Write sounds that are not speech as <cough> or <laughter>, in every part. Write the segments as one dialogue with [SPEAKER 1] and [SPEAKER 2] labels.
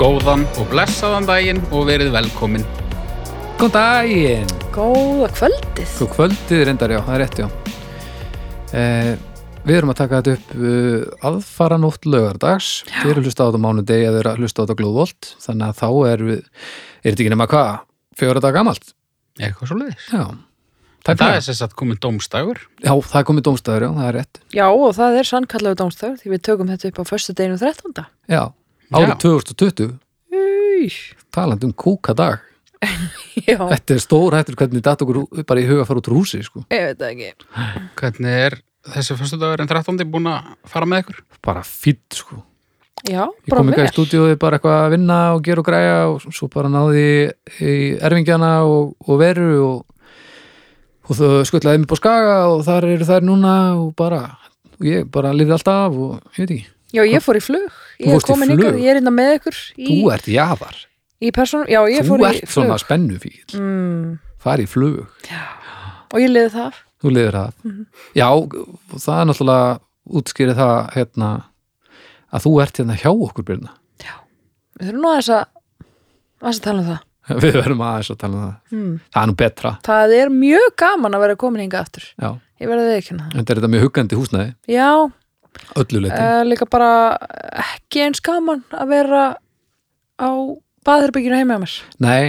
[SPEAKER 1] Góðan og blessaðan daginn og verið velkomin.
[SPEAKER 2] Góð daginn!
[SPEAKER 3] Góða kvöldið.
[SPEAKER 2] Góð Sko, kvöldið reyndar, já, það er rétt, já. Eh, við erum að taka þetta upp uh, aðfara nótt lögardags. Þið eru að hlusta á þetta á mánudegi að þið eru að hlusta á þetta glóðvolt. Þannig að þá er við, er þetta ekki nema hvað, fjóra dag gamalt?
[SPEAKER 1] Eitthvað svo leiðis.
[SPEAKER 2] Já.
[SPEAKER 1] Það,
[SPEAKER 2] Takk fyrir.
[SPEAKER 1] er sess að komin dómstægur.
[SPEAKER 2] Já, það er komið dómstæður, já, það er rétt.
[SPEAKER 3] Já, og það er sannkallagur dámstöður því við tökum þetta upp á förstu deginu 13.
[SPEAKER 2] Já, árið
[SPEAKER 1] Já.
[SPEAKER 2] 2020,
[SPEAKER 3] Új,
[SPEAKER 2] talandi um kúkadag.
[SPEAKER 3] <laughs> já,
[SPEAKER 2] Þetta er stóra hættur hvernig datt okkur ú- bara í huga að fara út úr húsi, sko.
[SPEAKER 3] ég veit það ekki.
[SPEAKER 1] Hvernig er þessi fyrstu dagur en 13. búin að fara með ykkur?
[SPEAKER 2] Bara fýtt, sko.
[SPEAKER 3] Já,
[SPEAKER 2] Ég
[SPEAKER 3] bara
[SPEAKER 2] kom ekki
[SPEAKER 3] vel.
[SPEAKER 2] í stúdíói bara eitthvað að vinna og gera og græja og s- svo bara náði í- í erfingjana og, og veru og, og þau skuttlaði mig på skaga og þar eru þær núna og bara, og ég bara lifði allt af og ég veit ekki.
[SPEAKER 3] Já, ég fór í flug.
[SPEAKER 2] Þú
[SPEAKER 3] Ég er
[SPEAKER 2] fórst í
[SPEAKER 3] komin
[SPEAKER 2] flug?
[SPEAKER 3] ykkur, ég er innan með ykkur í,
[SPEAKER 2] Þú ert jaðar,
[SPEAKER 3] í persónum. Já, ég
[SPEAKER 2] þú
[SPEAKER 3] fór í
[SPEAKER 2] ert
[SPEAKER 3] flug
[SPEAKER 2] svona spennufíl,
[SPEAKER 3] mm,
[SPEAKER 2] fari í flug,
[SPEAKER 3] og ég liði það. af.
[SPEAKER 2] þú lifir það.
[SPEAKER 3] Mhm.
[SPEAKER 2] Já, og það er náttúrulega útskýrið það hérna að þú ert hérna hjá okkur byrna.
[SPEAKER 3] Við þurfum nú aðeins að, aðeins að tala um það.
[SPEAKER 2] <laughs> Við verum aðeins að tala um það.
[SPEAKER 3] Mm.
[SPEAKER 2] Það er nú betra,
[SPEAKER 3] Það er mjög gaman að vera komin hingað aftur.
[SPEAKER 2] já.
[SPEAKER 3] Ég verði ekki hérna það.
[SPEAKER 2] Þetta er þetta mjög huggandi húsnæði,
[SPEAKER 3] Já,
[SPEAKER 2] ölluleiti.
[SPEAKER 3] uh, líka bara ekki eins gaman að vera á baðherbygginu heima hjá mér.
[SPEAKER 2] Nei,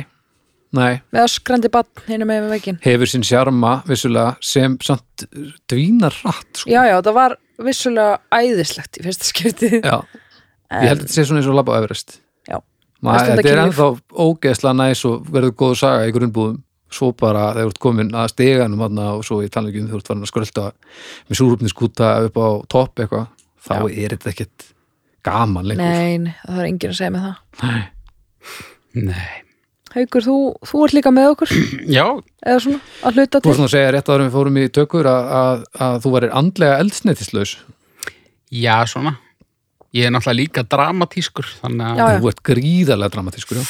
[SPEAKER 2] nei,
[SPEAKER 3] með öskrandi bann hinu með veginn
[SPEAKER 2] hefur sín sjarma vissulega sem samt dvínar rætt sko.
[SPEAKER 3] já, já, það var vissulega æðislegt í fyrsta skiptið
[SPEAKER 2] Já, ég held að þetta sé svona eins og labba á Everest
[SPEAKER 3] Já.
[SPEAKER 2] Ma,
[SPEAKER 3] Mest enda
[SPEAKER 2] Þetta er
[SPEAKER 3] kynlíf.
[SPEAKER 2] ennþá ógeðsla næs og verður góð saga í grunnbúðum svo bara þegar þú ert komin að steganum hana, og svo í tannleikum þú ert farin að skrölda með súrúfniskúta upp á topp eitthvað, þá er þetta ekkit gaman lengur
[SPEAKER 3] nein, það var enginn að segja með það
[SPEAKER 2] Nei.
[SPEAKER 1] Nei.
[SPEAKER 3] Haukur, þú, þú ert líka með okkur
[SPEAKER 1] Já,
[SPEAKER 3] eða svona, að hluta
[SPEAKER 2] Þú
[SPEAKER 3] til
[SPEAKER 2] varst nú að segja rétt áður en við fórum í tökur að, að, að þú varir andlega eldsneitislaus
[SPEAKER 1] já svona. Ég er náttúrulega líka dramatískur. Þannig
[SPEAKER 3] Já,
[SPEAKER 1] að...
[SPEAKER 3] já.
[SPEAKER 2] Þú ert gríðarlega dramatískur já.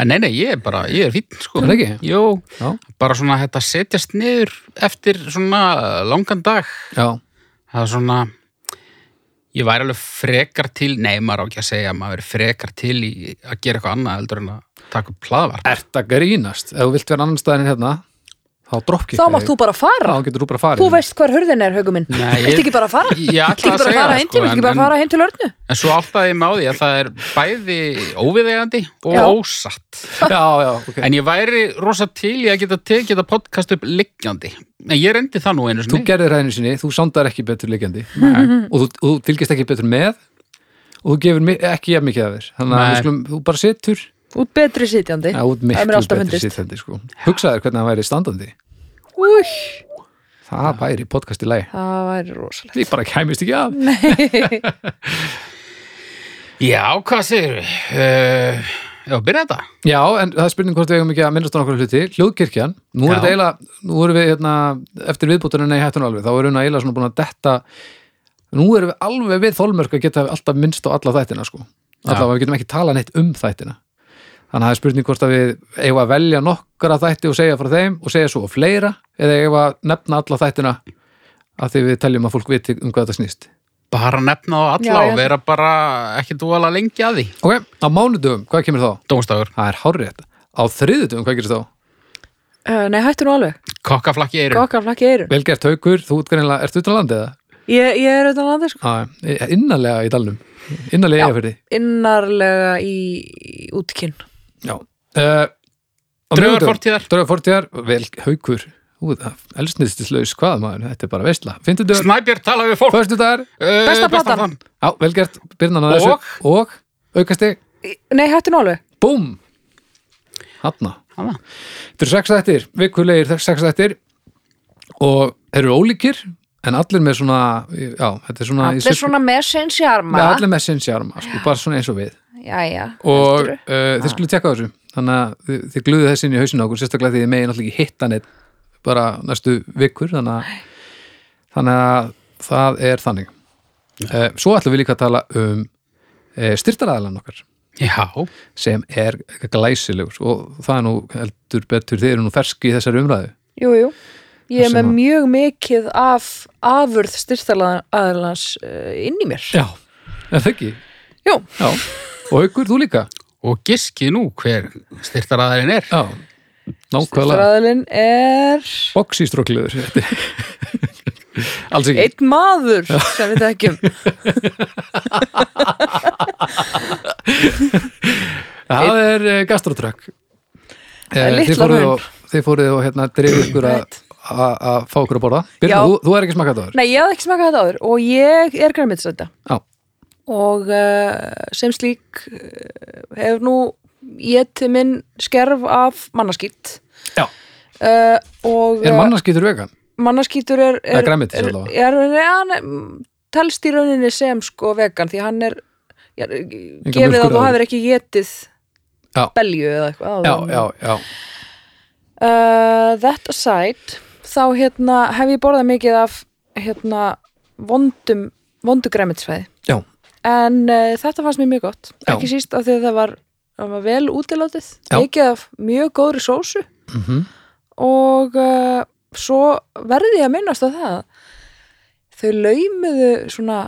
[SPEAKER 1] En nei, nei, ég er bara, ég er fínn sko.
[SPEAKER 2] Er það ekki?
[SPEAKER 1] Jú,
[SPEAKER 2] Já.
[SPEAKER 1] bara svona þetta setjast niður eftir svona langan dag.
[SPEAKER 2] Já.
[SPEAKER 1] það er svona ég væri alveg frekar til nei, maður á ekki að segja, maður er frekar til í að gera eitthvað annað heldur en að taka upp hlaðvarp.
[SPEAKER 2] Ert að grínast, ef þú vilt vera annan staðin en hérna þá droppkikka
[SPEAKER 3] þá mátt þú bara fara
[SPEAKER 2] Þá getur þú bara farið
[SPEAKER 3] þú veist hvar hurðin er, Haukur minn
[SPEAKER 1] Nei, ég-
[SPEAKER 3] ert ekki bara að fara
[SPEAKER 1] Ég
[SPEAKER 3] ert
[SPEAKER 1] ætla
[SPEAKER 3] ekki
[SPEAKER 1] að
[SPEAKER 3] bara að
[SPEAKER 1] segja
[SPEAKER 3] fara
[SPEAKER 1] það,
[SPEAKER 3] heim
[SPEAKER 1] sko,
[SPEAKER 3] til ert ekki
[SPEAKER 1] en-
[SPEAKER 3] bara að fara heim til örnu
[SPEAKER 1] En svo áttaði ég mig á því að það er bæði óviðegandi og
[SPEAKER 3] Já.
[SPEAKER 1] ósatt.
[SPEAKER 2] Já, já, ok
[SPEAKER 1] En ég væri rosa til í að geta tekið þetta podcast upp liggjandi. En ég reyndi það nú einu
[SPEAKER 2] Þú
[SPEAKER 1] sinni.
[SPEAKER 2] gerðir það einu sinni, þú sándar ekki betur leikjandi og þú, og þú fylgist ekki betur með og þú gefur mi- ekki jafn mikið af þér þannig að
[SPEAKER 1] Nei.
[SPEAKER 2] við skulum, þú bara situr
[SPEAKER 3] út betri sitjandi
[SPEAKER 2] já, út
[SPEAKER 3] Það er mér
[SPEAKER 2] miklu
[SPEAKER 3] alltaf
[SPEAKER 2] betur
[SPEAKER 3] fundist.
[SPEAKER 2] sitjandi sko. Hugsaður hvernig hann væri standandi
[SPEAKER 3] Új,
[SPEAKER 2] Það væri podcast í lagi
[SPEAKER 3] það væri rosalegt
[SPEAKER 2] Því bara kæmist ekki af
[SPEAKER 1] Já, hvað segir við? Uh, já, byrja þetta.
[SPEAKER 2] Já, en það er spurning hvort við eigum ekki að minnast á okkur hluti Hljóðkirkjan, nú er
[SPEAKER 1] Já.
[SPEAKER 2] þetta eiginlega, nú erum við hérna, eftir viðbútunina í hættunum alveg, þá erum við eiginlega svona búin að detta nú erum við alveg við þólmörk að geta alltaf minnst á alla þættina sko allavega við getum ekki talað neitt um þættina þannig að það er spurning hvort að við eigum að velja nokkra þætti og segja frá þeim og segja svo fleira eða eigum að nefna alla þættina að því við teljum að fólk viti um hvað þetta snýst
[SPEAKER 1] Bara nefna á alla
[SPEAKER 3] Já, já.
[SPEAKER 1] og vera bara ekki dúala lengi að því.
[SPEAKER 2] Ok, á mánudum, hvað kemur þá?
[SPEAKER 1] Dómstafur,
[SPEAKER 2] Það er hárrétt. Á þriðudum, hvað gerist þá?
[SPEAKER 3] uh, nei, hættu nú alveg,
[SPEAKER 1] kokkaflakki eirum.
[SPEAKER 3] gokkar flakki eirun
[SPEAKER 2] Vel gert haukur, þú útgreinlega, ertu utan landið eða?
[SPEAKER 3] ég, ég er auðvitað landi sko
[SPEAKER 2] Já, innarlega í dalnum innarlega í eða
[SPEAKER 3] innarlega í, í útkinn
[SPEAKER 2] Já uh,
[SPEAKER 1] Draugar fortíðar.
[SPEAKER 2] Draugar fortíðar, vel haukur Ú, það elsnistislaus hvað maður, þetta er bara veistla Fyndu dögur,
[SPEAKER 1] Snæbjörn tala við fólk.
[SPEAKER 2] förstu dagar
[SPEAKER 1] Uh,
[SPEAKER 3] Besta platan.
[SPEAKER 2] Já, vel gert, byrna náða
[SPEAKER 1] Og?
[SPEAKER 2] þessu Og, aukasti,
[SPEAKER 3] nei, hættu nú alveg
[SPEAKER 2] búm Hanna,
[SPEAKER 1] Hana.
[SPEAKER 2] þetta eru sex þættir Vikulegir sex þættir Og þeir eru ólíkir En allir með svona, já, þetta er svona í
[SPEAKER 3] Allir
[SPEAKER 2] sirku-
[SPEAKER 3] svona með sinn sjarma
[SPEAKER 2] Með allir með sinnsjárma, sko, bara svona eins og við
[SPEAKER 3] Jæja,
[SPEAKER 2] og
[SPEAKER 3] heldurðu?
[SPEAKER 2] uh, þið skulle tekka á þessu þannig að þið, þið gluðu þessi inn í hausinu á okkur sérstaklega því þið megin alltaf ekki hitta neitt bara næstu vikur þannig að, þannig að það er þannig uh, svo ætlum við líka að tala um uh, styrtaræðalan okkar
[SPEAKER 1] Já.
[SPEAKER 2] sem er glæsilegur og það er nú heldur betur þið eru nú ferski í þessari umræðu
[SPEAKER 3] Jú, jú Ég er
[SPEAKER 2] sem
[SPEAKER 3] með
[SPEAKER 2] að-
[SPEAKER 3] mjög mikið af afurð styrstalaðalans uh, inn í mér
[SPEAKER 2] já, er það ekki?
[SPEAKER 3] Jú,
[SPEAKER 2] Já, og haukur, þú líka
[SPEAKER 1] og giskið nú hver styrtaraðarinn er
[SPEAKER 2] já, nákvæmlega
[SPEAKER 3] Stræðlinn er
[SPEAKER 2] boxistrókliður <laughs> alls ekki
[SPEAKER 3] einn maður sem við þekkjum
[SPEAKER 2] <laughs> það er uh, gastrotrökk
[SPEAKER 3] er
[SPEAKER 2] Eh, þið
[SPEAKER 3] litla
[SPEAKER 2] fóruð
[SPEAKER 3] raun.
[SPEAKER 2] og- þið fóruð og hérna drifðu ykkur að að- að fá ykkur að borða Birna,
[SPEAKER 3] Já.
[SPEAKER 2] þú, þú er ekki smakað það
[SPEAKER 3] Nei, ég hafði ekki smakað þetta áður og ég er græmiðsrætta
[SPEAKER 2] Já.
[SPEAKER 3] og uh, sem slík uh, hefur nú getið minn skerf af mannaskýtt
[SPEAKER 2] Já.
[SPEAKER 3] uh, og
[SPEAKER 2] er mannaskýtur vegan?
[SPEAKER 3] mannaskýtur er,
[SPEAKER 2] Eða grænmetis
[SPEAKER 3] er,
[SPEAKER 2] allavega.
[SPEAKER 3] er, er, hann er telst í rauninni sem sko vegan því hann er já, gefið
[SPEAKER 2] mjólkur
[SPEAKER 3] að þú
[SPEAKER 2] áður.
[SPEAKER 3] hafir ekki getið
[SPEAKER 2] Já.
[SPEAKER 3] belju eða eitthvað
[SPEAKER 2] já,
[SPEAKER 3] áður.
[SPEAKER 2] já, já,
[SPEAKER 3] Uh, that aside þá hérna hef ég borðað mikið af hérna vondum vondugræmitsfæði
[SPEAKER 2] já,
[SPEAKER 3] en uh, þetta fannst mér mjög gott
[SPEAKER 2] Já.
[SPEAKER 3] ekki síst af því að það var, það var vel útilátið
[SPEAKER 2] Já.
[SPEAKER 3] mikið af mjög góðri sósu
[SPEAKER 2] Mhm.
[SPEAKER 3] og uh, svo verði ég að minnast á það þau laumuðu svona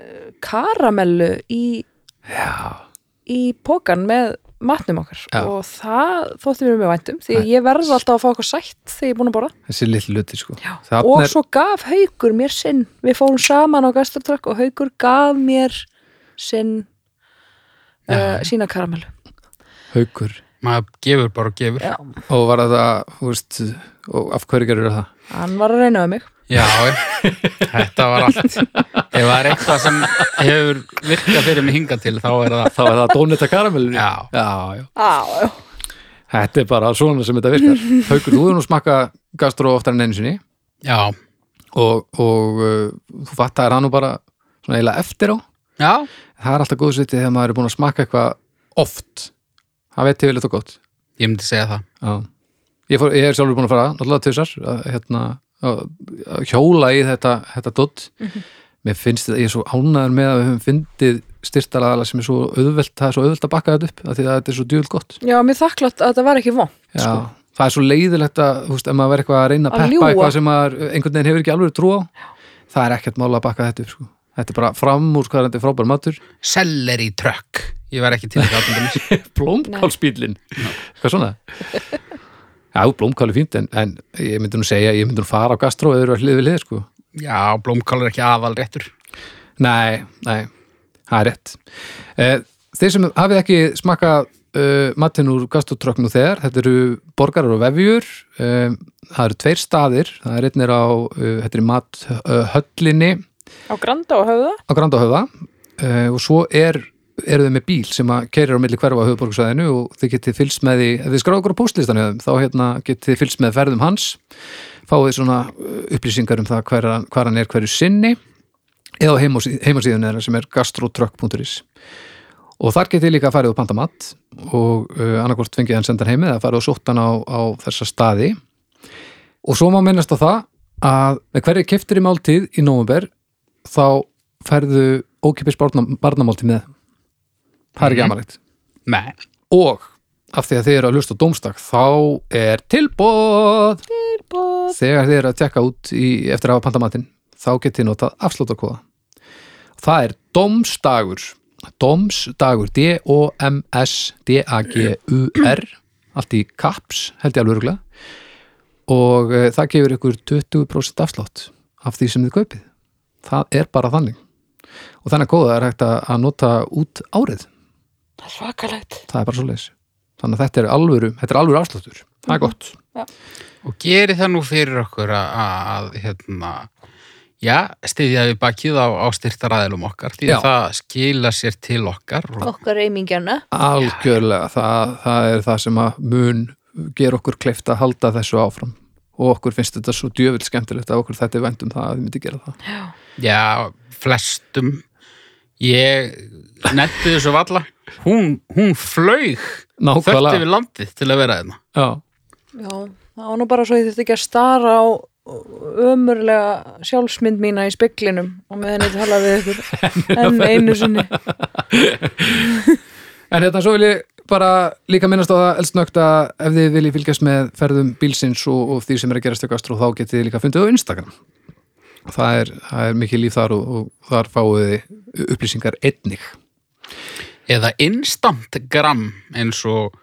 [SPEAKER 3] eh, karamellu í,
[SPEAKER 2] já.
[SPEAKER 3] í pokan með matnum okkar
[SPEAKER 2] Já.
[SPEAKER 3] og það þótti mér mjög væntum því að ég verði alltaf að fá eitthvað sætt þegar ég er búin að borða
[SPEAKER 2] þessi litlu luti sko
[SPEAKER 3] og
[SPEAKER 2] Þarna er-
[SPEAKER 3] svo gaf Haugur mér sinn við fórum saman á gastrotrökk og Haugur gaf mér sinn uh, sína karamelu
[SPEAKER 2] haukur
[SPEAKER 1] maður gefur bara og gefur
[SPEAKER 3] Já.
[SPEAKER 2] og var það, þú veist og af hverju gerir það?
[SPEAKER 3] hann var að reyna um mig
[SPEAKER 1] Já, ég- þetta var allt. Ef það er eitthvað sem hefur virkað fyrir mig hingað til, þá er það
[SPEAKER 2] þá er það dónetta karamellinu
[SPEAKER 1] Já.
[SPEAKER 2] já, já.
[SPEAKER 3] á,
[SPEAKER 2] þetta er bara svona sem þetta virkar haukur, þú er nú smakað gastró oftar en einu sinni
[SPEAKER 1] Já,
[SPEAKER 2] og, og uh, þú fattar það nú bara svona eiginlega eftir á
[SPEAKER 1] já,
[SPEAKER 2] það er alltaf góðsviti þegar maður er búin að smakka eitthvað oft það veit ég vel eitthvað gott
[SPEAKER 1] ég myndi segja það
[SPEAKER 2] Já. ég, fór, ég er sjálfur búin að fara náttúrulega tvisar að, hérna, að, að hjóla í þetta, þetta dott mér finnst þetta, ég er svo ánæður með að við höfum fyndið styrtaraðala sem er svo auðvelt það er svo auðvelt að bakka þetta upp af því að þetta er svo djúvel gott
[SPEAKER 3] já, mér þakklátt að það var ekki von
[SPEAKER 2] Já, það er svo leiðilegt að, þú veist, ef maður verið eitthvað að reyna að
[SPEAKER 3] Að
[SPEAKER 2] peppa
[SPEAKER 3] ljúga.
[SPEAKER 2] eitthvað sem maður einhvern veginn hefur ekki alveg trú á það er ekkert mála að bakka þetta upp sko. þetta er bara framúrskarandi frábær matur
[SPEAKER 1] Celery truck, ég var ekki til þetta átundumis
[SPEAKER 2] blómkálspílin hvað svona já, blómkál er fínt en, en ég myndi nú segja, ég myndi nú fara á gastró eða eru að hlið við hlið sko
[SPEAKER 1] Já, blómkál er ekki aðal réttur
[SPEAKER 2] nei, nei, það er rétt eh, þeir sem hafið ekki smakka uh, matinn úr gastrótröknu þegar, þetta eru borgarar og vefjur um, það eru tveir staðir, það er einnir á uh, þetta er mat uh, höllinni
[SPEAKER 3] á granda og höfða
[SPEAKER 2] á Grandahöfða uh, og svo er, eru þau með bíl sem að keirir á milli hverfa á höfuborgsvæðinu og þið getið fylgst með því, ef þið skráðu okkur á póstlistan hefðum, þá hérna getið þið fylgst með ferðum hans fáið svona uh, upplýsingar um það hver, hann- hvar hann er hverju sinni eða á heimás- heimasíðunni þeirra sem er gastrotrökk.is og þar getið þið líka farið og panta mat og uh, annarkvort fengið hann sendan heimi eða farið og sótt hann á, á þessa staði og svo má minnast á það að með hverju keftir í máltíð í nómumber þá færðu ókipis barna, barnamálti með það er ekki
[SPEAKER 1] Mhm.
[SPEAKER 2] amalegt
[SPEAKER 1] Nei,
[SPEAKER 2] og af því að þið eru að hlusta á dómstak þá er tilbóð þegar þið eru að tekka út í, eftir að hafa pantamatinn þá getið þið notað afsláttakóða það er domstagur domstagur D-O-M-S-D-A-G-U-R allt í kaps held ég alveg örgulega og e, það gefur ykkur 20% afslátt af því sem þið kaupið það er bara þannig og þannig að góða er hægt að að nota út árið
[SPEAKER 3] svakalegt
[SPEAKER 2] það er bara svo leis þannig að þetta er alvöru, þetta er alvöru afsláttur það er gott
[SPEAKER 1] og geri það nú fyrir okkur að, að hérna Já, stiðja við bakið á, á styrtaraðilum okkar því
[SPEAKER 2] Já.
[SPEAKER 1] að það skila sér til okkar og
[SPEAKER 3] okkar eimingjana
[SPEAKER 2] Algjörlega, það, það er það sem að mun gera okkur kleift að halda þessu áfram og okkur finnst þetta svo djöfild skemmtilegt að okkur þetta er vænt um það að þið myndi gera það
[SPEAKER 1] já, flestum ég nettu þessu valla hún, hún flaug þögt
[SPEAKER 2] Nákvæmlega,
[SPEAKER 1] yfir landið til að vera hérna.
[SPEAKER 2] já,
[SPEAKER 1] þeirna
[SPEAKER 3] já, það var nú bara svo ég þurfti ekki að stara á ömurlega sjálfsmynd mína í speklinum og með henni tala við <laughs> ykkur enn einu sinni
[SPEAKER 2] en hérna svo vil ég bara líka minnast á það eldsnögt að ef þið viljið fylgjast með ferðum bílsins og, og því sem er að gerast eitthvað astró þá getið þið líka fundið á Instagram það er, það er mikið líf þar og, og þar fáið þið upplýsingar einnig
[SPEAKER 1] eða instantgram eins og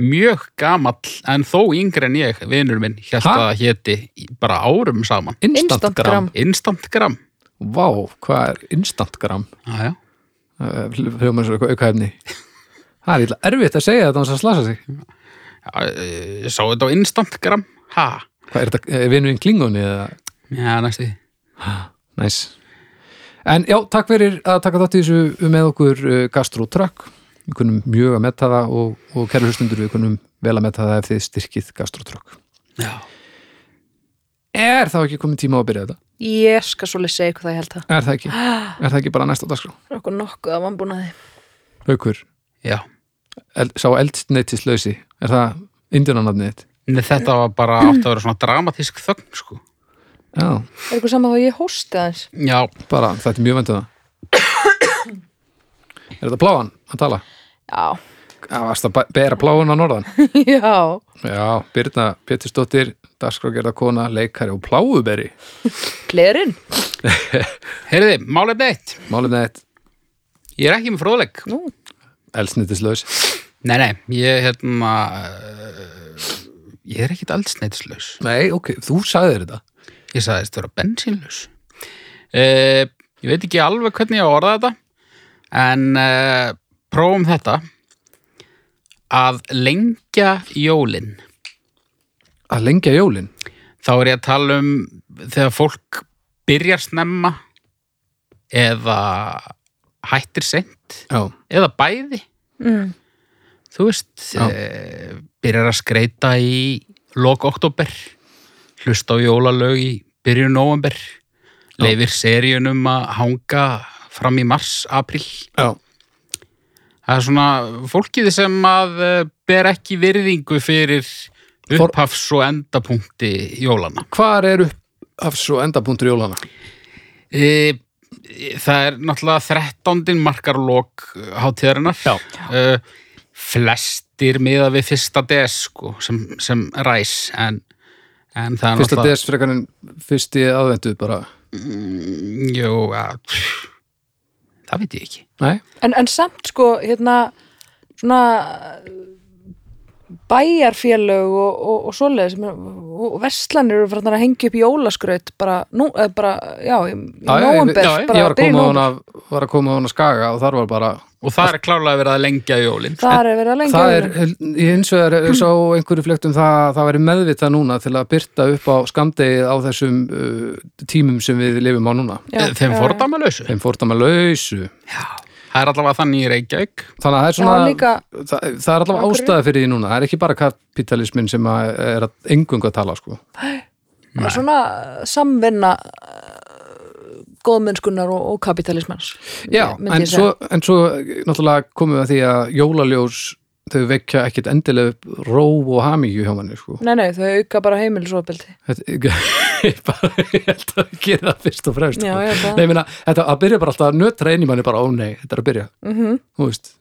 [SPEAKER 1] mjög gamall en þó yngri en ég, vinur minn held
[SPEAKER 2] Ha?
[SPEAKER 1] að það héti í- bara árum saman
[SPEAKER 2] Instantgram
[SPEAKER 3] Instantgram.
[SPEAKER 1] instantgram
[SPEAKER 2] Vá, hvað er instantgram?
[SPEAKER 1] já, já.
[SPEAKER 2] Hljóðum eins og eitthvað aukaefni Það er illa erfitt að segja þetta án þess að slasa sig
[SPEAKER 1] Já, eh, ég sá þetta á instantgram ha,
[SPEAKER 2] Hvað er þetta, vinnu í klingunni eða?
[SPEAKER 1] já, næstu því.
[SPEAKER 2] Næs En já, takk fyrir að taka þátt í þessu með okkur uh, Gastro Truck Við kunum mjög að metta það og, og kæru hlustundur við kunum vel að metta það ef þið styrkið Gastro Truck
[SPEAKER 1] já,
[SPEAKER 2] Er þá ekki komin tíma á að byrja þetta?
[SPEAKER 3] Ég skal svolítið segja ykkur það, ég held það.
[SPEAKER 2] Er það ekki? Er það ekki bara næst á dagskrá?
[SPEAKER 3] Það er okkur nokkuð af vannbúnaði.
[SPEAKER 2] Haukur,
[SPEAKER 1] já
[SPEAKER 2] el, sá eldsneitislausi Er það indunanafnið þitt?
[SPEAKER 1] Nei, þetta var bara átt að vera svona dramatísk þögn sko.
[SPEAKER 2] Já,
[SPEAKER 3] Er ykkur saman þá ég hósti aðeins?
[SPEAKER 1] já,
[SPEAKER 2] bara, þetta er mjög vendið það <coughs> Er þetta pláan að tala?
[SPEAKER 3] Já.
[SPEAKER 2] Já, varst að bæ- bera pláun á norðan?
[SPEAKER 3] <laughs> Já.
[SPEAKER 2] Já, Birna Pétursdóttir, dagskrágerða kona, leikari og pláuberi.
[SPEAKER 3] Glerinn?
[SPEAKER 1] heyrði, málefni eitt
[SPEAKER 2] Málum þetta
[SPEAKER 1] ég er ekki með fróðleik
[SPEAKER 3] Nú.
[SPEAKER 2] elsnittislaus.
[SPEAKER 1] nei, nei, ég hérna eh, ég er ekkit eldsneitslaus
[SPEAKER 2] Nei, ok, þú sagðir þetta.
[SPEAKER 1] Ég sagðist vera bensínlaus. Uh, ég veit ekki alveg hvernig ég á að orða þetta, en uh, prófum þetta að lengja jólin.
[SPEAKER 2] Að lengja jólin.
[SPEAKER 1] Þá er ég að tala um þegar fólk byrjar snemma eða hættir seint
[SPEAKER 2] Já,
[SPEAKER 1] eða bæði.
[SPEAKER 3] Mm.
[SPEAKER 1] Þú veist,
[SPEAKER 2] Já.
[SPEAKER 1] uh, byrjar að skreita í lok oktober, hlusta á jólalög í byrjun november,
[SPEAKER 2] Já.
[SPEAKER 1] leifir seríunum að hanga fram í mars, april.
[SPEAKER 2] já,
[SPEAKER 1] Það er svona fólkið sem að eh, ber ekki virðingu fyrir
[SPEAKER 2] For-
[SPEAKER 1] upphafs og endapunkti jólana.
[SPEAKER 2] hvar eru af svo endapunktur jólana?
[SPEAKER 1] E, það er náttúrulega 13. markar lok uh, hátíðarinnar.
[SPEAKER 2] Já.
[SPEAKER 1] Eh, flestir miða við fyrsta des sko, sem, sem ræs en, en það er
[SPEAKER 2] Fyrsta des frekar en fyrsti aðvendu bara.
[SPEAKER 1] Mm, Jú, að, pff, það veit ég ekki.
[SPEAKER 2] Nei,
[SPEAKER 3] En, en samt sko, hérna, svona bæjarfélög og, og, og svoleiðis ég meina, og og verslanir eru fyrir að hengja upp jólaskraut bara, nú, eða bara, já, í
[SPEAKER 2] Já, já, ég-
[SPEAKER 3] nóumber,
[SPEAKER 1] já, ég
[SPEAKER 2] ég
[SPEAKER 3] bara
[SPEAKER 2] var að
[SPEAKER 3] byrja í
[SPEAKER 2] koma á
[SPEAKER 3] nóumber
[SPEAKER 2] hana, var að koma á hana skaga og þar var bara,
[SPEAKER 1] Og það er klálega verið að lengja jólinn.
[SPEAKER 3] þar er verið að lengja
[SPEAKER 2] það er,
[SPEAKER 3] jólin.
[SPEAKER 2] ég eins og er sá einhverju flögtum það, að það væri meðvitað núna til að byrta upp á skamdegið á þessum uh, tímum sem við lifum á núna.
[SPEAKER 3] Já,
[SPEAKER 1] Þeim
[SPEAKER 3] já, já.
[SPEAKER 1] fordæmalösu.
[SPEAKER 2] Þeim fórtum að lausu.
[SPEAKER 1] Já. Það er allavega þannig í Reykjavík.
[SPEAKER 2] þannig að það er
[SPEAKER 3] Það
[SPEAKER 2] svona
[SPEAKER 3] er líka-
[SPEAKER 2] það, það er allavega
[SPEAKER 3] Akureyri.
[SPEAKER 2] ástæða fyrir því núna það er ekki bara kapitalismin sem að er að engungu að tala sko
[SPEAKER 3] Það er svona samvinna eh, góðmennskunnar og, og kapitalismans
[SPEAKER 2] já,
[SPEAKER 3] myndi
[SPEAKER 2] en
[SPEAKER 3] ég
[SPEAKER 2] svo, en svo eh, náttúrulega komum við að því að jólaljós þau vekja ekkit endilega upp ró og hamingju hjá manni sko
[SPEAKER 3] Nei, nei, þau auka bara heimilisofbeldi
[SPEAKER 2] þetta, <laughs> ég bara, ég held að það gera það fyrst og fremst
[SPEAKER 3] Já,
[SPEAKER 2] sko.
[SPEAKER 3] ég held að-
[SPEAKER 2] nei, ég meina, þetta að byrja bara alltaf að nötra inn í manni bara, ó nei, þetta er að byrja
[SPEAKER 3] Mhm.
[SPEAKER 2] þú veist,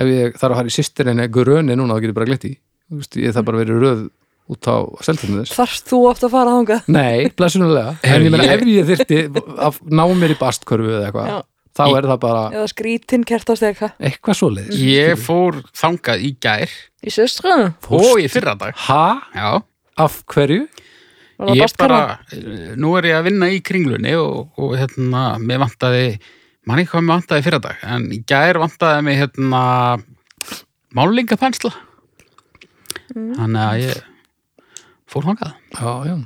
[SPEAKER 2] ef ég þarf að fara í sýstirinni gröni núna, þá getur ég bara glitt í Þú veist, ég þarf bara að vera í röð út á seltinu þess
[SPEAKER 3] Þarft þú oft að fara þangað?
[SPEAKER 2] Nei, blessunulega En
[SPEAKER 1] Heyrðu,
[SPEAKER 2] ég meina
[SPEAKER 1] ég-
[SPEAKER 2] ef ég þyrfti að ná mér í bastkörfu eða eitthvað
[SPEAKER 3] Já.
[SPEAKER 2] þá er það bara
[SPEAKER 3] Eða skrítin kertasteka
[SPEAKER 2] eitthvað svoleiðis
[SPEAKER 1] Ég fór þangað í gær
[SPEAKER 3] Í sestra?
[SPEAKER 2] Mhm. Fórstu?
[SPEAKER 1] og í fyrradag.
[SPEAKER 2] Ha?
[SPEAKER 1] Já,
[SPEAKER 2] Af hverju?
[SPEAKER 3] Var það
[SPEAKER 1] ég
[SPEAKER 3] bastkara?
[SPEAKER 1] bara, eh, nú er ég að vinna í kringlunni og, og hérna, mér vantaði, mann ekki hvað mér vantaði í fyrradag, en í gær vantaði mér hérna málingapensla. Þannig að ég fór þangað.
[SPEAKER 2] Já, já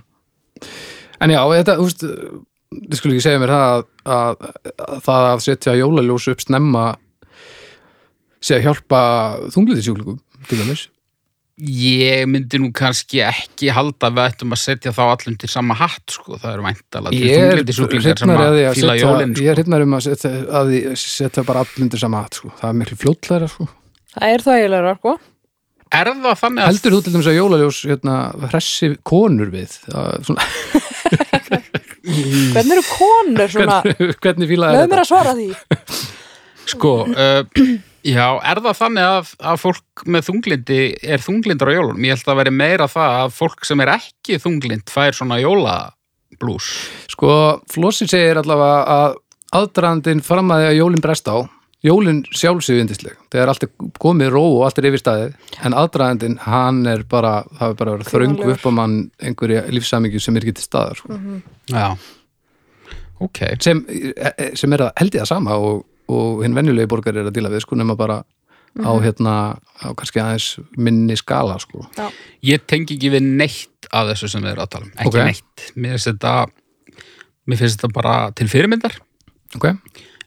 [SPEAKER 2] En já, þetta, þú veist þið skulle ekki segja mér það að, að, að það að setja jólaljós upp snemma sé að hjálpa þungliðisjúklingum til dæmis
[SPEAKER 1] Ég myndi nú kannski ekki halda að við ættum að setja þá allum til sama hatt, sko, það eru væntalega til
[SPEAKER 2] Ég er
[SPEAKER 1] þunglyndi sjúklingar sem
[SPEAKER 2] hrifnari að
[SPEAKER 1] að
[SPEAKER 2] því að
[SPEAKER 1] fíla
[SPEAKER 2] setja-
[SPEAKER 1] jólinn,
[SPEAKER 2] ég
[SPEAKER 1] sko.
[SPEAKER 2] er hrifnari um að setja, að því- setja bara allindir sama hatt, sko. það er miklu fljótlæra sko.
[SPEAKER 3] Það er það eiginlega, sko
[SPEAKER 1] Er það þannig að
[SPEAKER 2] Heldur þú til dæmis að jólaljós hérna, hressi konur við? Það, svona,
[SPEAKER 3] Hvernig eru konur svona?
[SPEAKER 2] Mm. <laughs> hvernig fílaði
[SPEAKER 3] Leðu
[SPEAKER 2] þetta?
[SPEAKER 3] mér að svara því
[SPEAKER 1] Sko, uh, já, er það þannig að, að fólk með þunglindi er þunglindar á jólunum? Ég held að veri meira það að fólk sem er ekki þunglind fær svona jólablús.
[SPEAKER 2] Sko, Flossi segir allavega að aðdraðandinn fram að því að jólin brest á jólin sjálfsögðu yndisleg þegar allt er komið í ró og allt er yfir staðið en aðdraðandinn, hann er bara það er bara verið þröngu
[SPEAKER 3] Kvíðalegur.
[SPEAKER 2] upp á mann einhverja lífsamingju sem er ekki til staðar sko.
[SPEAKER 3] Mhm.
[SPEAKER 1] Já. Ok.
[SPEAKER 2] sem, e, sem er að held ég það sama og, og hinn venjulegi borgar er að díla við sko nema bara á
[SPEAKER 3] Mhm.
[SPEAKER 2] hérna á kannski aðeins minni skala sko
[SPEAKER 1] Ég tengi ekki við neitt að þessu sem við erum að tala um. Ekki
[SPEAKER 2] Ok.
[SPEAKER 1] neitt. Mér finnst þetta, mér finnst þetta bara til fyrirmyndar.
[SPEAKER 2] ok,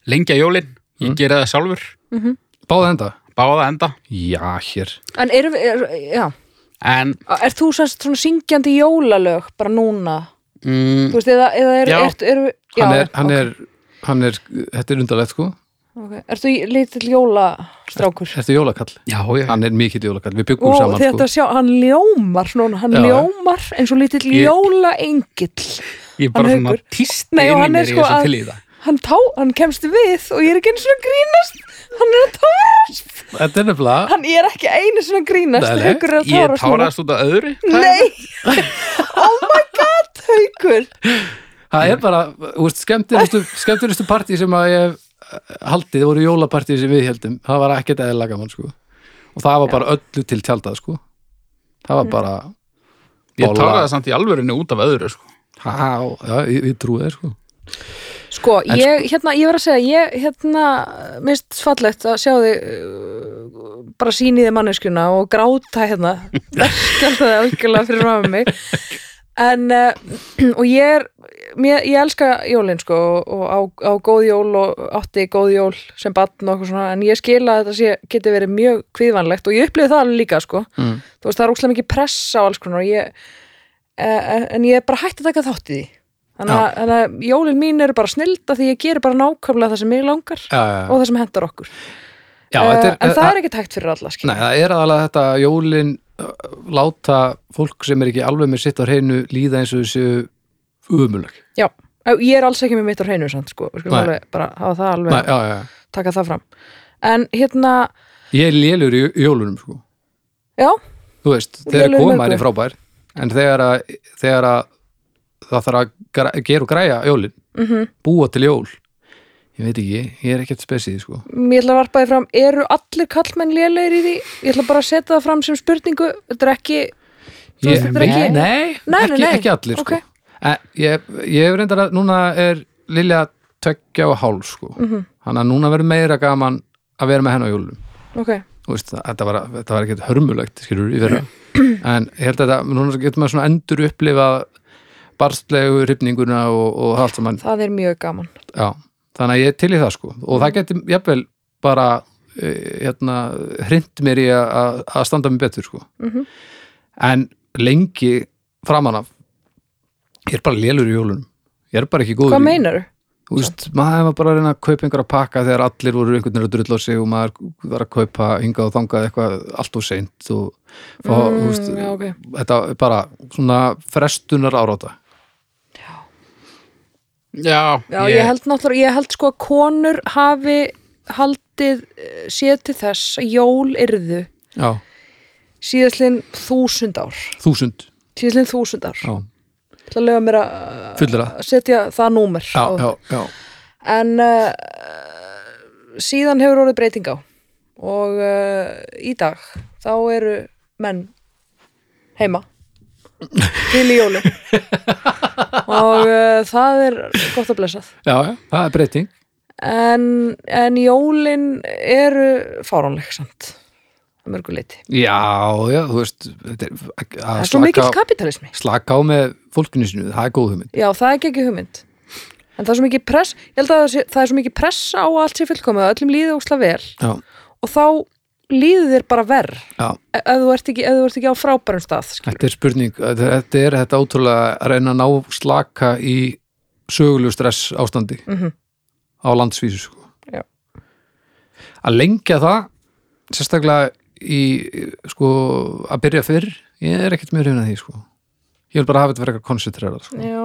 [SPEAKER 1] Lengja jólin, ég mm. gera það sjálfur,
[SPEAKER 2] báða enda
[SPEAKER 1] báða enda.
[SPEAKER 2] já, hér,
[SPEAKER 3] En erum við, er, já,
[SPEAKER 1] En
[SPEAKER 3] er þú sannst svona syngjandi jólalög bara núna?
[SPEAKER 1] mm,
[SPEAKER 3] Þú veist, eða, eða er,
[SPEAKER 1] Já.
[SPEAKER 3] er, er, er, já,
[SPEAKER 2] hann, er, hann, er, hann er þetta er undarlegt sko,
[SPEAKER 3] okay. Ertu í- lítill jólastrákur?
[SPEAKER 2] þetta er jólakall
[SPEAKER 1] já, já,
[SPEAKER 2] hann er mikill jólakall, við byggum
[SPEAKER 3] Og
[SPEAKER 2] saman
[SPEAKER 3] þetta
[SPEAKER 2] sko.
[SPEAKER 3] sjá, hann ljómar svona, hann
[SPEAKER 2] Já, já.
[SPEAKER 3] ljómar eins og lítill
[SPEAKER 1] Ég-
[SPEAKER 3] jólaengill
[SPEAKER 1] ég bara
[SPEAKER 3] hann
[SPEAKER 1] svona
[SPEAKER 3] haukur.
[SPEAKER 1] týsti
[SPEAKER 3] Nei, og
[SPEAKER 1] inn í
[SPEAKER 3] hann er
[SPEAKER 1] mér í
[SPEAKER 3] sko
[SPEAKER 1] þessu
[SPEAKER 3] að-
[SPEAKER 1] til í það.
[SPEAKER 3] hann, tá, hann kemst við og ég er ekki einu svona að grínast hann er að tárast
[SPEAKER 2] þetta er nefnilega
[SPEAKER 3] hann ég er ekki einu svona að grínast
[SPEAKER 2] Nei, nei,
[SPEAKER 3] haukur er að
[SPEAKER 1] Ég
[SPEAKER 3] tárast núna.
[SPEAKER 1] táraðast út af öðru. Það-
[SPEAKER 3] sko. nei, <laughs> oh my god haukur
[SPEAKER 2] Það er bara, þú veist, skemmtilegustu, skemmtilegustu partí sem að ég hef eh, haldið voru jólapartí sem við heldum það var ekkert eðla gaman, sko og það var bara öllu til tjaldað, sko það
[SPEAKER 3] Mm.
[SPEAKER 2] var bara
[SPEAKER 1] Ég
[SPEAKER 2] bolla-
[SPEAKER 1] táraði samt í alvörinu út af öðru, sko.
[SPEAKER 2] Ha, já, ég, ég trúi þeir, sko
[SPEAKER 3] sko, ég, hérna, ég var að segja ég, hérna, minnst fallegt að sjá þig uh, bara sýniði manneskjuna og gráta hérna
[SPEAKER 2] <laughs>
[SPEAKER 3] verkjald það algjörlega fyrir ráðum mig en, uh, <clears throat> og ég er mér, ég elska jólin sko og á, á góð jól og átti góð jól sem batn og okkur svona en ég skil að þetta sé, geti verið mjög kvíðvanlegt og ég upplifði það alveg líka sko
[SPEAKER 2] Mm.
[SPEAKER 3] þú veist, það er ókslega mikið pressa á alls konar og ég, uh, en ég er bara hægt að taka þátt í því Þannig að, þannig að jólin mín eru bara snilda því ég gerir bara nákvæmlega það sem mig langar
[SPEAKER 2] Já, já, já.
[SPEAKER 3] og það sem hentar okkur.
[SPEAKER 2] já
[SPEAKER 3] Eh,
[SPEAKER 2] þetta er,
[SPEAKER 3] en það er ekki tækt fyrir alla, skil.
[SPEAKER 2] Nei, það er aðalega þetta jólin eh, láta fólk sem er ekki alveg með sitt á hreinu líða eins og þessu umulög
[SPEAKER 3] Já, ég er alls ekki með mitt á hreinu samt, sko. Skulum
[SPEAKER 2] Nei.
[SPEAKER 3] alveg bara hafa það alveg,
[SPEAKER 2] Nei, já, já, já.
[SPEAKER 3] taka það fram. En hérna,
[SPEAKER 2] Ég er lélur í í jólunum, sko
[SPEAKER 3] já,
[SPEAKER 2] þú veist,
[SPEAKER 3] Og
[SPEAKER 2] þegar
[SPEAKER 3] lélegur
[SPEAKER 2] koma er
[SPEAKER 3] leikur.
[SPEAKER 2] frábær en þegar að, þegar að það þarf að gra- gera og græja jólin,
[SPEAKER 3] Mhm.
[SPEAKER 2] -hmm. búa til jól ég veit ekki, ég er ekkert spesíð sko.
[SPEAKER 3] ég ætla að varpa þið fram, eru allir kallmenn lélegir í því? Ég ætla bara að setja það fram sem spurningu, þetta er ekki, Þú veist,
[SPEAKER 2] Ég-
[SPEAKER 3] þetta er
[SPEAKER 2] nei,
[SPEAKER 3] ekki- Nei, nei,
[SPEAKER 2] ekki,
[SPEAKER 3] nei.
[SPEAKER 2] ekki allir sko.
[SPEAKER 3] Ókei.
[SPEAKER 2] en, ég, ég hef reyndar að núna er Lilja tökja og hálf sko.
[SPEAKER 3] Mhm.
[SPEAKER 2] -hmm. hann að núna verður meira gaman að vera með henn á jólum
[SPEAKER 3] ok,
[SPEAKER 2] Þú veist, það- þetta var, þetta var ekkert hörmulegt skilur í fyrra
[SPEAKER 3] <clears throat>
[SPEAKER 2] en ég held að þetta, núna getur maður svona endur upplifa barslegu hrifninguna og, og allt saman
[SPEAKER 3] það er mjög gaman.
[SPEAKER 2] Já, þannig að ég er til í það sko og
[SPEAKER 3] Mm.
[SPEAKER 2] það geti jafnvel bara eh, hérna, hrind mér í að- að að standa mér betur sko
[SPEAKER 3] Mhm.
[SPEAKER 2] en lengi framan af ég er bara lélur í jólunum ég er bara ekki góður
[SPEAKER 3] Hvað
[SPEAKER 2] í-
[SPEAKER 3] meinaru?
[SPEAKER 2] Þú veist, maður var bara að reyna að kaupa einhverja pakka þegar allir voru einhvern veginn að drulla á sig og maður var að kaupa hingað og þangað eitthvað allt og seint og fá,
[SPEAKER 3] Mm,
[SPEAKER 2] þú veist,
[SPEAKER 3] já, ok.
[SPEAKER 2] þetta er bara svona frestunar áráta
[SPEAKER 1] Já,
[SPEAKER 3] Já, ég held náttúrulega, ég held sko að konur hafi haldið eh, séð til þess að jól yrðu
[SPEAKER 2] Já,
[SPEAKER 3] síðastlinn þúsund ár
[SPEAKER 2] þúsund
[SPEAKER 3] síðastlinn þúsund ár
[SPEAKER 2] Já,
[SPEAKER 3] Það lega mér að
[SPEAKER 2] fullra
[SPEAKER 3] að setja það númer
[SPEAKER 2] Já,
[SPEAKER 3] á
[SPEAKER 2] já,
[SPEAKER 3] þetta.
[SPEAKER 2] já
[SPEAKER 3] en uh, síðan hefur orðið breyting á og uh, í dag þá eru menn heima til í jólu og uh, það er gott að blessað
[SPEAKER 2] Já, já, það er breyting
[SPEAKER 3] en, en jólin eru fáránleg samt að mörgu leiti
[SPEAKER 2] Já, já, þú veist þetta er- að
[SPEAKER 3] það er svo
[SPEAKER 2] slaka,
[SPEAKER 3] mikill kapitalismi
[SPEAKER 2] slaka á með fólkinu sinu, það er góð hugmynd
[SPEAKER 3] Já, það er ekki ekki hugmynd En það er svo mikið press Ég held að það, sé, það er svo mikið press á að allt sér fullkomið að öllum líði ósla vel
[SPEAKER 2] Já,
[SPEAKER 3] og þá líður þér bara verð
[SPEAKER 2] já,
[SPEAKER 3] ef ef þú ert ekki, ef þú ert ekki á frábærum stað skilur.
[SPEAKER 2] þetta er spurning þetta er þetta ótrúlega að reyna að ná slaka í sögulegu stress ástandi
[SPEAKER 3] Mhm.
[SPEAKER 2] á landsvísu sko.
[SPEAKER 3] Já.
[SPEAKER 2] Að lengja það sérstaklega í sko, að byrja fyrr ég er ekkert mjög reyna því sko. ég vil bara hafa þetta fyrir eitthvað koncentrera sko.
[SPEAKER 3] Já.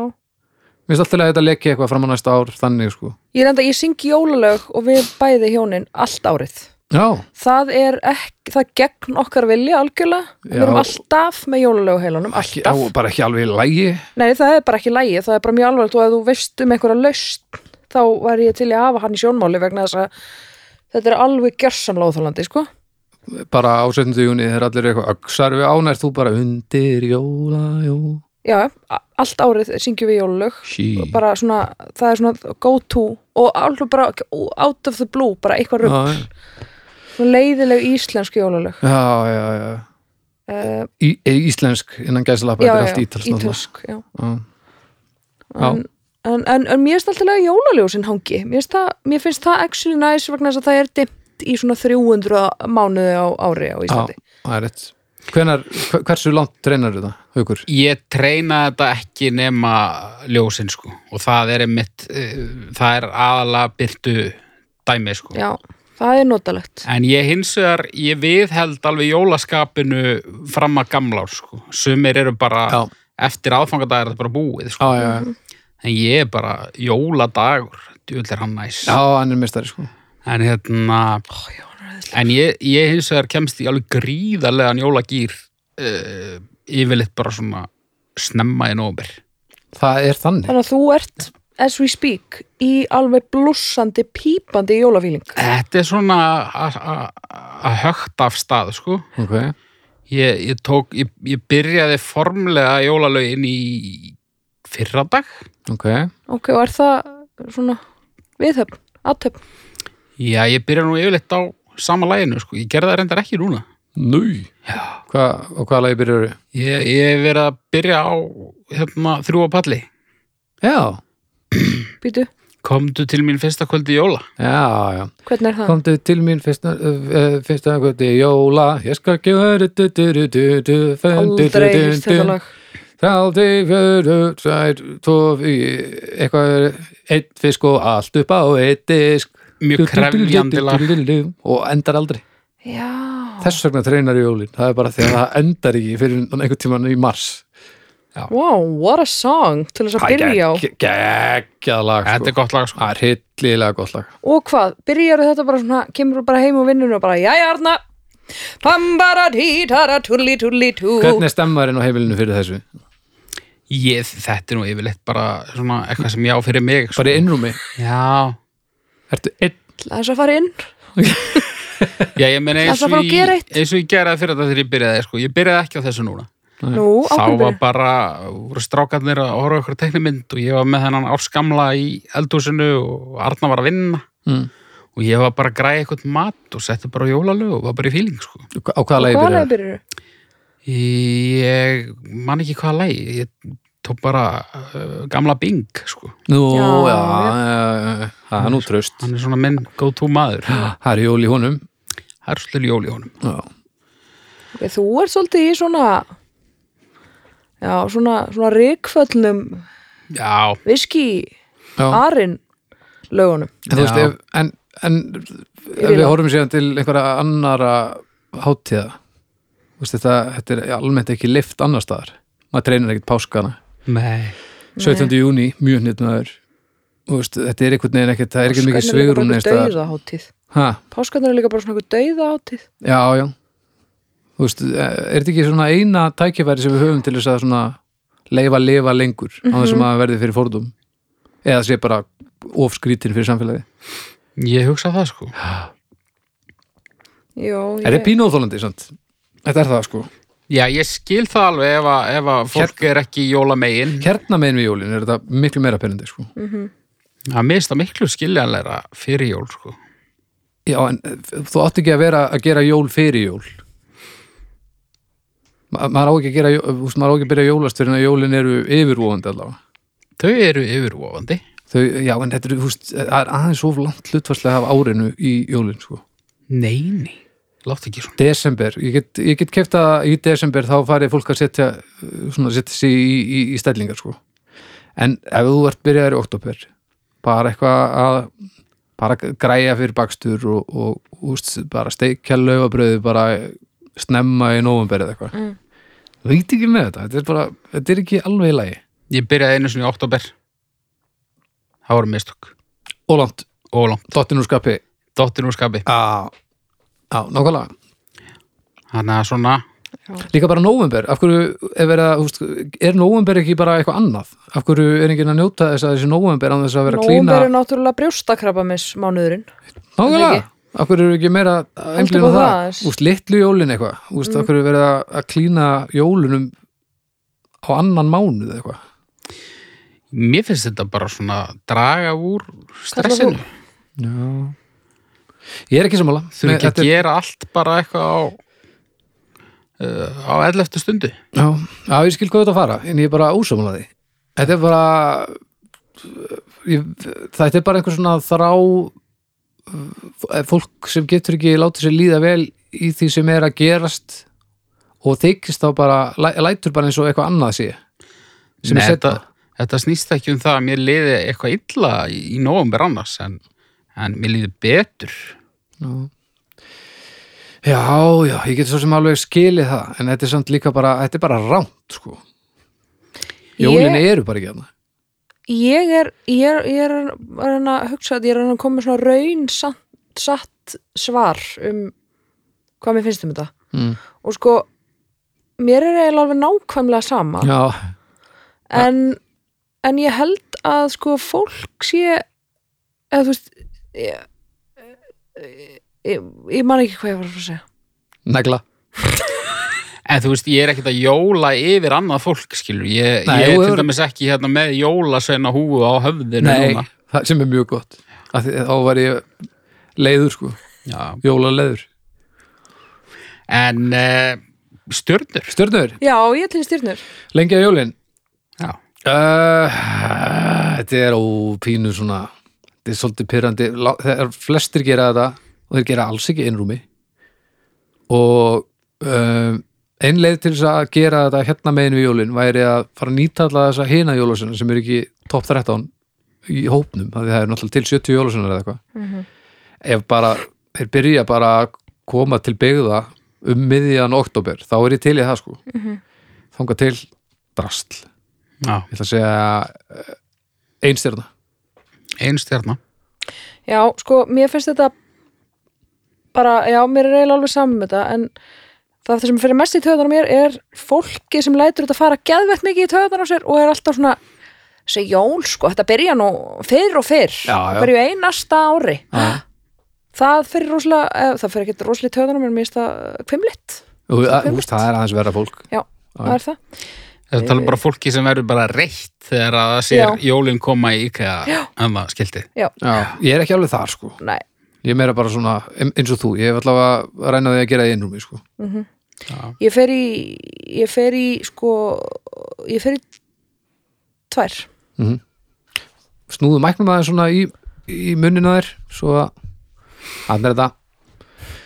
[SPEAKER 2] Mér finnst alltaf að þetta leki eitthvað fram á næsta ár þannig sko.
[SPEAKER 3] Ég reynda, ég syngi jólalög og við bæði hjónin allt árið
[SPEAKER 2] Já,
[SPEAKER 3] Það er ekki, það er gegn okkar vilja algjörlega, við
[SPEAKER 2] Já.
[SPEAKER 3] erum alltaf með jólalög á heilunum,
[SPEAKER 2] ekki,
[SPEAKER 3] alltaf
[SPEAKER 2] á, bara ekki alveg í lægi
[SPEAKER 3] Nei, það er bara ekki lægi, það er bara mjög alvarlegt og ef þú veist um einhverja laust þá var ég til í að hafa hann í sjónmáli vegna þess að þetta er alveg gjörsamlega óþálandi sko
[SPEAKER 2] bara á 17. júni þegar allir eru eitthvað öxar við ánært þú bara undir jóla jó.
[SPEAKER 3] já, a- allt árið syngjum við jólulög
[SPEAKER 2] sí.
[SPEAKER 3] Og bara svona, það er svona go to og alveg bara out of the blue bara eitthvað rugg,
[SPEAKER 2] já,
[SPEAKER 3] svona leiðileg íslensk jólulög
[SPEAKER 2] <laughs> já, já, já.
[SPEAKER 3] uh,
[SPEAKER 2] Í, íslensk innan gæsalappa,
[SPEAKER 3] já,
[SPEAKER 2] þetta er
[SPEAKER 3] já,
[SPEAKER 2] allt ítalskt náttúrulega.
[SPEAKER 3] ítalsk já.
[SPEAKER 2] Já. Já.
[SPEAKER 3] en, en, en, en mér finnst alltaf að jólaljósin hangi mér finnst, það, mér finnst það actually nice vegna þess að það er dimmt í svona 300 mánuði á ári á Íslandi
[SPEAKER 2] það er rétt Hvenar, hver- hversu langt treinar þetta, Haukur?
[SPEAKER 1] Ég treyna þetta ekki nema ljósin sko og það er einmitt, eh, það er aðalega byrtu dæmi sko.
[SPEAKER 3] já, það er notalegt
[SPEAKER 1] En ég hins vegar, ég viðheld alveg jólaskapinu fram að gamlár sko. Sumir eru bara,
[SPEAKER 2] Já.
[SPEAKER 1] eftir aðfangadag er þetta bara búið sko.
[SPEAKER 2] Já, já, já,
[SPEAKER 1] En ég er bara jóladagur, djúvill er hann næs.
[SPEAKER 2] já, hann er mistari sko
[SPEAKER 1] En hérna,
[SPEAKER 3] Ó, já, hún er æðisleg.
[SPEAKER 1] en ég, ég hins vegar kemst í alveg gríðarlegan jólagýr uh, yfirleitt bara svona snemma í nómur.
[SPEAKER 2] Það er þannig
[SPEAKER 3] þannig að þú ert as we speak í alveg blussandi, pípandi jólafíling
[SPEAKER 1] Þetta er svona að- að að högt af stað, sko.
[SPEAKER 2] okay.
[SPEAKER 1] Ég, ég, tók, ég, ég byrjaði formlega jólalögin í fyrradag.
[SPEAKER 2] ok,
[SPEAKER 3] ok, og er það svona viðhöfn, aðtöfn
[SPEAKER 1] Já, ég byrja nú yfirleitt á sama læginu, sko. Ég gerði það reyndar ekki núna.
[SPEAKER 2] Núi Hva, Og hvaða lagi byrjar við?
[SPEAKER 1] Ég, ég hef verið að byrja á hérna, þrjú á palli.
[SPEAKER 2] Já,
[SPEAKER 3] býtu,
[SPEAKER 1] Komdu til mín fyrsta kvöldi jóla.
[SPEAKER 2] já, já
[SPEAKER 3] hvernig er það?
[SPEAKER 2] Komdu til mín fyrsta, uh, fyrsta kvöldi jóla Ég skal gefa þér du, du, du, du, du, fun, du, du,
[SPEAKER 3] aldrei
[SPEAKER 2] du,
[SPEAKER 3] hýst
[SPEAKER 2] du.
[SPEAKER 3] þetta lag
[SPEAKER 2] Þátti fjöru, tvær, tvo, í- eitthvað, einn fisk og allt upp á eitt disk
[SPEAKER 1] Mjög krefjandi lag.
[SPEAKER 2] Og endar aldrei
[SPEAKER 3] já,
[SPEAKER 2] Þess vegna treinar jólin, það er bara því að það endar ekki fyrir einhvern tímann í mars
[SPEAKER 3] wow, what a song til þess að byrja á
[SPEAKER 2] Geggjað lag
[SPEAKER 1] Þetta er
[SPEAKER 2] sko.
[SPEAKER 1] gott lag, sko.
[SPEAKER 2] Það er hillilega gott lag
[SPEAKER 3] og hvað, byrjaru þetta bara svona kemur þú bara heim og vinnur og bara, jæja Arna Pambara títara tulli tulli tú
[SPEAKER 2] Hvernig er stemmarinn á heimilinu fyrir þessu?
[SPEAKER 1] Ég, þetta er nú yfirleitt bara svona eitthvað sem ég á fyrir mig, sko.
[SPEAKER 2] Bara í innrúmi,
[SPEAKER 1] Já,
[SPEAKER 2] ertu einn
[SPEAKER 3] Það er að fara inn
[SPEAKER 1] Já, ég meina eins
[SPEAKER 3] Ætla
[SPEAKER 1] og
[SPEAKER 3] bara að
[SPEAKER 1] ég,
[SPEAKER 3] gera eitt.
[SPEAKER 1] eins og ég geraði fyrir þetta þegar ég byrjaði, sko. Ég byrjaði ekki á þessu núna.
[SPEAKER 3] Nú,
[SPEAKER 1] Þá var
[SPEAKER 3] ákveðbyrju
[SPEAKER 1] bara, voru strákarnir að horfa okkur teknimynd og ég var með þennan árskamla í eldhúsinu og Arna var að vinna
[SPEAKER 2] mm.
[SPEAKER 1] og ég var bara að græja eitthvað mat og setti bara á jólalög og var bara í fíling, sko.
[SPEAKER 2] Á hvaða lagi
[SPEAKER 3] Hvað
[SPEAKER 2] byrjar?
[SPEAKER 3] er byrjaru?
[SPEAKER 1] Ég man ekki hvaða læg, ég tók bara uh, gamla Bing, sko.
[SPEAKER 2] Nú, já,
[SPEAKER 3] Já,
[SPEAKER 2] já, já, já, það er nú tröst
[SPEAKER 1] Hann er svona minn góð tú maður.
[SPEAKER 2] Það er jól í honum
[SPEAKER 1] Það er svolítið jól í honum.
[SPEAKER 2] Já,
[SPEAKER 3] Þú ert svolítið í svona Já, svona, svona rikföllnum
[SPEAKER 1] Já,
[SPEAKER 3] viski
[SPEAKER 2] já.
[SPEAKER 3] arinn lögunum
[SPEAKER 2] En þú veist,
[SPEAKER 1] Já.
[SPEAKER 2] ef, en, en ef
[SPEAKER 3] Yfir
[SPEAKER 2] við
[SPEAKER 3] á.
[SPEAKER 2] horfum síðan til einhverja annara hátíða þú veist, þetta, þetta er almennt ekki lift annar staðar, maður treinir ekkert páskana
[SPEAKER 1] nei.
[SPEAKER 2] 17. júni, mjög hnitnaður þú veist, þetta er einhvern veginn ekkert það er ekki mikið
[SPEAKER 3] Páskarnir eru líka bara
[SPEAKER 2] svigrún neins
[SPEAKER 3] einhver
[SPEAKER 2] staðar.
[SPEAKER 3] dauðahátíð
[SPEAKER 2] Ha,
[SPEAKER 3] Páskarnar er líka bara svona eitthvað dauðahátíð
[SPEAKER 2] já, já þú veist, e, er þetta ekki svona eina tækifæri sem við höfum til þess að svona leifa, lifa lengur á þessum að verði fyrir fordum eða sé bara ofskrítin fyrir samfélagi
[SPEAKER 1] Ég hugsa það, sko.
[SPEAKER 3] Jó,
[SPEAKER 2] er þetta pínóþólandi, sant? Þetta er það sko
[SPEAKER 1] Já, ég skil það alveg ef að, ef að fólk er ekki í jólamegin.
[SPEAKER 2] hérna megin við jólin er þetta miklu meira penandi sko.
[SPEAKER 1] Það mista miklu skiljanleira fyrir jól, sko.
[SPEAKER 2] já en eh, þú átt ekki að vera að gera jól fyrir jól Ma maður á ekki að gera jó- þú veist, maður á ekki að byrja að jólast fyrir en að jólin eru yfirvóðandi allavega
[SPEAKER 1] Þau eru yfirvofandi.
[SPEAKER 2] Þau, já en þetta eru, þú veist, e, það er aðeins of langt hlutfarslega af árinu í jólin sko.
[SPEAKER 1] Nei, nei. Látt ekki svona.
[SPEAKER 2] desember, ég get, ég get kefta í desember þá farið fólk að setja eh, svona setja sig í, í, í stellingar sko. en ef þú ert byrjaður í oktober bara eitthvað að bara græja fyrir bakstur og, og, og bara steikja laufabröðu bara snemma í november eða eitthvað
[SPEAKER 3] Mm.
[SPEAKER 2] þú veit ekki með þetta, þetta er bara þetta er ekki alveg í lagi
[SPEAKER 1] Ég byrjaði einu sinni í oktober. Það voru mistök.
[SPEAKER 2] og langt,
[SPEAKER 1] Og langt.
[SPEAKER 2] dottinn úr skapi
[SPEAKER 1] Dóttir úr skapi.
[SPEAKER 2] á, á, nákvæmlega
[SPEAKER 1] Þannig að svona,
[SPEAKER 2] Líka bara nóvember, af hverju er verið að, húst, er nóvember ekki bara eitthvað annað? Af hverju er enginn að njóta þess að þessi nóvember án þess að vera að klína?
[SPEAKER 3] Nómber er náttúrulega brjóstakrabba minns mánuðurinn
[SPEAKER 2] Nóvember,
[SPEAKER 3] ekki?
[SPEAKER 2] nákvæmlega, Akkur eru ekki meira að
[SPEAKER 3] Heldur Mm.
[SPEAKER 2] einblína á
[SPEAKER 3] upp á
[SPEAKER 2] það?
[SPEAKER 3] það aðeins.
[SPEAKER 2] Úst, litlu jólin eitthvað. Úst, akkur eru verið að- að klína jólunum á annan mánuð eitthvað.
[SPEAKER 1] Mér finnst þetta bara svona draga úr stressinu.
[SPEAKER 2] Já. Ég er ekki sammála.
[SPEAKER 1] Þurfi
[SPEAKER 2] Nei,
[SPEAKER 1] ekki
[SPEAKER 2] þetta
[SPEAKER 1] að
[SPEAKER 2] er-
[SPEAKER 1] gera allt bara eitthvað á, uh, á 11. stundu.
[SPEAKER 2] Já, já, ég skil hvað þetta að fara, en ég er bara ósammála því. Þetta er bara, ég, þetta er bara einhver svona þrá, eh, fólk sem getur ekki látið sér líða vel í því sem er að gerast og þykist þá bara, læ- lætur bara eins og eitthvað annað sé. Sem
[SPEAKER 1] Nei,
[SPEAKER 2] er setna.
[SPEAKER 1] þetta, þetta snýst ekki um það að mér liði eitthvað illa í, í nóvumber annars en, en mér liði betur.
[SPEAKER 2] Já. já, já, ég get svo sem alveg skilið það, en þetta er samt líka bara, þetta er bara rámt, sko. Jólin eru bara ekki þarna.
[SPEAKER 3] ég er, ég er, ég er að reyna að hugsa að ég er að reyna að koma með svona raun satt, satt svar um hvað mér finnst um þetta
[SPEAKER 2] Mm.
[SPEAKER 3] og sko mér er eiginlega alveg nákvæmlega sama
[SPEAKER 2] Já,
[SPEAKER 3] en, en ég held að sko fólk sé eða þú veist ég, ég, ég man ekki hvað ég var að fara að segja
[SPEAKER 2] negla.
[SPEAKER 1] En þú veist, ég er ekkert að jóla yfir annað fólk, skilur. Ég,
[SPEAKER 2] Nei, þú
[SPEAKER 1] ég er til
[SPEAKER 2] hefur-
[SPEAKER 1] dæmis ekki hérna með jólasveina húfu á höfðinu
[SPEAKER 2] Nei,
[SPEAKER 1] núna.
[SPEAKER 2] það sem er mjög gott Af því- þá var ég leiður sko
[SPEAKER 1] Já.
[SPEAKER 2] jóla leiður
[SPEAKER 1] En uh, stjörnur.
[SPEAKER 2] Stjörnur,
[SPEAKER 3] já, ég til styrnur
[SPEAKER 2] lengi að jólin
[SPEAKER 1] Já.
[SPEAKER 2] uh, Þetta er ó pínu svona þetta er svolítið pyrrandi þegar flestir gera þetta og þeir gera alls ekki einrúmi og um, ein leið til þess að gera þetta hérna megin við jólin væri að fara að nýta alla þessa hina jólasuna sem er ekki topp 13 í hópnum, af því það er náttúrulega til 70 jólasuna eða eitthvað ef bara þeir byrja bara að koma til byggða um miðjan oktober þá er ég til í það sko mm þanga til drastl ég
[SPEAKER 1] Já,
[SPEAKER 2] ætla að segja eh, einstjörna
[SPEAKER 1] ein stjörna.
[SPEAKER 3] já, sko, mér finnst þetta bara, já, mér er eiginlega alveg saman með þetta en það sem fyrir mest í töðan á mér er fólki sem lætur þetta fara geðvett mikið í töðan á sér og er alltaf svona þessi jól, sko, þetta byrja nú fyrr og fyrr,
[SPEAKER 2] Já, já.
[SPEAKER 3] hverju einasta ári það fyrir rosalega, eh, það fyrir ekkert rosalega í töðan á mér, mér finnst það kvimlitt
[SPEAKER 2] og
[SPEAKER 3] Það er
[SPEAKER 2] úst, það er aðeins verra fólk
[SPEAKER 3] já, það er það
[SPEAKER 1] Þetta
[SPEAKER 2] Eh.
[SPEAKER 1] tala bara fólki sem verður bara reitt þegar að það sér
[SPEAKER 3] Já.
[SPEAKER 1] jólin koma í IKEA en það skildi.
[SPEAKER 2] Já, ég er ekki alveg þar sko
[SPEAKER 3] Nei,
[SPEAKER 2] ég er meira bara svona em- eins og þú ég hef allavega að reyna því að gera það í einrúmi sko
[SPEAKER 3] ég fer í ég fer í sko ég fer í tvær
[SPEAKER 2] snúðu mæknum aðeins svona í, í munnina þér svo að að mér þetta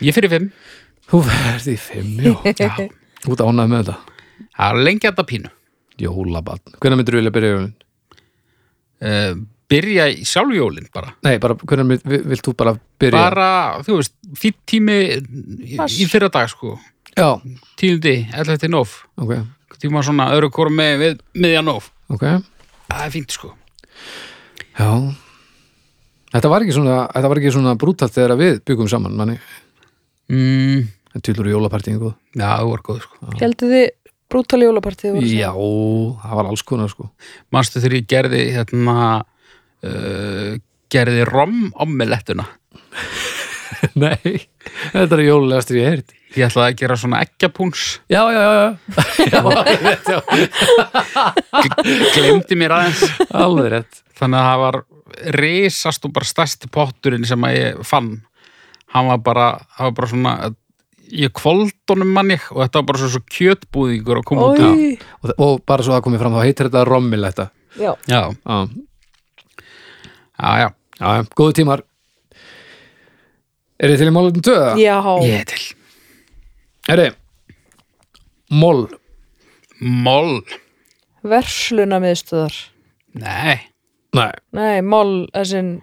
[SPEAKER 1] Ég fyrir fimm.
[SPEAKER 2] þú verði í fimm já,
[SPEAKER 3] <laughs>
[SPEAKER 2] já. út ánægð með þetta
[SPEAKER 1] Það er lengi að það pínu.
[SPEAKER 2] Jólabarn. Hvernig myndir þú vilja byrja jólinn?
[SPEAKER 1] Uh, byrja í sjálf jólin bara.
[SPEAKER 2] Nei, bara hvernig mynd- vi- vilt þú bara byrja?
[SPEAKER 1] bara, þú veist, fýtt tími í,
[SPEAKER 3] Mars.
[SPEAKER 1] í fyrra dag, sko
[SPEAKER 2] Já,
[SPEAKER 1] tíundi, 11. nóf
[SPEAKER 2] ok,
[SPEAKER 1] tíma svona öru korum með, með miðja nóf
[SPEAKER 2] ok.
[SPEAKER 1] það er fínt, sko
[SPEAKER 2] Já. Þetta var ekki svona, þetta var ekki svona brútalt þegar við byggum saman, manni.
[SPEAKER 1] mm,
[SPEAKER 2] En tölur jólapartíin góð.
[SPEAKER 1] já, það voru góð, sko
[SPEAKER 3] Gjaldi þið brútal jólapartíð voru
[SPEAKER 2] Já, það var alls konar, sko.
[SPEAKER 1] manstu þegar ég gerði hérna uh, gerði rom omelettuna
[SPEAKER 2] <laughs> Nei, þetta er jólulegast ég heirt.
[SPEAKER 1] ég ætlaði að gera svona ekkjapúns
[SPEAKER 2] Já, já, já, já. já alveg rétt, já.
[SPEAKER 1] glemdi mér aðeins
[SPEAKER 2] Alveg rétt.
[SPEAKER 1] þannig að það var risast og bara stærsti potturinn sem að ég fann hann var bara, hann var bara svona ég kvold honum manni og þetta var bara svo, svo kjötbúðingur að koma út af
[SPEAKER 3] Ói,
[SPEAKER 2] Og, þa- og bara svo það komið fram, þá heitir þetta rommiletta.
[SPEAKER 3] já,
[SPEAKER 1] já,
[SPEAKER 2] Já,
[SPEAKER 1] já, já,
[SPEAKER 2] já, já, góðu tímar. Er þið til í málum töða?
[SPEAKER 3] já.
[SPEAKER 1] ég er til
[SPEAKER 2] Herri, mól.
[SPEAKER 1] Moll,
[SPEAKER 3] versluna miðstöðar
[SPEAKER 1] nei,
[SPEAKER 2] Nei,
[SPEAKER 3] Nei, mól, þessin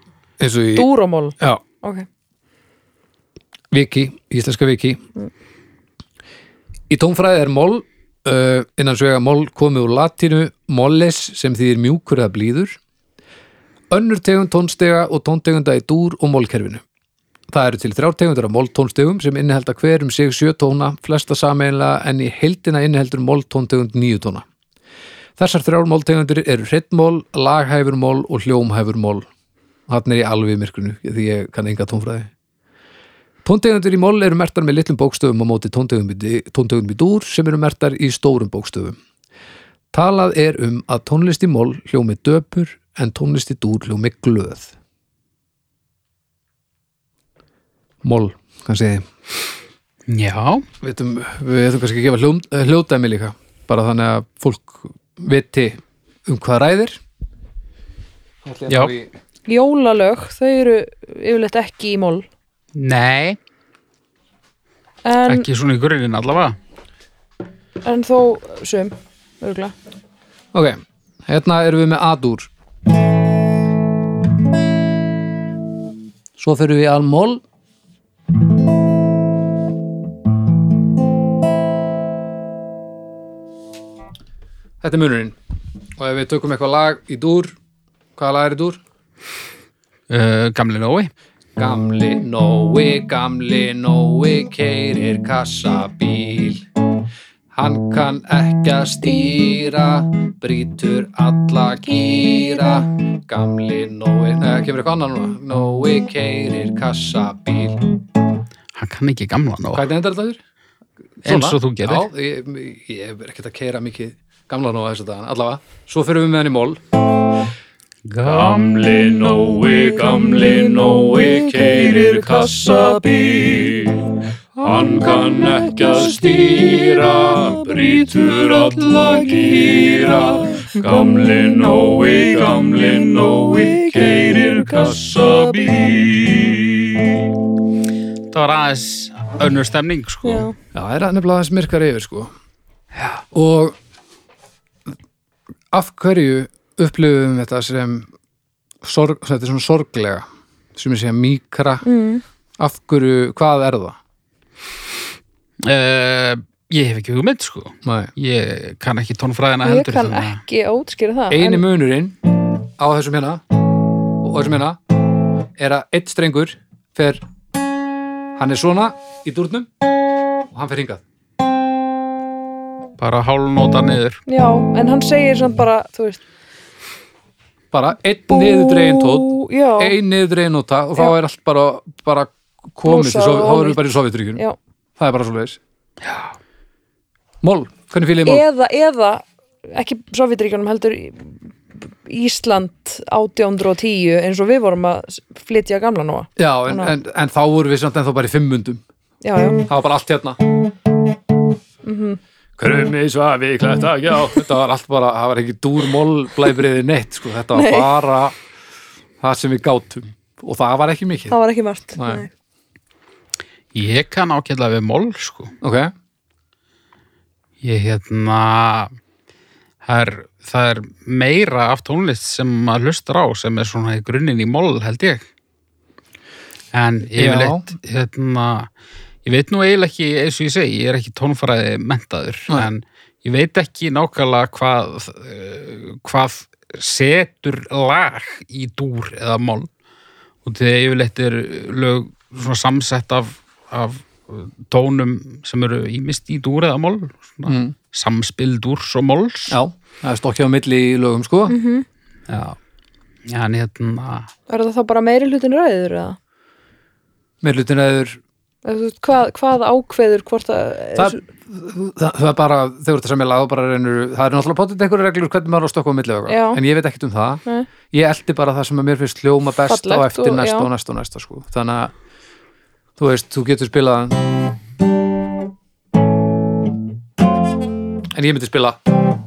[SPEAKER 2] eins og í...
[SPEAKER 3] dúramól
[SPEAKER 2] Já,
[SPEAKER 3] okay.
[SPEAKER 2] viki, íslenska viki Í tónfræði er mól uh, innan svega mól komið úr latinu molles sem þýðir mjúkur eða blíður önnur tegund tónstega og tóntegunda í dúr og mólkerfinu Það eru til þrjár tegundur af móltónstegum sem innihelda hver um sig sjö tóna, flesta sameinlega en í heildina inniheldur móltóntegund níu tóna. Þessar þrjár móltegundur eru hreittmól, laghæfur mól og hljómhæfur mól. Þannig er ég alveg í myrkrinu því ég kann enga tónfræði. Tóntegundur í mól eru mertar með litlum bókstöfum á móti tóntegundum í di- tóntegundum í dúr sem eru mertar í stórum bókstöfum. Talað er um að tónlist í mól hljómi döpur en tónlist í dúr hljómi glöð. Mól, kannski,
[SPEAKER 1] Já,
[SPEAKER 2] við veitum, við veitum kannski að gefa hljóm, eh, hljóðdæmi líka, bara þannig að fólk viti um hvað ræðir.
[SPEAKER 1] Já.
[SPEAKER 3] Jólalög, þau eru yfirleitt ekki í mól
[SPEAKER 1] nei,
[SPEAKER 3] en,
[SPEAKER 1] ekki svona í grunin allavega.
[SPEAKER 3] en þó sum, örgulega
[SPEAKER 2] Ok, hérna erum við með A-dúr Svo fyrir við í Al-Mól Þetta er munurinn og ef við tökum eitthvað lag í dúr hvaða lag er í dúr?
[SPEAKER 1] Uh, gamli Nói,
[SPEAKER 2] Gamli Nói, gamli Nói keirir kassabíl Hann kann ekki að stýra, brýtur alla gýra Gamli Nói, neða, kemur eitthvað annar núna Nói keirir kassabíl
[SPEAKER 1] hann kann ekki gamla Nói.
[SPEAKER 2] Hvað er þetta þurr?
[SPEAKER 1] Eins og þú gerir.
[SPEAKER 2] Já, ég, ég er ekkert að keira mikið gamla Nói þessu dagana, allavega Svo fyrir við með hann í mól
[SPEAKER 1] Gamli
[SPEAKER 2] Nói,
[SPEAKER 3] gamli Nói keyrir
[SPEAKER 2] kassabíl Hann kann ekki að stýra, brýtur alla gýra Gamli Nói, gamli Nói keyrir kassabíl
[SPEAKER 1] Það var aðeins önnur stemning, sko.
[SPEAKER 3] Já.
[SPEAKER 2] Já, það er nefnilega aðeins myrkar yfir sko Já. og af hverju upplifum við þetta sem sorg, þetta er svona sorglega sem ég segja mýkra mm. af hverju, hvað er það?
[SPEAKER 1] Uh, ég hef ekki hugmynd, sko.
[SPEAKER 2] Nei.
[SPEAKER 1] Ég kann ekki tónfræðina
[SPEAKER 3] Ég
[SPEAKER 1] heldur.
[SPEAKER 3] kann
[SPEAKER 1] þannig að-
[SPEAKER 3] ekki ótskýra það
[SPEAKER 2] eini
[SPEAKER 3] en,
[SPEAKER 2] munurinn á þessum hérna og þessum hérna er að eitt strengur fer hann er svona í dúrnum og hann fer hingað
[SPEAKER 1] Bara hálnóta niður.
[SPEAKER 3] Já, en hann segir samt bara, þú veist
[SPEAKER 2] bara einn niðurdregin tótt
[SPEAKER 3] bú- Já,
[SPEAKER 2] ein niðurdregin nota og þá
[SPEAKER 3] Já.
[SPEAKER 2] er allt bara, bara komist, í
[SPEAKER 3] Blúsað
[SPEAKER 2] Sovi-
[SPEAKER 3] og
[SPEAKER 2] þá erum
[SPEAKER 3] ónýtt.
[SPEAKER 2] við bara í Sovjetryggjunum
[SPEAKER 3] já
[SPEAKER 2] það er bara svo leiðis Mól, hvernig fýlið mól?
[SPEAKER 3] eða, eða ekki Sovjetríkjunum heldur í- Ísland 1810 eins og við vorum að s- flytja gamla nóa
[SPEAKER 2] Já, en, en, en þá vorum við samt ennþá bara í fimmundum
[SPEAKER 3] já, já.
[SPEAKER 2] það var bara allt hérna Krummi svafi klæta já, þetta var allt bara, það var ekki dúrmól blæbriði neitt, sko, þetta var bara það sem við gátum og það var ekki mikið
[SPEAKER 3] það var ekki margt
[SPEAKER 2] Nei.
[SPEAKER 3] Nei.
[SPEAKER 1] Ég kann ákjörlega við mól, sko.
[SPEAKER 2] Ok,
[SPEAKER 1] Ég hérna það er, það er meira af tónlist sem maður hlustar á sem er svona í grunninn í mól held ég en yfirleitt hérna ég veit nú eiginlega ekki eins og ég segi ég er ekki tónfræði mentaður
[SPEAKER 2] Nei.
[SPEAKER 1] en ég veit ekki nákvæmlega hvað eh, hvað setur lag í dúr eða mól og því að yfirleitt er lög svona samsett af, af tónum sem eru ímist í dúr eða mól svona
[SPEAKER 2] Mm.
[SPEAKER 1] samspil dúrs og móls
[SPEAKER 2] já, það er stokkjá á milli í lögum, sko
[SPEAKER 1] Já. En hérna,
[SPEAKER 3] er það þá bara meiri hlutin ræður eða?
[SPEAKER 2] með hlutin eður
[SPEAKER 3] Eða þú veist, Hvað, hvað ákveður hvort að
[SPEAKER 2] það, það, það er bara, þegar þetta sem ég laga bara reynir, það er náttúrulega potið einhverju reglur hvernig maður á stokku á milli og
[SPEAKER 3] Já.
[SPEAKER 2] eitthvað, en ég veit ekkert um það
[SPEAKER 3] Nei.
[SPEAKER 2] ég eldi bara það sem að mér finnst hljóma best á
[SPEAKER 3] Fallegt
[SPEAKER 2] eftir
[SPEAKER 3] og-
[SPEAKER 2] næsta
[SPEAKER 3] já.
[SPEAKER 2] og næsta og næsta sko. þannig að, þú veist, þú getur spilað en ég myndi spila mm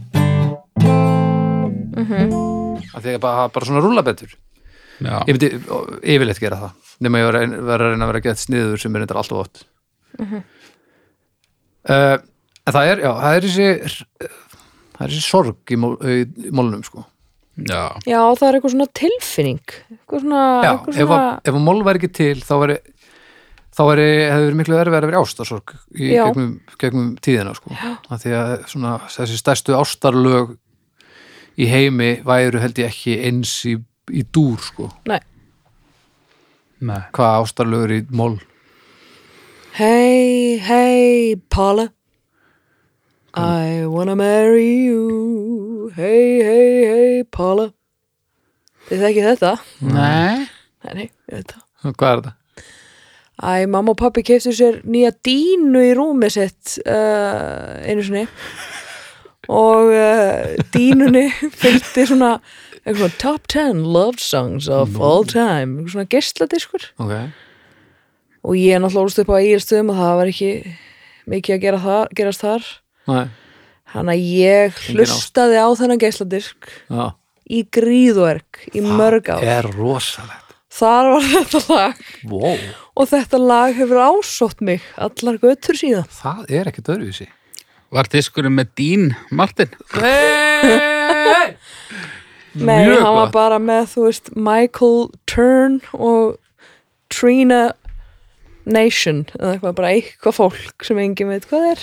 [SPEAKER 3] Mhm.
[SPEAKER 2] -hmm. að því að bara, bara svona rúla betur
[SPEAKER 1] já,
[SPEAKER 2] ég myndi ó, yfirleitt gera það nema ég var að vera að reyna að vera að geta sniður sem er þetta alltaf ótt
[SPEAKER 3] Mhm.
[SPEAKER 2] uh, en það er já, það er þessi það er þessi sorg í, mól, í mólunum sko
[SPEAKER 1] já,
[SPEAKER 3] já, það er eitthvað svona tilfinning eitthvað svona,
[SPEAKER 2] já,
[SPEAKER 3] eitthvað
[SPEAKER 2] ef,
[SPEAKER 3] svona
[SPEAKER 2] að, ef að mól væri ekki til þá væri þá væri, hefur verið miklu erfið að vera ástarsorg í
[SPEAKER 3] Já.
[SPEAKER 2] gegnum, gegnum tíðina sko að því að svona, þessi stærstu ástarlög í heimi væru held ég ekki eins í, í dúr sko,
[SPEAKER 3] Nei.
[SPEAKER 1] nei.
[SPEAKER 2] hvað ástarlögur í mól
[SPEAKER 3] Hey, hey, Paula I wanna marry you Hey, hey, hey, Paula Þið þekkið þetta?
[SPEAKER 1] Nei,
[SPEAKER 3] Nei, nei, ég veit það
[SPEAKER 2] hvað er þetta?
[SPEAKER 3] Æ, mamma og pappi keftu sér nýja dínu í rúmi sitt uh, einu sinni og uh, dínunni <laughs> fylgdi svona, eitthvað svona top 10 love songs of all time eitthvað svona gestladiskur
[SPEAKER 2] ok,
[SPEAKER 3] og ég er náttúrulega úrstu upp á eigilstöðum og það var ekki mikið að gera þar, gerast þar
[SPEAKER 2] næ,
[SPEAKER 3] hann að ég
[SPEAKER 2] Engin ást.
[SPEAKER 3] hlustaði á þennan geisladisk
[SPEAKER 2] já
[SPEAKER 3] í gríðverk í mörg
[SPEAKER 2] Það
[SPEAKER 3] ár
[SPEAKER 2] er rosalegt
[SPEAKER 3] þar var <laughs> þetta lag
[SPEAKER 2] wow.
[SPEAKER 3] og þetta lag hefur ásótt mig allar göttur síðan
[SPEAKER 2] það er ekkert öðruvísi
[SPEAKER 1] Var diskurinn með Dín Martin?
[SPEAKER 2] hey!
[SPEAKER 3] Nei,
[SPEAKER 2] Mjög
[SPEAKER 3] hann var
[SPEAKER 2] gott.
[SPEAKER 3] bara með, þú veist, Michael Turn og Trina Nation eða eitthvað, bara eitthvað fólk sem enginn veit hvað er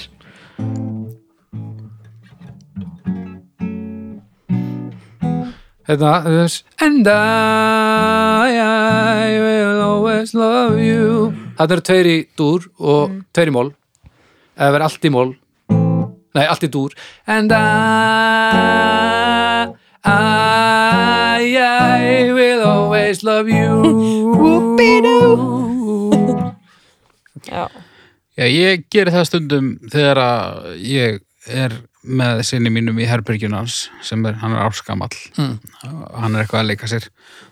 [SPEAKER 2] Þetta, Hérna, þess, And I, I will always love you Þetta eru tveir í dúr og
[SPEAKER 3] Mm.
[SPEAKER 2] tveir í mól eða verður allt í mól nei, allt í dúr And I, I, I will always love you Whoopidoo
[SPEAKER 3] Já,
[SPEAKER 1] Já, ég geri það stundum þegar að ég er með sinni mínum í herbergjun hans sem er, hann er áskamall
[SPEAKER 2] Mm.
[SPEAKER 1] hann er eitthvað að leika sér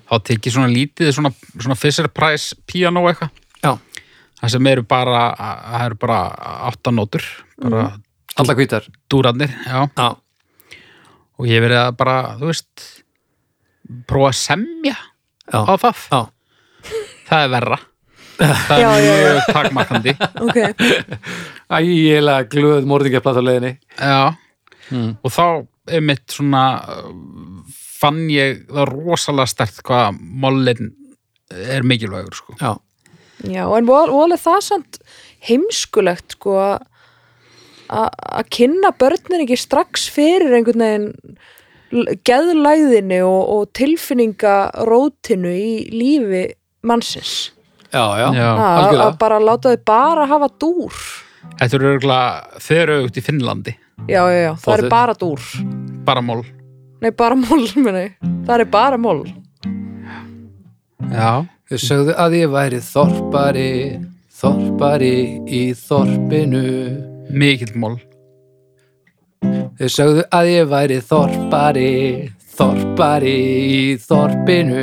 [SPEAKER 1] þá tek ég svona lítið, svona, svona Fisher Price piano eitthvað,
[SPEAKER 2] Já,
[SPEAKER 1] það sem eru bara það eru bara áttanótur bara mm.
[SPEAKER 2] alla hvítar
[SPEAKER 1] dúrarnir, já
[SPEAKER 2] Já,
[SPEAKER 1] og ég hef verið að bara, þú veist prófa að semja
[SPEAKER 2] já,
[SPEAKER 1] á það
[SPEAKER 2] já
[SPEAKER 1] það er verra það
[SPEAKER 3] Já,
[SPEAKER 1] er
[SPEAKER 3] já, já.
[SPEAKER 1] mjög takmarkandi
[SPEAKER 3] ok
[SPEAKER 2] Ægilega glöð morðingjaplata á leiðinni
[SPEAKER 1] Já,
[SPEAKER 2] Mm.
[SPEAKER 1] og þá er mitt svona uh, fann ég það rosalega stert hvað mollin er mikilvægur sko.
[SPEAKER 2] Já,
[SPEAKER 3] Já, en vol- volið það samt heimskulegt, sko að- að að kynna börnin ekki strax fyrir einhvern veginn l- geðlæðinu og, og tilfinningarótinu í lífi mannsins
[SPEAKER 2] já, já,
[SPEAKER 1] Já.
[SPEAKER 3] að
[SPEAKER 2] algjörlega
[SPEAKER 3] að bara láta þau bara hafa dúr
[SPEAKER 1] Þetta eru örgulega þveraugt í Finnlandi
[SPEAKER 3] já, já, já, það
[SPEAKER 2] Fótið.
[SPEAKER 3] er bara dúr
[SPEAKER 1] bara moll
[SPEAKER 3] nei, bara mól, meni það er bara mól
[SPEAKER 1] Já,
[SPEAKER 2] Þau sögðu að ég væri þorpari Þorpari í þorpinu
[SPEAKER 1] mikill moll
[SPEAKER 2] Þau sögðu að ég væri þorpari Þorpari í þorpinu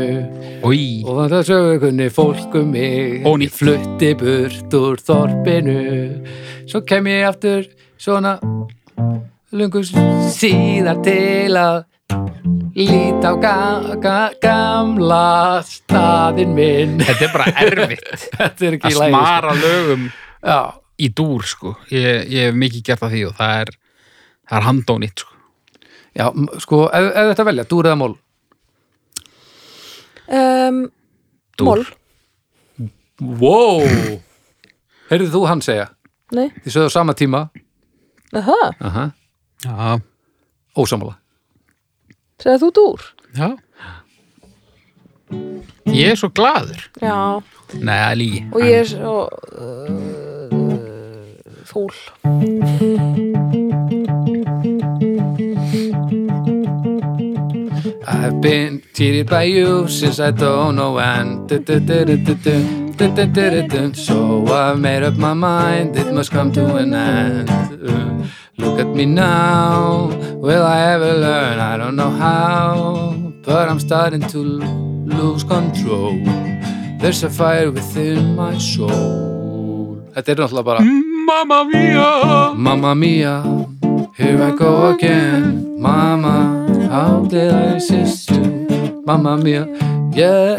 [SPEAKER 1] Í,
[SPEAKER 2] Og þannig að sögðu hvernig fólk um mig
[SPEAKER 1] Ónýtt.
[SPEAKER 2] Flutti burt úr þorpinu Svo kem ég aftur svona Lungu síðar til að Líta á ga ga gamla staðinn minn <laughs>
[SPEAKER 1] þetta er bara erfitt
[SPEAKER 2] Þetta er ekki
[SPEAKER 1] að
[SPEAKER 2] í lagi sko.
[SPEAKER 1] smara lögum
[SPEAKER 2] Já,
[SPEAKER 1] í dúr sko. ég, ég hef mikið gert að því og það er, það er handónýtt sko.
[SPEAKER 2] Já, m- sko, ef, ef þetta velja, dúr eða mól
[SPEAKER 3] um,
[SPEAKER 1] Dúr.
[SPEAKER 3] mól,
[SPEAKER 2] Wow Heyrðu þú hann segja,
[SPEAKER 3] nei,
[SPEAKER 2] þið sögðu á sama tíma
[SPEAKER 3] aha,
[SPEAKER 2] Aha.
[SPEAKER 1] Já,
[SPEAKER 2] Ósamála
[SPEAKER 3] segðu þú dúr
[SPEAKER 1] já Ég er svo glaður
[SPEAKER 3] já,
[SPEAKER 1] Nei, það er lígi
[SPEAKER 3] og ég er svo uh, fúl
[SPEAKER 2] I've been cheated by you since I don't know when Du- du- du- du- du- du. Du- du- du- du- du. So I've made up my mind, it must come to an end Uh, Look at me now, will I ever learn? I don't know how, but I'm starting to lose control There's a fire within my soul Þetta er náttúrulega bara
[SPEAKER 1] Mamma mia
[SPEAKER 2] Mamma mia, here I go again Mamma, how did I resist you? Mamma mia, yeah,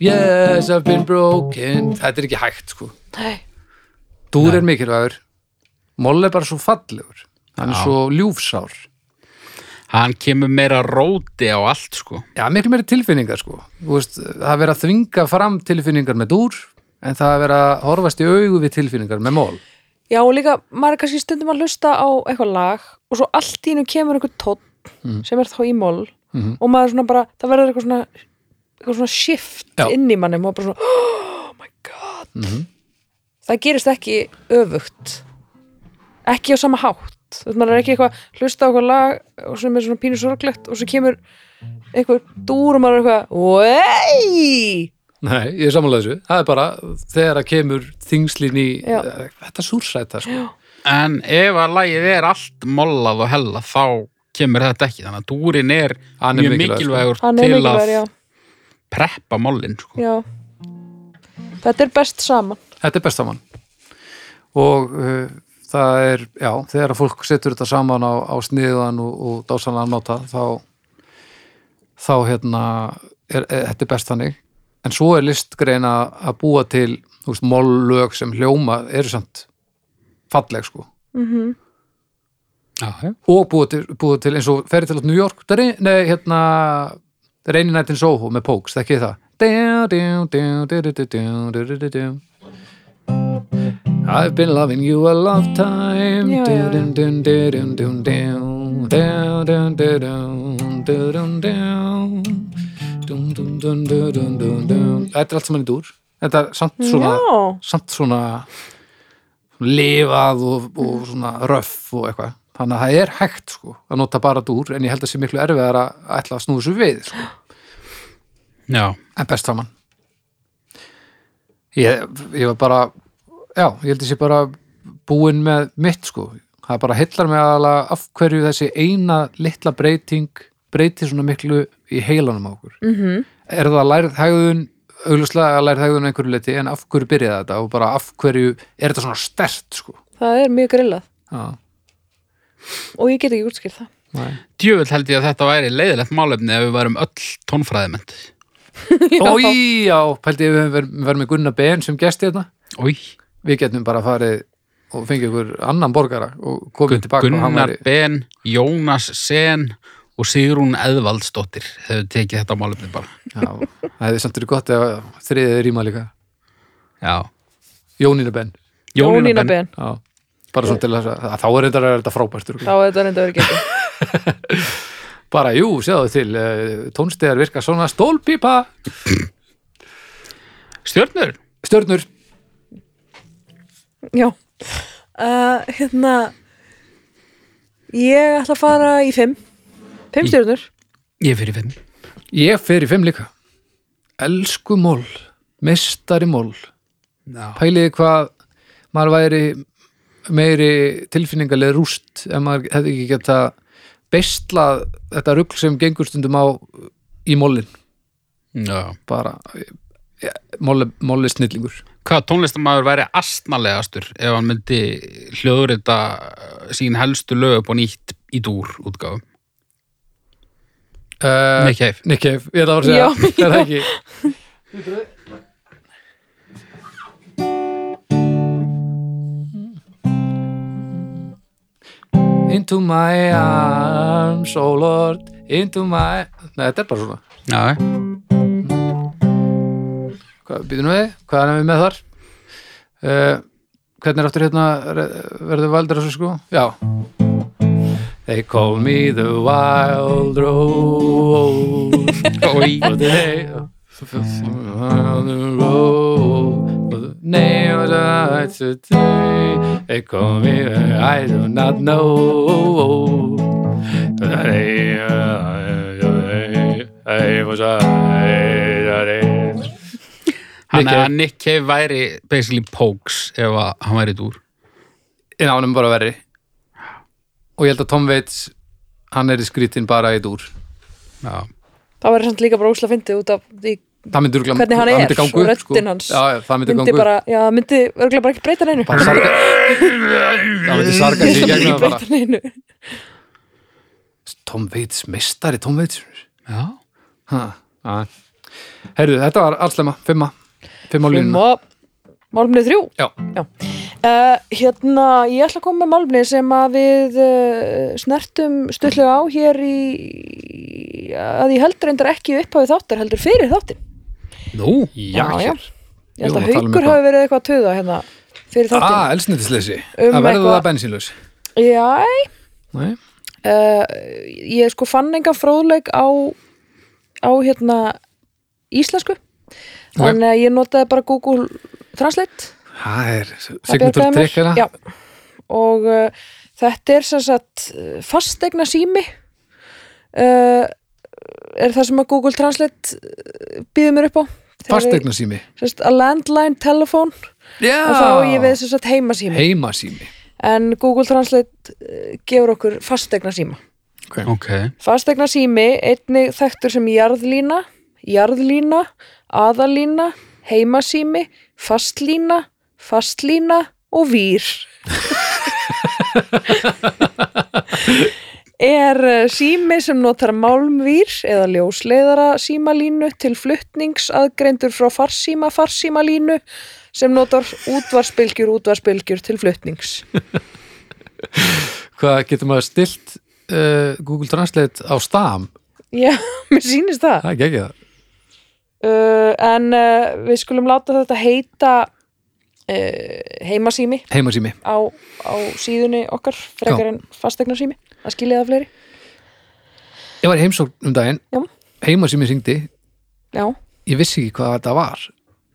[SPEAKER 2] yes, I've been broken Þetta er ekki hægt, sko
[SPEAKER 3] nei,
[SPEAKER 2] Dúr er mikilvægur Moll er bara svo fallegur Hann er
[SPEAKER 1] Já.
[SPEAKER 2] svo ljúfsár
[SPEAKER 1] hann kemur meira róti á allt sko
[SPEAKER 2] Já, miklu meiri tilfinningar, sko Þú veist, Það er verið að þvinga fram tilfinningar með dúr En það er verið að horfast í augu við tilfinningar með moll
[SPEAKER 3] já og líka maður er kannski stundum að hlusta á eitthvað lag og svo allt í hennu kemur einhver tótt sem er þá í mól og maður svona bara, það verður eitthvað svona eitthvað svona shift
[SPEAKER 2] Já.
[SPEAKER 3] inn í manni maður bara svona, oh my god það gerist ekki öfugt ekki á sama hátt þú veist, maður er ekki eitthvað að hlusta á eitthvað lag og sem er svona pínu sorglegt og svo kemur einhver dúr og maður er eitthvað "Wey!"
[SPEAKER 2] Nei, ég er samanlega þessu. Það er bara þegar að kemur þingslin í
[SPEAKER 3] Já.
[SPEAKER 2] þetta súrsæta, sko.
[SPEAKER 1] En ef að lægið er allt mollað og hella þá kemur þetta ekki. Þannig að dúrin er,
[SPEAKER 2] Hann er
[SPEAKER 1] mjög
[SPEAKER 2] mikilvægur,
[SPEAKER 1] mikilvægur,
[SPEAKER 3] hann er
[SPEAKER 1] til
[SPEAKER 3] mikilvægur, já,
[SPEAKER 1] að preppa mollin. Sko.
[SPEAKER 3] já þetta er best saman
[SPEAKER 2] Þetta er best saman. Og uh, það er, já, þegar að fólk setur þetta saman á, á sniðan og, og dásanlega nota, þá, þá hérna, er, er, þetta er best þannig. En svo er listgreina að búa til, þú veist, mollög sem hljóma eru samt falleg, sko.
[SPEAKER 1] Já, já.
[SPEAKER 2] og búið til, búið til eins og ferið til átt New York Dre- nei, hérna Rainy Night in Soho með Pokes, þekki ég það Dun, dun, dun, dun, dun, dun, dun, dun, dun, dun. I've been loving you a lifetime
[SPEAKER 3] Já, já.
[SPEAKER 2] Dun, dun, dun, dun, dun, dun. Dun, dun, dun, dun, dun, dun, dun. Dun, dun, dun, dun, dun, dun, dun. Þetta er allt sem hann er dúr Þetta er samt svona
[SPEAKER 3] já,
[SPEAKER 2] samt svona lifað og, og svona röff og eitthvað þannig að það er hægt sko að nota bara dúr en ég held að sé miklu erfiðar að ætla að snúðu svo við sko.
[SPEAKER 1] já.
[SPEAKER 2] en best saman ég, ég var bara já, ég held að sé bara búinn með mitt sko það bara hillar mig aðalega af hverju þessi eina litla breyting breytir svona miklu í heilanum á okkur
[SPEAKER 3] mhm
[SPEAKER 2] er það lærið hegðun augljóslega að lærið hegðun að einhverju leiti en af hverju byrjaði þetta og bara af hverju er þetta svona stert sko
[SPEAKER 3] það er mjög grillað
[SPEAKER 2] Já,
[SPEAKER 3] og ég get ekki útskilt það
[SPEAKER 2] nei.
[SPEAKER 1] Djöfull held ég að þetta væri leiðilegt málefni ef við værum öll tónfræðimönd.
[SPEAKER 2] Ó, í, já, pældi ég við verðum verð með Gunnar Ben sem gesti hérna
[SPEAKER 1] Új,
[SPEAKER 2] við getum bara farið og fengið ykkur annan borgara og komið tilbaka og hann
[SPEAKER 1] Gunnar
[SPEAKER 2] væri
[SPEAKER 1] Ben, Jónas Sen og Sigrún Eðvaldsdóttir hefur tekið þetta málefni bara.
[SPEAKER 2] já, það hefði samt verið gott ef þriðið rýma líka
[SPEAKER 1] Já.
[SPEAKER 2] Jónína Ben
[SPEAKER 3] Jónína Ben
[SPEAKER 2] já, bara svona til þess að að þá er þetta, er þetta frábært
[SPEAKER 3] þá
[SPEAKER 2] örugglega.
[SPEAKER 3] er þetta reynda verið getur
[SPEAKER 2] bara jú, sjáðu til eh, tónstegar virka svona stólpípa
[SPEAKER 1] Stjörnur?
[SPEAKER 2] stjörnur
[SPEAKER 3] já uh, hérna ég ætla að fara í fimm fimm
[SPEAKER 1] Í-
[SPEAKER 3] stjórnur
[SPEAKER 1] Ég fyrir fimm.
[SPEAKER 2] Ég fer í fimm líka. Elsku mól, mestari mól.
[SPEAKER 1] Já.
[SPEAKER 2] Pæliði hvað maður væri meiri tilfinningaleg rúst ef maður hefði ekki geta bestlað þetta rugl sem gengur stundum á í mólin.
[SPEAKER 1] Já.
[SPEAKER 2] Bara, ja, móli, móli snillingur.
[SPEAKER 1] Hvað tónlistamæður væri astnalegastur ef hann myndi hljóðurita eh, sín helstu lög upp og nýtt í dúr útgáfum?
[SPEAKER 2] Uh,
[SPEAKER 1] Nei, kæf.
[SPEAKER 2] Nikkeif, Eh, ég ætla að fara að segja,
[SPEAKER 3] Já,
[SPEAKER 2] er það ekki? Into my arms, oh lord, into my... Nei, þetta er bara svona.
[SPEAKER 1] Já.
[SPEAKER 2] Hvað, býtum við, hvað erum við með þar? Uh, hvernig er aftur hérna, re- verður valdur þessu sko? Já. They call me the wild rose.
[SPEAKER 1] Oj.
[SPEAKER 2] But they- on the road, but the name of the night today, they call me, but I do not know. But I- I- I- I was I-
[SPEAKER 1] Hann
[SPEAKER 2] Nick
[SPEAKER 1] er að Nick Cave væri basically Pokes ef að hann væri í dúr.
[SPEAKER 2] En ánum bara verri Og ég held að Tom Waits Hann er í skrítin bara í dúr
[SPEAKER 1] Já.
[SPEAKER 3] það verður samt líka bara ósla fyndið út af því
[SPEAKER 2] Það myndi örugglega-
[SPEAKER 3] Hvernig hann
[SPEAKER 2] það
[SPEAKER 3] er
[SPEAKER 2] myndi ganga
[SPEAKER 3] og
[SPEAKER 2] upp, sko.
[SPEAKER 3] röddin hans
[SPEAKER 2] já, já, Það myndi
[SPEAKER 3] myndi
[SPEAKER 2] gangu
[SPEAKER 3] bara, já, það myndi örgulega bara ekki breyta neinu <laughs>
[SPEAKER 2] Bara sarga Það myndi sarga sig í
[SPEAKER 3] ekki
[SPEAKER 2] gegnum það bara
[SPEAKER 3] breyta neinu
[SPEAKER 2] Tom Waits, mestari Tom Waits
[SPEAKER 1] Já.
[SPEAKER 2] ha, ha. Heyrðu, þetta var allslema, fimma Fimma á línuna
[SPEAKER 3] og málumnið þrjú
[SPEAKER 2] Já.
[SPEAKER 3] Eh, hérna, ég ætla að koma með málumni sem að við uh, snertum stöðlega á hér í að ég heldur reyndar ekki upphafið þáttar heldur fyrir þáttin
[SPEAKER 1] Nú?
[SPEAKER 2] Já,
[SPEAKER 3] já. ég held
[SPEAKER 2] Jú,
[SPEAKER 3] að
[SPEAKER 2] að tala um
[SPEAKER 3] haukur
[SPEAKER 2] eitthvað.
[SPEAKER 3] hafi verið eitthvað að töða hérna fyrir
[SPEAKER 2] Á,
[SPEAKER 3] þáttin
[SPEAKER 2] elsnitisleysi
[SPEAKER 3] Um
[SPEAKER 2] Ah, Það verður
[SPEAKER 3] eitthvað-
[SPEAKER 2] það bensínlaus
[SPEAKER 3] já,
[SPEAKER 2] Nei,
[SPEAKER 3] uh, ég sko fann engan fróðleik á á hérna íslensku þannig að ég notaði bara Google Translate
[SPEAKER 2] Það er hérna.
[SPEAKER 3] Það bjargaði
[SPEAKER 2] Sigmundur
[SPEAKER 3] mér.
[SPEAKER 2] Tryggana
[SPEAKER 3] Já. og uh, þetta er sem sagt uh, fastegna sími uh, er það sem að Google Translate býður mér upp á
[SPEAKER 2] fastegna sími
[SPEAKER 3] sérst, a landline telefon
[SPEAKER 2] já,
[SPEAKER 3] og þá á ég við sérst heimasími
[SPEAKER 2] heima sími
[SPEAKER 3] en Google Translate eh, gefur okkur fastegna síma
[SPEAKER 1] ok,
[SPEAKER 3] fastegna sími, einnig þekktur sem jarðlína jarðlína, aðalína heimasími, fastlína fastlína og vír er eh, sími sem notar málmvír eða ljósleiðara símalínu til flutnings aðgreindur frá farsíma farsímalínu sem notar útvarspylgjur útvarspylgjur til flutnings
[SPEAKER 2] hvað getur maður stilt uh, Google Translate á stam
[SPEAKER 3] já, mér sýnist það
[SPEAKER 2] það er ekki það
[SPEAKER 3] uh, en uh, við skulum láta þetta heita uh, heimasými
[SPEAKER 2] heima sími
[SPEAKER 3] á, á síðunni okkar frekar
[SPEAKER 2] Já.
[SPEAKER 3] en fastegnarsými að skilja það fleiri
[SPEAKER 2] ég var í heimsókn um daginn
[SPEAKER 3] Já.
[SPEAKER 2] heima sími syngdi
[SPEAKER 3] já,
[SPEAKER 2] ég vissi ekki hvað þetta var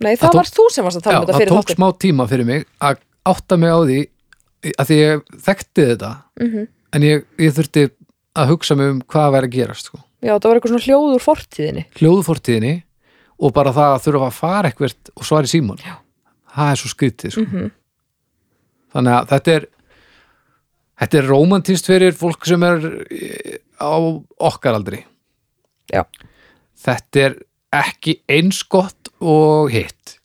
[SPEAKER 3] nei það,
[SPEAKER 2] Það tók-
[SPEAKER 3] varst þú sem varst að tala um
[SPEAKER 2] það
[SPEAKER 3] þetta fyrir
[SPEAKER 2] tók
[SPEAKER 3] þáttir
[SPEAKER 2] smá tíma fyrir mig að átta mig á því að því ég þekkti þetta
[SPEAKER 3] Mhm.
[SPEAKER 2] en ég, ég þurfti að hugsa mig um hvað væri að gerast sko.
[SPEAKER 3] já, það var eitthvað svona hljóð úr fortíðinni
[SPEAKER 2] hljóðfortíðinni og bara það að þurfa að fara eitthvert og svara í síman
[SPEAKER 3] Já. Mhm.
[SPEAKER 2] það er svo skrítið sko. þannig að þetta er þetta er rómantist fyrir fólk sem er eh, á okkar aldri
[SPEAKER 3] já,
[SPEAKER 2] þetta er ekki eins gott og hitt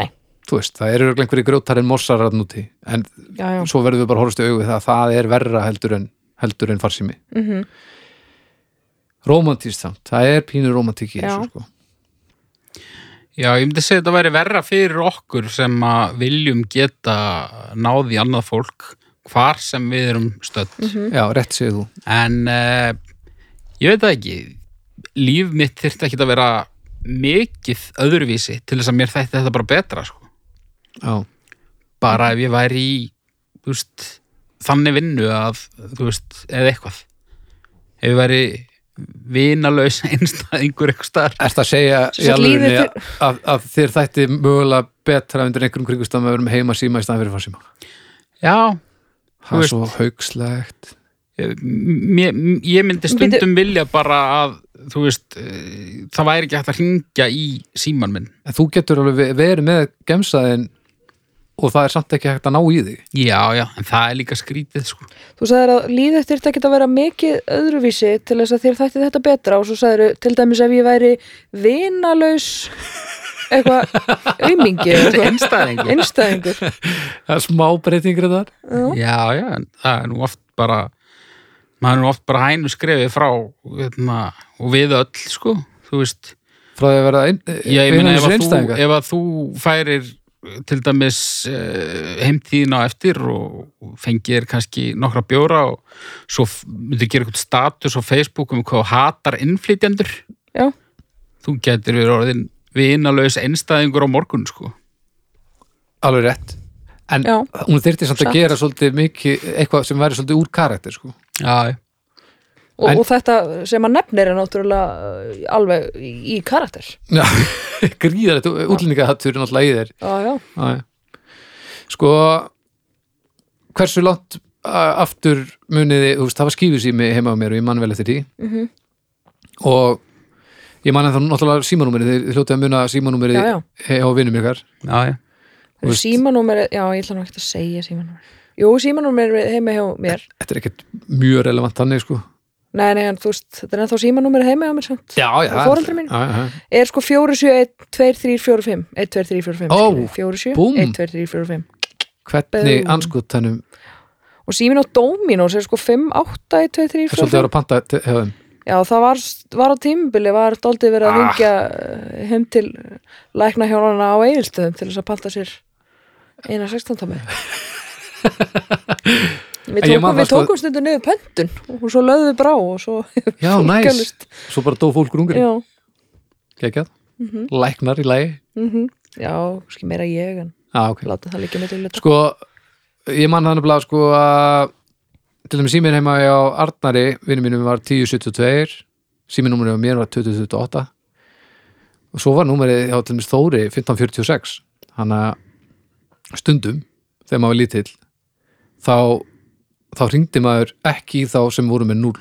[SPEAKER 3] Nei.
[SPEAKER 2] þú veist, það eru örugglega einhverjir grjótarinn morsar að núti en
[SPEAKER 3] já, já,
[SPEAKER 2] svo verðum við bara að horfast í augu við það að það er verra heldur en, heldur en farsími mm
[SPEAKER 3] Mhm.
[SPEAKER 2] romantískt samt, það er pínur romantík í
[SPEAKER 3] Já.
[SPEAKER 2] þessu sko
[SPEAKER 1] já, ég myndi segja að þetta væri verra fyrir okkur sem að viljum geta náði annað fólk hvar sem við erum stödd
[SPEAKER 3] Mhm.
[SPEAKER 2] já, rétt segir þú
[SPEAKER 1] en uh, ég veit það ekki líf mitt þyrfti ekki að vera mikið öðruvísi til þess að mér þætti þetta bara betra sko.
[SPEAKER 2] já,
[SPEAKER 1] bara ef ég væri í þú veist, þannig vinnu að, þú veist, eða eitthvað ef ég væri vinalaus <laughs> einstæðingur eitthvað staðar
[SPEAKER 2] ert að segja í
[SPEAKER 3] Sem sagt,
[SPEAKER 2] alvegni
[SPEAKER 3] lífið fyr-
[SPEAKER 2] að, að þér þætti mögulega betra undir einhverjum kringustam að verum heima síma í staðan fyrir farsíma
[SPEAKER 1] já,
[SPEAKER 2] það er
[SPEAKER 1] veist.
[SPEAKER 2] svo haugslegt
[SPEAKER 1] ég, m- Eh, ég myndi stundum vilja bara að þú veist, eh, það væri ekki hægt að hringja í síman minn
[SPEAKER 2] en þú getur alveg ve- verið með gemsaðin og það er samt ekki hægt að ná í þig
[SPEAKER 1] já, já, en það er líka skrítið sko.
[SPEAKER 3] þú sagðir að líðið þyrfti ekkert að vera mikið öðruvísi til þess að þér þætti þetta betra og svo sagðir til dæmis ef ég væri vinalaus eitthvað aumingi
[SPEAKER 1] einstæðingur
[SPEAKER 3] einstæðingur
[SPEAKER 2] það er smá breytingur þar
[SPEAKER 1] Já, já, en það er nú oft bara maður er nú oft bara hænu skrefið frá hérna, og við öll, sko þú veist,
[SPEAKER 2] frá því að vera ein,
[SPEAKER 1] já, ég meina ef, að þú,
[SPEAKER 2] einstæðingar
[SPEAKER 1] ef að þú færir til dæmis eh, heimtíðina á eftir og og fengir kannski nokkra bjóra og svo f- myndir gera eitthvað status á Facebook um hvað þú hatar innflytjendur
[SPEAKER 3] já,
[SPEAKER 1] þú getur verið orðin vinalaus einstæðingur á morgun, sko
[SPEAKER 2] alveg rétt en
[SPEAKER 3] Já.
[SPEAKER 2] hún þyrfti samt
[SPEAKER 3] Satt.
[SPEAKER 2] að gera svolítið mikið eitthvað sem væri svolítið úr karakter sko.
[SPEAKER 1] Já, já
[SPEAKER 3] og,
[SPEAKER 2] En-
[SPEAKER 3] og þetta sem að nefnir er náttúrulega uh, alveg í í karakter
[SPEAKER 2] já, <laughs> gríðar þetta útlendingahattur er náttúrulega í þér
[SPEAKER 3] já, já.
[SPEAKER 2] Já, já. sko hversu langt a- aftur muniði, þú veist, það var skífið sími heima á mér og ég mann vel eftir því
[SPEAKER 3] Mhm.
[SPEAKER 2] -hmm. og ég mann en þá náttúrulega símanúmerið, þið hljótið að muna símanúmerið
[SPEAKER 3] Já, já.
[SPEAKER 2] á vinnum ykkar
[SPEAKER 1] Já, já.
[SPEAKER 2] Þú veist-
[SPEAKER 3] símanúmer, já ég ætla nú ekkert að segja símanúmer jú símanúmer er heima hjá mér
[SPEAKER 2] þetta er ekkert mjög relevant þannig sko
[SPEAKER 3] nei nei en þú veist þetta er ennþá símanúmer heima hjá mér samt
[SPEAKER 2] já, já,
[SPEAKER 3] Og foreldrar mínir.
[SPEAKER 2] já, já.
[SPEAKER 3] er sko 4712345 12345
[SPEAKER 2] Ó, búmm.
[SPEAKER 3] 4712345
[SPEAKER 2] hvernig
[SPEAKER 3] Boom.
[SPEAKER 2] anskotanum
[SPEAKER 3] og símin á Dominos er sko
[SPEAKER 2] er svolítið að
[SPEAKER 3] 581235
[SPEAKER 2] vera að panta til- hjá þeim
[SPEAKER 3] já það var, var á tímubili var daldið verið að
[SPEAKER 2] Ah.
[SPEAKER 3] ringja ah. heim til lækna hjónana á eigilstöðum til þess að panta sér eina
[SPEAKER 2] <laughs>
[SPEAKER 3] 16 með Við
[SPEAKER 2] En ég man
[SPEAKER 3] tókum,
[SPEAKER 2] það
[SPEAKER 3] við
[SPEAKER 2] sko-
[SPEAKER 3] tókum stundu niður pöntun og svo löðum við brá og svo
[SPEAKER 2] Já,
[SPEAKER 3] <laughs>
[SPEAKER 2] næs,
[SPEAKER 3] fólkalist.
[SPEAKER 2] svo bara dó fólk rungur
[SPEAKER 3] Já, Mhm.
[SPEAKER 2] Kekjað, læknar í lægi
[SPEAKER 3] já, kannski meira ég en
[SPEAKER 2] ah, okay.
[SPEAKER 3] láta það líka með til þetta
[SPEAKER 2] Sko, ég mann hann bara sko að til dæmis síminn heima á Arnari vinnu mínum var 1072 síminnúmerið á mér var 2028 og svo var númerið hjá til dæmis Þóri 1546 hann að stundum þegar maður var lítill þá, þá hringdi maður ekki í þá sem voru með 0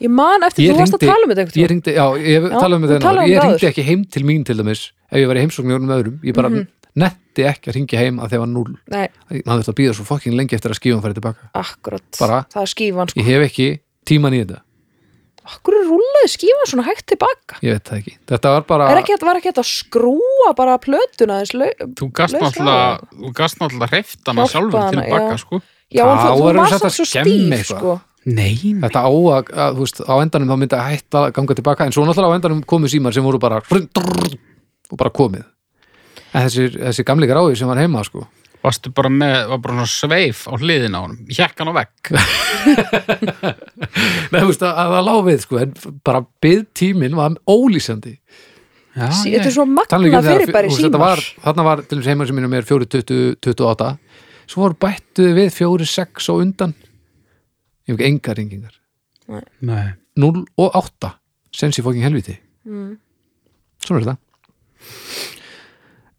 [SPEAKER 3] Ég man eftir,
[SPEAKER 2] Ég
[SPEAKER 3] þú varst að
[SPEAKER 2] hringdi-
[SPEAKER 3] tala um þetta einhvern
[SPEAKER 2] ég
[SPEAKER 3] tímann.
[SPEAKER 2] ringdi, já, ég talaði um
[SPEAKER 3] þú
[SPEAKER 2] þetta hérna
[SPEAKER 3] talaði um
[SPEAKER 2] ég
[SPEAKER 3] það
[SPEAKER 2] ringdi
[SPEAKER 3] áður. Mhm.
[SPEAKER 2] ekki heim til mín til dæmis ef ég var í heimsókn í honum öðrum ég bara netti ekki að ringja heim að þegar var núl
[SPEAKER 3] Nei,
[SPEAKER 2] maður þurfti að býða svo fokkin lengi eftir að skífan færi tilbaka
[SPEAKER 3] akkurat,
[SPEAKER 2] Bara-
[SPEAKER 3] það er skífan sko.
[SPEAKER 2] ég hef ekki tíman í þetta
[SPEAKER 3] Akkur rúlaði skífan svona hægt tilbaka
[SPEAKER 2] ég veit það ekki, þetta var bara
[SPEAKER 3] Er ekki, hægt- Var ekki þetta að skrúa bara plötuna aðeins lau-
[SPEAKER 1] Þú gast
[SPEAKER 3] Laus
[SPEAKER 1] náttúrulega, þú gast náttúrulega hreift hana
[SPEAKER 3] Hjálpa
[SPEAKER 1] sjálfur
[SPEAKER 3] hana,
[SPEAKER 1] tilbaka,
[SPEAKER 3] já.
[SPEAKER 1] sko.
[SPEAKER 3] Já, en
[SPEAKER 2] Þá
[SPEAKER 3] þú, þú
[SPEAKER 2] erum við
[SPEAKER 3] varst
[SPEAKER 2] samt
[SPEAKER 3] það
[SPEAKER 2] að
[SPEAKER 3] svo
[SPEAKER 2] skemma
[SPEAKER 3] stíf
[SPEAKER 2] eitthvað.
[SPEAKER 3] sko.
[SPEAKER 1] Nei, nei.
[SPEAKER 2] þetta á að, að þú veist, á endanum þá myndi að hætta að ganga tilbaka en svo náttúrulega á endanum komu símar sem voru bara drrrr, og bara komið en þessi, þessi gamli gráði sem var heima sko.
[SPEAKER 1] Varstu bara með, var bara svona sveif á hliðin á honum, hjekk hann á vekk.
[SPEAKER 2] Nei, þú veist, að, að það lá við sko, en bara byðtíminn var ólýsandi
[SPEAKER 3] <laughs>
[SPEAKER 1] Já,
[SPEAKER 3] Sí,
[SPEAKER 1] ég-
[SPEAKER 3] Þetta er svo
[SPEAKER 2] Ah, Tala ekki
[SPEAKER 3] magna
[SPEAKER 2] um þegar-
[SPEAKER 3] fyrirbæri
[SPEAKER 2] þú veist, þetta
[SPEAKER 3] símar
[SPEAKER 2] var, þarna var til þess heima sem mínum er 4.28 svo voru bættuð við 4.6 og undan ég hef ekki enga ringingar
[SPEAKER 1] Nei.
[SPEAKER 2] 0 og 8 sens í fókin helviti
[SPEAKER 3] Mm.
[SPEAKER 2] svona er þetta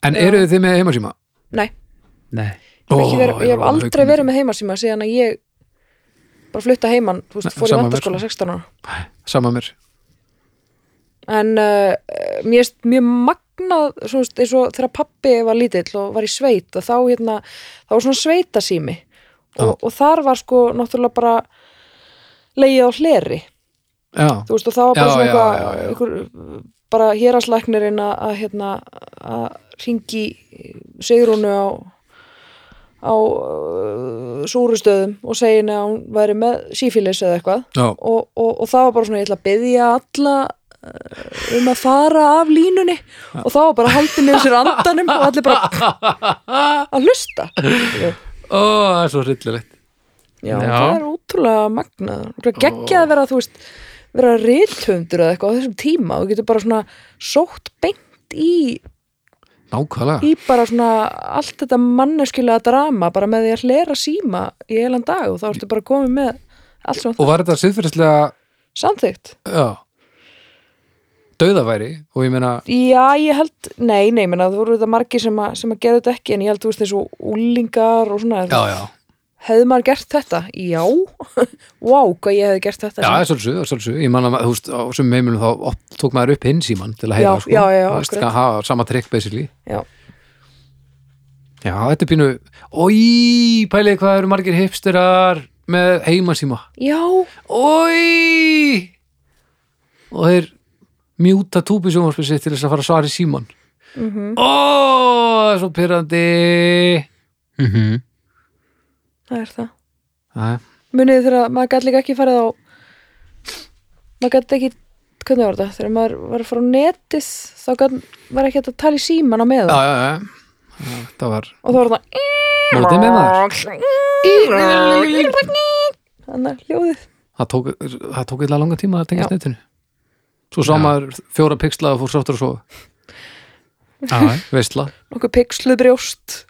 [SPEAKER 2] en eru þið með heimasíma?
[SPEAKER 3] Nei,
[SPEAKER 1] Nei.
[SPEAKER 3] ég hef ekki verið- ég hef aldrei verið með heimasíma síðan að ég bara flutta heiman, þú veist,
[SPEAKER 2] Nei,
[SPEAKER 3] fór í
[SPEAKER 2] sama mér,
[SPEAKER 3] vandaskóla
[SPEAKER 2] sko.
[SPEAKER 3] 16 ára
[SPEAKER 2] sama mér,
[SPEAKER 3] en uh, mér erst mjög magnað svona, veist, eins og þegar pappi var lítill og var í sveit og þá, hérna, þá var svona sveitasými og, og þar var sko náttúrulega bara leið á hleri
[SPEAKER 2] já,
[SPEAKER 3] þú veist og þá var bara
[SPEAKER 2] Já,
[SPEAKER 3] svona
[SPEAKER 2] já,
[SPEAKER 3] eitthvað
[SPEAKER 2] já, já.
[SPEAKER 3] einhver, bara héraslæknirinn að, að hérna að ringi Sigrúnu á á uh, súrustöðum og segja henni að hún væri með sífílis eða eitthvað
[SPEAKER 2] já,
[SPEAKER 3] og, og, og það var bara svona ég ætla að byggja alla eh, um að fara af línunni og þá var bara haldið niður sér andanum og allir bara að
[SPEAKER 2] <laughs>
[SPEAKER 3] hlusta já,
[SPEAKER 2] <laughs> ó, það er svo hryllilegt
[SPEAKER 1] Já.
[SPEAKER 3] það er ótrúlega magnað og geggja að vera þú veist vera rithöndur eða eitthvað á þessum tíma og getur bara svona sótt beint í,
[SPEAKER 2] nákvæmlega,
[SPEAKER 3] í bara svona allt þetta manneskilega drama bara með því að hlera síma í heilan dag og þá ertu bara komið með allt svona
[SPEAKER 2] og var þetta siðferðislega
[SPEAKER 3] samþygt
[SPEAKER 2] já döðaværi og ég meina
[SPEAKER 3] Já, ég held, nei, nei, menna, þú voru þetta margir sem að, sem að gera þetta ekki en ég held, þú veist, þessu úlingar og svona,
[SPEAKER 2] já, já,
[SPEAKER 3] hefði maður gert þetta? Já, <laughs> vá, hvað ég hefði gert þetta
[SPEAKER 2] Já, það er svolítið, það er svolítið, ég man að maður, þú veist, á sem heimilum þá oft tók maður upp hinn síman til að heyra,
[SPEAKER 3] Já,
[SPEAKER 2] sko,
[SPEAKER 3] já, já,
[SPEAKER 2] Þú veist,
[SPEAKER 3] akkurat.
[SPEAKER 2] að hafa sama trikk, basically.
[SPEAKER 3] Já,
[SPEAKER 2] Já, þetta er pínu, oi, pæliði hvað eru margir hipsterar með heimasíma,
[SPEAKER 3] já,
[SPEAKER 2] oi, og þeir mjúta túpi sjónvarspilsið til þess að fara að svara í síman. Mm -hmm. Ó, það er svo pyrrandi.
[SPEAKER 1] Mhm.
[SPEAKER 3] það er það
[SPEAKER 2] Æ,
[SPEAKER 3] Munið þegar maður gæti líka ekki farið á maður gæti ekki hvernig var þetta? Þegar maður var að fara á netið þá gæti, var ekki hægt að tala í síman á
[SPEAKER 2] já,
[SPEAKER 3] meða
[SPEAKER 2] já, já, það var,
[SPEAKER 3] og þá var það
[SPEAKER 2] Mótið með
[SPEAKER 3] maður Þannig að hljóðið
[SPEAKER 2] það tók, það tók eitthvað langa tíma að tengast
[SPEAKER 3] Já.
[SPEAKER 2] netinu. Svo sá
[SPEAKER 1] Já.
[SPEAKER 2] maður fjóra pixla og fór sáttur að sofa.
[SPEAKER 1] Já,
[SPEAKER 2] veistla,
[SPEAKER 3] nokkuð pixluð brjóst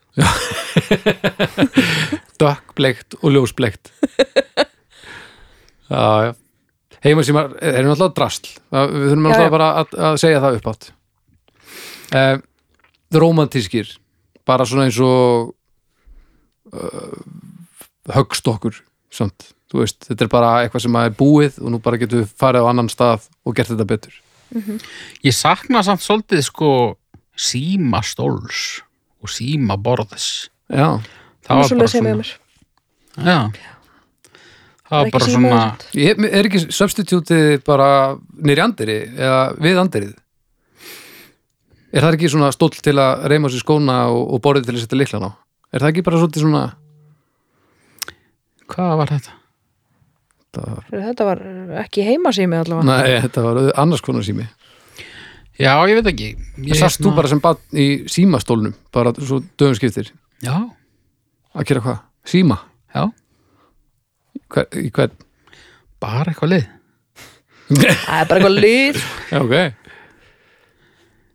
[SPEAKER 2] dökkbleikt og ljósbleikt já, já heimasímar eru náttúrulega drasl Það- við þurfum
[SPEAKER 3] Já,
[SPEAKER 2] náttúrulega
[SPEAKER 3] já.
[SPEAKER 2] bara að, að segja það uppátt eh, romantískir bara svona eins og uh, höggstokkur samt, þú veist, þetta er bara eitthvað sem er búið og nú bara getur við farið á annan stað og gert þetta betur
[SPEAKER 1] Ég sakna samt svolítið sko síma stóls og síma borðis.
[SPEAKER 2] já,
[SPEAKER 1] Það var bara
[SPEAKER 3] Svoleiðis heima hjá
[SPEAKER 1] svona.
[SPEAKER 3] mér.
[SPEAKER 1] Já. Það
[SPEAKER 3] Það er
[SPEAKER 1] var
[SPEAKER 3] ekki
[SPEAKER 1] bara
[SPEAKER 3] síma
[SPEAKER 1] svona,
[SPEAKER 3] þarna.
[SPEAKER 2] ég, er ekki substitútið bara nýri andiri eða við andirið er það ekki svona stóll til að reyma sér skóna og, og borðið til að setja liklan á er það ekki bara svolítið svona
[SPEAKER 1] hvað var þetta?
[SPEAKER 2] það var,
[SPEAKER 3] Þetta var ekki heimasými allavega.
[SPEAKER 2] nei, þetta var annars konar sími
[SPEAKER 1] Já, ég veit ekki. Ég
[SPEAKER 2] það sast þú
[SPEAKER 1] hérna-
[SPEAKER 2] bara sem bann í símastólnum bara svo dögum skiptir
[SPEAKER 1] Já,
[SPEAKER 2] að gera hvað? Síma?
[SPEAKER 1] já,
[SPEAKER 2] Hver, í hvern?
[SPEAKER 1] bara eitthvað lið.
[SPEAKER 3] Það er bara eitthvað lið.
[SPEAKER 2] já, ok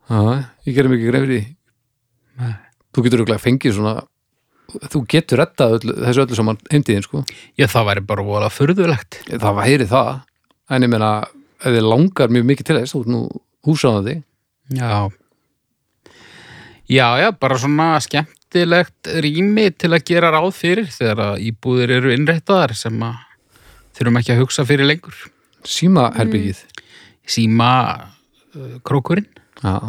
[SPEAKER 2] Aha, ég gerum ekki greið fyrir því
[SPEAKER 1] Nei.
[SPEAKER 2] þú getur auðvitað fengið svona þú getur rettað öllu, þessu öllu saman heimtíðin sko
[SPEAKER 1] Já, það væri bara vola furðulegt.
[SPEAKER 2] það væri það en ég meina, ef þið langar mjög mikið til þess þú ert nú húsáðandi
[SPEAKER 1] Já. Já, já, bara svona skemmtilegt rými til að gera ráð fyrir þegar að íbúðir eru innréttaðar sem að þurfum ekki að hugsa fyrir lengur.
[SPEAKER 2] símaherbyggið
[SPEAKER 1] síma uh, krókurinn
[SPEAKER 2] já,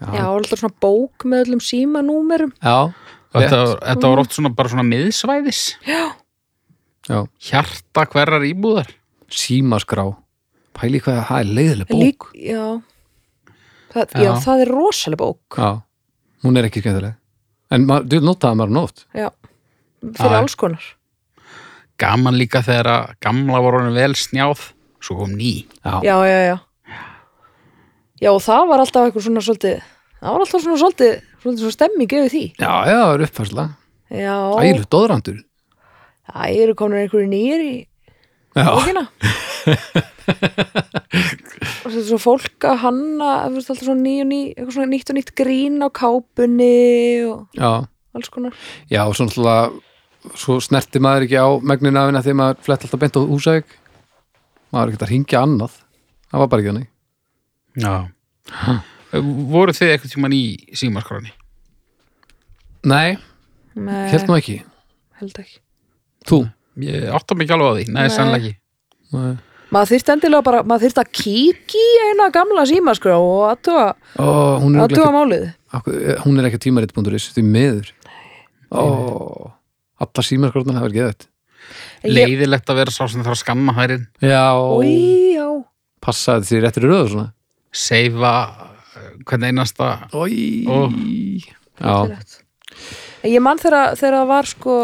[SPEAKER 2] Já.
[SPEAKER 3] Já, alltaf svona bók með öllum símanúmerum
[SPEAKER 2] já,
[SPEAKER 1] þetta,
[SPEAKER 2] Rétt.
[SPEAKER 1] var- þetta var oft svona bara svona miðsvæðis
[SPEAKER 2] já.
[SPEAKER 1] hjarta hverrar íbúðar
[SPEAKER 2] símaskrá pæli hvað það er leiðileg bók
[SPEAKER 3] Lík, já. Það, já,
[SPEAKER 1] Já.
[SPEAKER 3] það er rosaleg bók
[SPEAKER 2] já, hún er ekki skemmtileg en maður- þú notaði maður nótt
[SPEAKER 3] já. fyrir
[SPEAKER 1] Já.
[SPEAKER 3] alls konar
[SPEAKER 1] gaman líka þegar að gamla var honum vel snjáð svo kom ný
[SPEAKER 2] já,
[SPEAKER 3] já, já, já Já, og það var alltaf eitthvað svona svolítið það var alltaf svona svolítið svolítið svona stemming yfir því
[SPEAKER 2] já, já, það er uppfærsla
[SPEAKER 3] Já,
[SPEAKER 2] ælu dóðrandur
[SPEAKER 3] það eru komin einhverju nýjir í
[SPEAKER 2] já, <laughs>
[SPEAKER 3] bókina og þetta er svo fólk að hanna þú veist, alltaf svona ný og ný eitthvað svona nýtt og nýtt grín á kápunni og
[SPEAKER 2] já,
[SPEAKER 3] alls konar
[SPEAKER 2] já, og svo náttúrulega svo snerti maður ekki á megninu af henni þegar maður flett alltaf beint á húsæk maður er ekki að hringja annað það var bara ekki þannig
[SPEAKER 1] já voru þið eitthvað tíman í símaskráni
[SPEAKER 2] nei,
[SPEAKER 3] Nei,
[SPEAKER 2] held nú ekki,
[SPEAKER 3] held ekki
[SPEAKER 2] þú
[SPEAKER 1] ég átta mig ekki alveg á því, nei,
[SPEAKER 3] Nei.
[SPEAKER 1] nei. sannlega ekki
[SPEAKER 2] nei.
[SPEAKER 3] maður þyrst endilega bara, maður þyrst að kíkja í eina gamla símaskrá og aðtúa
[SPEAKER 2] Ó, hún, er
[SPEAKER 3] aðtúa
[SPEAKER 2] örugglega
[SPEAKER 3] málið
[SPEAKER 2] ekki, akkur- hún er ekki tímarit.is því miður Ó, allar símarskortan hefur geðið
[SPEAKER 3] Ég-
[SPEAKER 1] leiðilegt að vera sá sem þarf að skanna hærin
[SPEAKER 2] já,
[SPEAKER 3] Í, já,
[SPEAKER 2] passa þetta því réttir í röðu svona
[SPEAKER 1] seifa hvernig eh, einasta
[SPEAKER 2] Ói
[SPEAKER 1] Ó.
[SPEAKER 2] Já,
[SPEAKER 3] Rétt. En ég man þegar þegar það var sko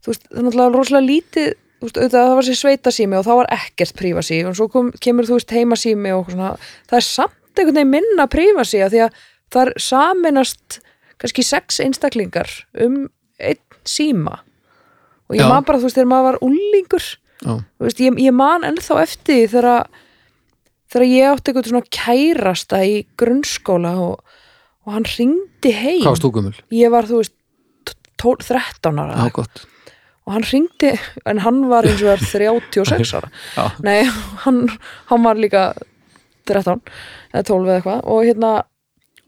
[SPEAKER 3] þú veist, það er náttúrulega rosalega lítið þú veist, auðvitað það var sér sveitasími og þá var ekkert prífasí og svo kom, kemur þú veist heimasími og svona, það er samt einhvern veginn minna prífasí af því að það er saminast kannski sex einstaklingar um einn síma og ég
[SPEAKER 2] Já.
[SPEAKER 3] man bara þú veist þegar maður var úlingur
[SPEAKER 2] já,
[SPEAKER 3] þú veist, ég, ég man ennþá eftir því þegar að- þegar ég átti eitthvað svona kærasta í grunnskóla og, og hann ringdi heim
[SPEAKER 2] hvað varst þú gömul?
[SPEAKER 3] ég var þú veist t- tól- 13 ára
[SPEAKER 2] Já, gott
[SPEAKER 3] og hann ringdi, en hann var eins og var 36 ára
[SPEAKER 2] Já.
[SPEAKER 3] nei, hann, hann var líka 13 eða 12 eða eitthvað og hérna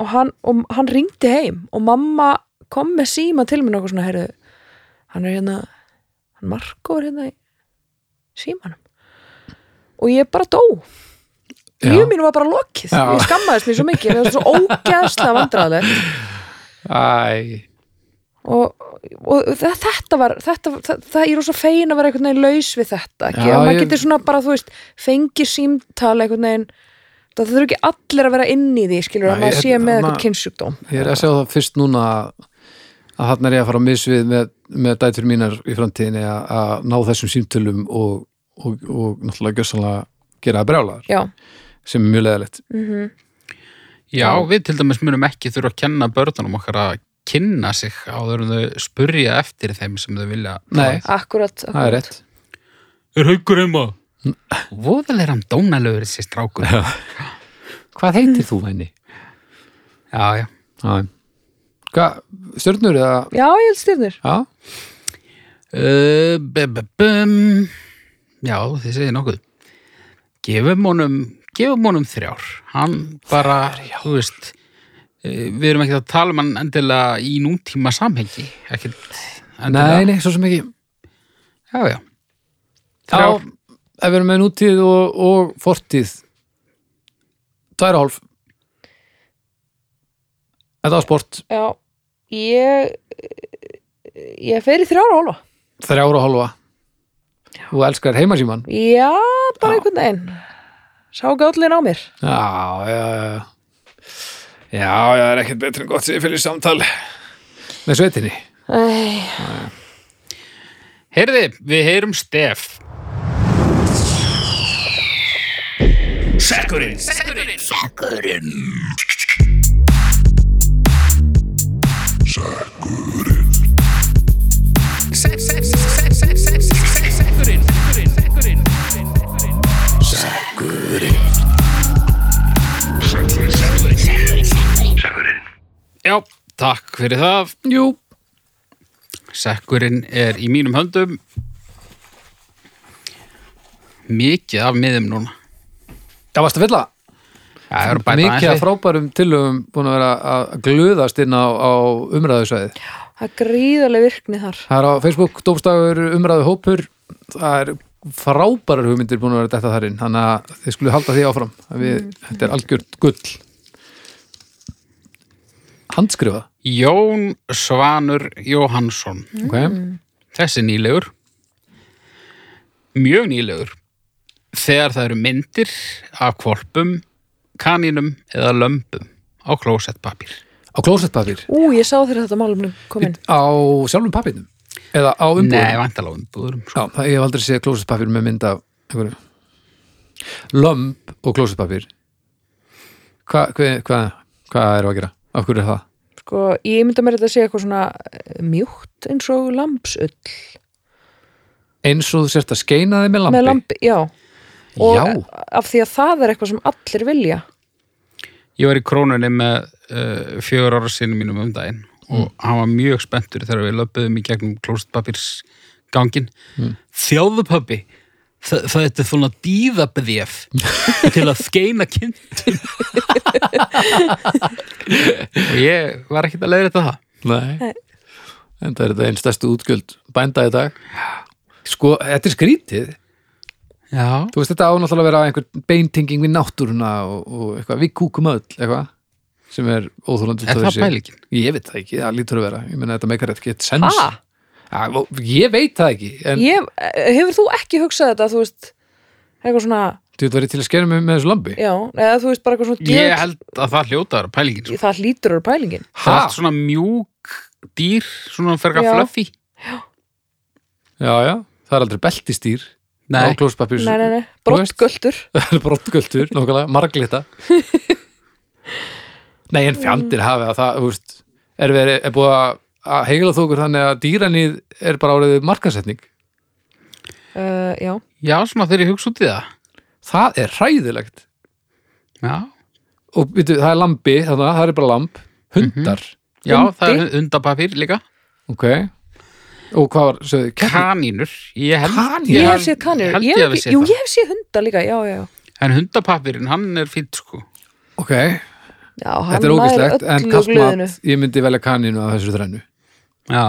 [SPEAKER 3] og hann, og hann ringdi heim og mamma kom með síma til mér okkur svona heyrðu, hann er hérna hann Marko er hérna í símanum og ég bara dó
[SPEAKER 2] Já.
[SPEAKER 3] lífið mínu var bara lokið
[SPEAKER 2] Já.
[SPEAKER 3] ég skammaðist mér svo mikið, mér var svo ógeðslega vandræðilegt
[SPEAKER 2] Æ,
[SPEAKER 3] og, og þe- þetta var þetta, það, það ég er rosa fegin að vera einhvern veginn laus við þetta ekki,
[SPEAKER 2] Já,
[SPEAKER 3] og maður
[SPEAKER 2] ég-
[SPEAKER 3] getur svona bara, þú veist fengi símtal einhvern veginn það þurfa ekki allir að vera inn í því skilur
[SPEAKER 2] Já,
[SPEAKER 3] að maður
[SPEAKER 2] ég-
[SPEAKER 3] sé með
[SPEAKER 2] þarna-
[SPEAKER 3] einhvern kynnsjúkdóm
[SPEAKER 2] ég er að sjá það fyrst núna að hann er ég að fara að misvið með, með dætur mínar í framtíðinni að, að ná þessum símtölum og, og, og náttúrulega gjössalega gera það brjálaðar
[SPEAKER 3] já,
[SPEAKER 2] sem er mjög leðalegt
[SPEAKER 1] Já, við til dæmis munum ekki þurfa að kenna börnunum okkar að kynna sig áður en þau spurja eftir þeim sem þau vilja.
[SPEAKER 2] Nei.
[SPEAKER 3] akkurat,
[SPEAKER 2] Það er
[SPEAKER 3] akkurat.
[SPEAKER 2] rétt
[SPEAKER 1] Er haugur heima? Voðalega er hann dónalögur þessi strákur. Já,
[SPEAKER 2] Hvað heitir þú henni?
[SPEAKER 1] já.
[SPEAKER 2] Já Hvað, stjörnur eða?
[SPEAKER 3] já, ég held styrnir
[SPEAKER 2] Já,
[SPEAKER 1] Uh, bu- bu- bum. já, þið segir nokkuð. Gefum honum, gefum honum þrjár. Hann bara, þú veist, uh, við erum ekkert að tala um hann endilega í nútíma samhengi. Ekkert endilega.
[SPEAKER 2] nei, nei, svo sem ekki
[SPEAKER 1] Já, já.
[SPEAKER 2] Já,
[SPEAKER 1] Þrjár.
[SPEAKER 2] ef við erum með nútíð og, og fortíð Tvær og hálf Þetta var sport
[SPEAKER 3] já, ég ég fer í þrjára hálfa
[SPEAKER 2] Þrjár og hálfa Þú elskar heimasíman
[SPEAKER 3] já, bara
[SPEAKER 2] Já.
[SPEAKER 3] einhvern veginn sá gállin á mér
[SPEAKER 2] Já, já, já Já, já, það er ekkert betur en gott sem ég fyrir samtal Með sveitinni
[SPEAKER 3] Æ,
[SPEAKER 1] Heyrði, við heyrum Stef. Já, takk fyrir það.
[SPEAKER 2] Jú
[SPEAKER 1] Sekkurinn er í mínum höndum. Mikið af miðum núna.
[SPEAKER 2] Það varst að fylla
[SPEAKER 1] Já, það eru bæta
[SPEAKER 2] Mikið af
[SPEAKER 1] aðeins við.
[SPEAKER 2] frábærum tilögum búin að vera að glöðast inn á, á umræðusvæðið
[SPEAKER 3] það er gríðarlega virkni þar
[SPEAKER 2] Það er á Facebook, Dómstafur, umræðu hópur Það er frábærar hugmyndir búin að vera þetta þar inn þannig að þið skulle halda því áfram að við, þetta er algjört gull handskrifa
[SPEAKER 1] Jón Svanur Jóhansson
[SPEAKER 2] ok,
[SPEAKER 1] þessi nýlegur mjög nýlegur þegar það eru myndir af kvolpum, kaninum eða lömbum á klósettpapír
[SPEAKER 2] á klósettpapir
[SPEAKER 3] Ú, ég sá þeirra þetta málumnum komin
[SPEAKER 2] á sjálfum papirnum eða á
[SPEAKER 1] Nei,
[SPEAKER 2] umbúðum
[SPEAKER 1] vantala umbúðurum sko.
[SPEAKER 2] Já, það, ég hef aldrei séð klósettpapir með mynd af einhverju lömb og klósettpapir hvað hva, hva, hva er að gera? af hverju er það?
[SPEAKER 3] Sko, ég myndi mér þetta að segja eitthvað svona eh, mjúkt eins og lambsull
[SPEAKER 2] eins og þú sért að skeina þig með lampi
[SPEAKER 3] með lampi, já og
[SPEAKER 2] Já.
[SPEAKER 3] af því að það er eitthvað sem allir vilja
[SPEAKER 1] Ég var í krónunni með uh, fjögur ára sinni mínum um daginn og hann var mjög spenntur þegar við löpuðum í gegnum klósettpapírsgangin mm. Þjáðu pabbi það, það er svona dýðabréf <laughs> til að skeina kind og ég var ekkert að leiða þetta það
[SPEAKER 2] Nei. en það er þetta einn stærstu útgjöld bænda í dag sko, þetta er skrítið
[SPEAKER 1] Já,
[SPEAKER 2] þú veist þetta á náttúrulega að vera einhver beintenging við náttúruna og, og eitthvað, við kúkum öll eitthvað, sem er óþólandi
[SPEAKER 1] er það pælíkin?
[SPEAKER 2] ég veit það ekki, það lítur að vera ég meina þetta meikar ekki eitt sens
[SPEAKER 3] Ha?
[SPEAKER 2] ja, og ég veit það ekki, en
[SPEAKER 3] Ah, ég, eh, Hefur þú ekki hugsað þetta, þú veist eitthvað svona,
[SPEAKER 2] þú veit verið til að skera mig með þessu lambi
[SPEAKER 3] já eða þú veist bara eitthvað svona
[SPEAKER 1] Ég
[SPEAKER 3] djöfull-
[SPEAKER 1] held að það hljóta að vera pælíkin sko.
[SPEAKER 3] það hlýtur úr pælingin
[SPEAKER 1] Það er allt svona mjúk dýr, svona ferga
[SPEAKER 3] Já.
[SPEAKER 1] fluffy
[SPEAKER 2] já, já, það er aldrei beltistýr á
[SPEAKER 1] Nei,
[SPEAKER 2] klóspapir
[SPEAKER 3] Nei, nei, nei, brottgöldur
[SPEAKER 2] brottgöldur, nákvæmlega,
[SPEAKER 3] <laughs>
[SPEAKER 2] marglita Nei, en fjandir hafi að það, þú veist er, verið, er búið að- að heigla þókur þannig að dýranýð er bara áriðið markasetning
[SPEAKER 3] uh, Já,
[SPEAKER 1] já, svona þegar ég hugsa út í það
[SPEAKER 2] Það er hræðilegt
[SPEAKER 1] Já,
[SPEAKER 2] og veitu, það er lambi, þannig að það er bara lamb hundar,
[SPEAKER 3] Mhm.
[SPEAKER 1] já það er
[SPEAKER 3] Undi.
[SPEAKER 1] undapapír líka
[SPEAKER 2] ok og hvað var, sögðu, kæmur
[SPEAKER 1] kanínur ég held,
[SPEAKER 2] Kanínur?
[SPEAKER 3] ég
[SPEAKER 2] Ég
[SPEAKER 3] hef séð kanir
[SPEAKER 1] held
[SPEAKER 3] ég
[SPEAKER 1] ég,
[SPEAKER 3] hef
[SPEAKER 1] hafi
[SPEAKER 3] ekki,
[SPEAKER 1] séð
[SPEAKER 3] Jú,
[SPEAKER 1] það.
[SPEAKER 3] ég hef séð hunda líka, já, já, já
[SPEAKER 1] en hundapapirinn, hann er fýtt sko
[SPEAKER 2] ok,
[SPEAKER 3] Já,
[SPEAKER 2] þetta
[SPEAKER 3] hann
[SPEAKER 2] er
[SPEAKER 3] nær
[SPEAKER 2] ógæslegt en
[SPEAKER 3] öllu
[SPEAKER 2] kalt
[SPEAKER 3] glöðinu.
[SPEAKER 2] mat, ég myndi velja kaninu að þessu þrennu,
[SPEAKER 1] já,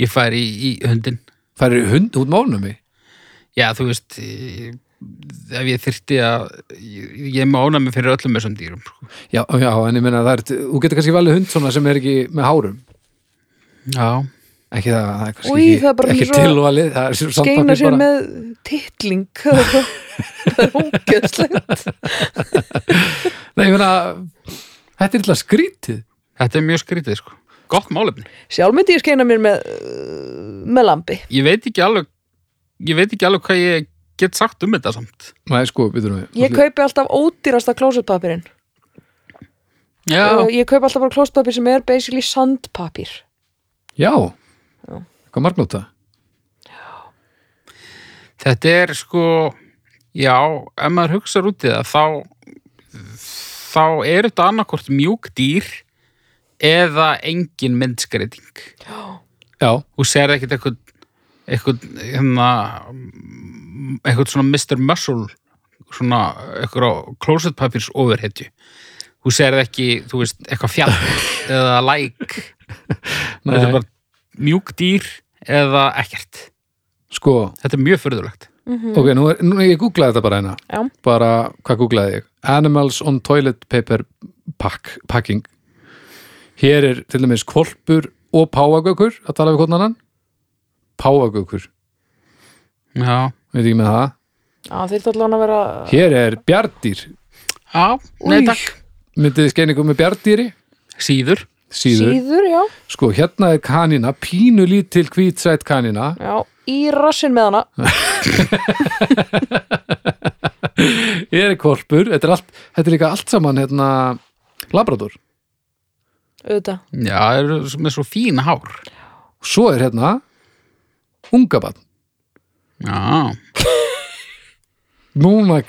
[SPEAKER 1] ég fær í, í hundin
[SPEAKER 2] það eru hund út mánu mig,
[SPEAKER 1] já, þú veist eh, ef ég þyrfti að ég, ég mána mig fyrir öllum þessum dýrum sko.
[SPEAKER 2] já, já, en ég meina það er, þú getur kannski valið hund svona sem er ekki með hárum
[SPEAKER 1] já,
[SPEAKER 2] ekki það, það er kannski
[SPEAKER 3] Új,
[SPEAKER 2] ekki,
[SPEAKER 3] það er bara
[SPEAKER 2] ekki
[SPEAKER 3] svo-
[SPEAKER 2] tilvalið það er svo
[SPEAKER 3] skeina
[SPEAKER 2] sandpapir
[SPEAKER 3] sér
[SPEAKER 2] bara
[SPEAKER 3] með titling <laughs> það er- það er ógæslegt
[SPEAKER 2] Nei, ég meina, þetta er illa skrítið
[SPEAKER 1] þetta er mjög skrítið sko gott málefni,
[SPEAKER 3] sjálf myndi ég skeina mér með uh, með lambi
[SPEAKER 1] ég veit ekki alveg ég veit ekki alveg hvað ég get sagt um þetta samt
[SPEAKER 2] Nei, sko, byrjum við
[SPEAKER 3] ég kaupi alltaf ódýrasta klósetpapirinn
[SPEAKER 1] já,
[SPEAKER 3] og ég kaupi alltaf bara klósetpapir sem er basically sandpapir
[SPEAKER 2] Já, hvað margnóta?
[SPEAKER 1] Þetta er sko, já, ef maður hugsar út í það, þá, þá er þetta annarkvort mjúk dýr eða engin myndskreiting.
[SPEAKER 2] Já,
[SPEAKER 1] Þú sér ekkert eitthvað, eitthvað, hérna, eitthvað svona Mr. Muscle, svona eitthvað á klósetpapirs overhetju. Þú sér ekki, þú veist, eitthvað fjall eða læk. Þetta
[SPEAKER 2] Nei.
[SPEAKER 1] er bara mjúk dýr eða ekkert.
[SPEAKER 2] sko,
[SPEAKER 1] Þetta er mjög furðulegt.
[SPEAKER 2] ok, nú er, nú ég googlaði þetta bara hérna
[SPEAKER 3] Mhm. Já.
[SPEAKER 2] Bara, hvað googlaði ég? Animals on toilet paper pack, packing Hér er til dæmis kvolpur og páagökur að tala við hvernig annan Páagökur,
[SPEAKER 1] Já.
[SPEAKER 2] veit ekki með það
[SPEAKER 3] á, þeir þarf allan að vera
[SPEAKER 2] Hér er bjardýr,
[SPEAKER 1] Já, nei
[SPEAKER 3] Új.
[SPEAKER 1] takk.
[SPEAKER 2] myndið skeiningu með bjardýri
[SPEAKER 1] Síður.
[SPEAKER 2] Síður,
[SPEAKER 3] já,
[SPEAKER 2] Sko, hérna er kanina, pínu lítil hvítsætt kanina.
[SPEAKER 3] já í rassin með hana
[SPEAKER 2] Ég er korpur, þetta er, allt, þetta er líka allt saman, hérna, labrador.
[SPEAKER 3] auðvitað,
[SPEAKER 1] Já, það eru svo- með svo fín hár.
[SPEAKER 2] Svo er hérna, ungabann.
[SPEAKER 1] Já,
[SPEAKER 2] Núna,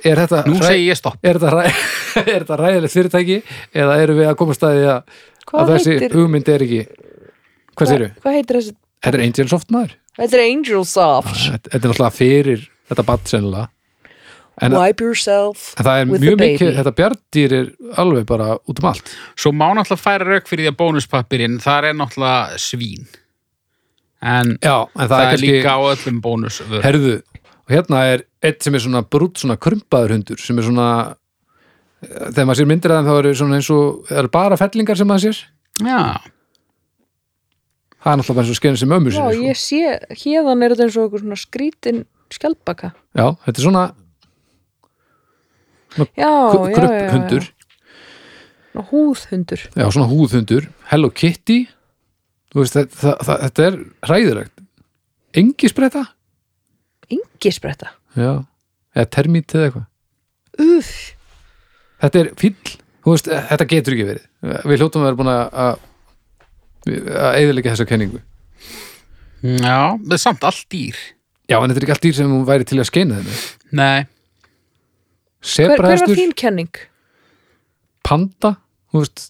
[SPEAKER 2] er þetta,
[SPEAKER 1] nú
[SPEAKER 2] hræ-
[SPEAKER 1] segi ég stopp.
[SPEAKER 2] er þetta, ræ, <laughs> er þetta ræðilegt fyrirtæki eða erum við að komast að því að,
[SPEAKER 3] hvað
[SPEAKER 2] að þessi
[SPEAKER 3] heitir
[SPEAKER 2] hugmynd er ekki, hvað
[SPEAKER 3] hvað,
[SPEAKER 2] séru?
[SPEAKER 3] hvað heitir þessi,
[SPEAKER 2] Þetta er Angel Soft maður.
[SPEAKER 3] þetta er Angel Soft
[SPEAKER 2] Þetta, þetta er náttúrulega fyrir þetta bann sennilega. En, en
[SPEAKER 3] wipe yourself
[SPEAKER 2] það er
[SPEAKER 3] with the
[SPEAKER 2] mjög mikið,
[SPEAKER 3] baby.
[SPEAKER 2] þetta bjardýr er alveg bara út um allt.
[SPEAKER 1] Svo má náttúrulega færa rauk fyrir því að bónuspapirinn, þar er náttúrulega svín. en
[SPEAKER 2] Já, en það,
[SPEAKER 1] það,
[SPEAKER 2] er
[SPEAKER 1] er
[SPEAKER 2] kannski,
[SPEAKER 1] líka á öllum bónus
[SPEAKER 2] herðu, og hérna er eitt sem er svona brútt, svona krumpaður hundur sem er svona eh, þegar maður sér myndir að þeim þá eru svona eins og það eru bara fellingar sem maður sér
[SPEAKER 1] Já,
[SPEAKER 2] það er náttúrulega bara eins og skerin sem ömmu
[SPEAKER 3] Já,
[SPEAKER 2] sinni sko.
[SPEAKER 3] ég sé, hérðan er þetta eins og einhver svona skrítin skjaldbaka.
[SPEAKER 2] Já, þetta er svona kru-
[SPEAKER 3] Já, já, já, já.
[SPEAKER 2] krumphundur
[SPEAKER 3] Ná, húðhundur.
[SPEAKER 2] Já, svona húðhundur, Hello Kitty þú veist, það, það, það, þetta er hræðilegt engi spretta
[SPEAKER 3] Engisbretta.
[SPEAKER 2] já, eða termít eða eitthvað
[SPEAKER 3] Uff.
[SPEAKER 2] þetta er fíll, þú veist, e- þetta getur ekki verið við hljótum að vera búin að að- að eðilega þessa kenningu
[SPEAKER 1] já, það er samt allt dýr
[SPEAKER 2] já, en þetta er ekki allt dýr sem hún væri til að skeina þenni
[SPEAKER 1] Nei,
[SPEAKER 3] Hver, hver var
[SPEAKER 2] sebrahestur,
[SPEAKER 3] þín kenning?
[SPEAKER 2] panda þú veist,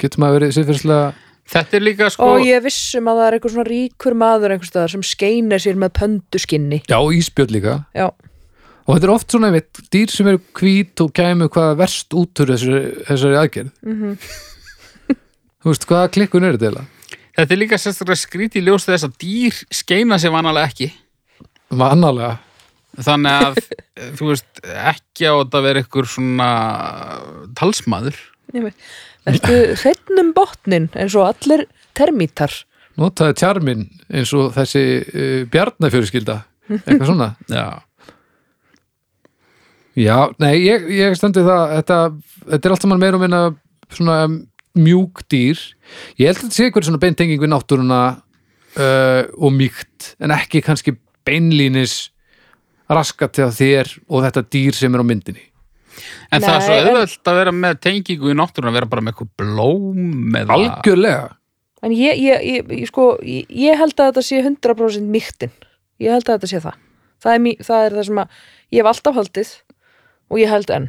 [SPEAKER 2] getur maður verið sérfyrslega
[SPEAKER 1] þetta er líka sko
[SPEAKER 3] Og ég er viss um að það er eitthvað svona ríkur maður einhvers staðar sem skeinar sér með pönduskinni.
[SPEAKER 2] já, ísbjörn líka
[SPEAKER 3] Já,
[SPEAKER 2] og þetta er oft svona, veit, dýr sem eru hvít og kæmu hvað verst út úr þessari, þessari aðgerð
[SPEAKER 3] Mhm.
[SPEAKER 2] þú veist, hvaða klikkun er þetta eiginlega?
[SPEAKER 1] Þetta er líka sérstaklega skrítið ljóst þess að dýr skeina sig vanalega ekki
[SPEAKER 2] Vannalega
[SPEAKER 1] þannig að þú veist ekki á þetta að vera ykkur svona talsmaður
[SPEAKER 3] ég veit. Vertu hreitnum botnin eins og allir termítar.
[SPEAKER 2] notaði tjarmin eins og þessi uh, bjarnafjörskilda eitthvað svona
[SPEAKER 1] Já,
[SPEAKER 2] já, nei, ég, ég stendur það þetta, þetta er allt saman meira og minna svona mjúk dýr ég held að þetta sé eitthvað svona beintenging við náttúruna uh, og mýkt en ekki kannski beinlínis raskat til þér og þetta dýr sem er á myndinni
[SPEAKER 1] en það er
[SPEAKER 3] Nei,
[SPEAKER 1] svo
[SPEAKER 3] en-
[SPEAKER 1] auðvöld að vera með tengingu í náttúrun að vera bara með eitthvað blóm eða...
[SPEAKER 2] algjörlega
[SPEAKER 3] En ég, ég, ég, ég, sko, ég, ég held að þetta sé 100% mýktin. Ég held að þetta sé það. Það er, mý, það er það sem að ég hef alltaf haldið og ég held enn.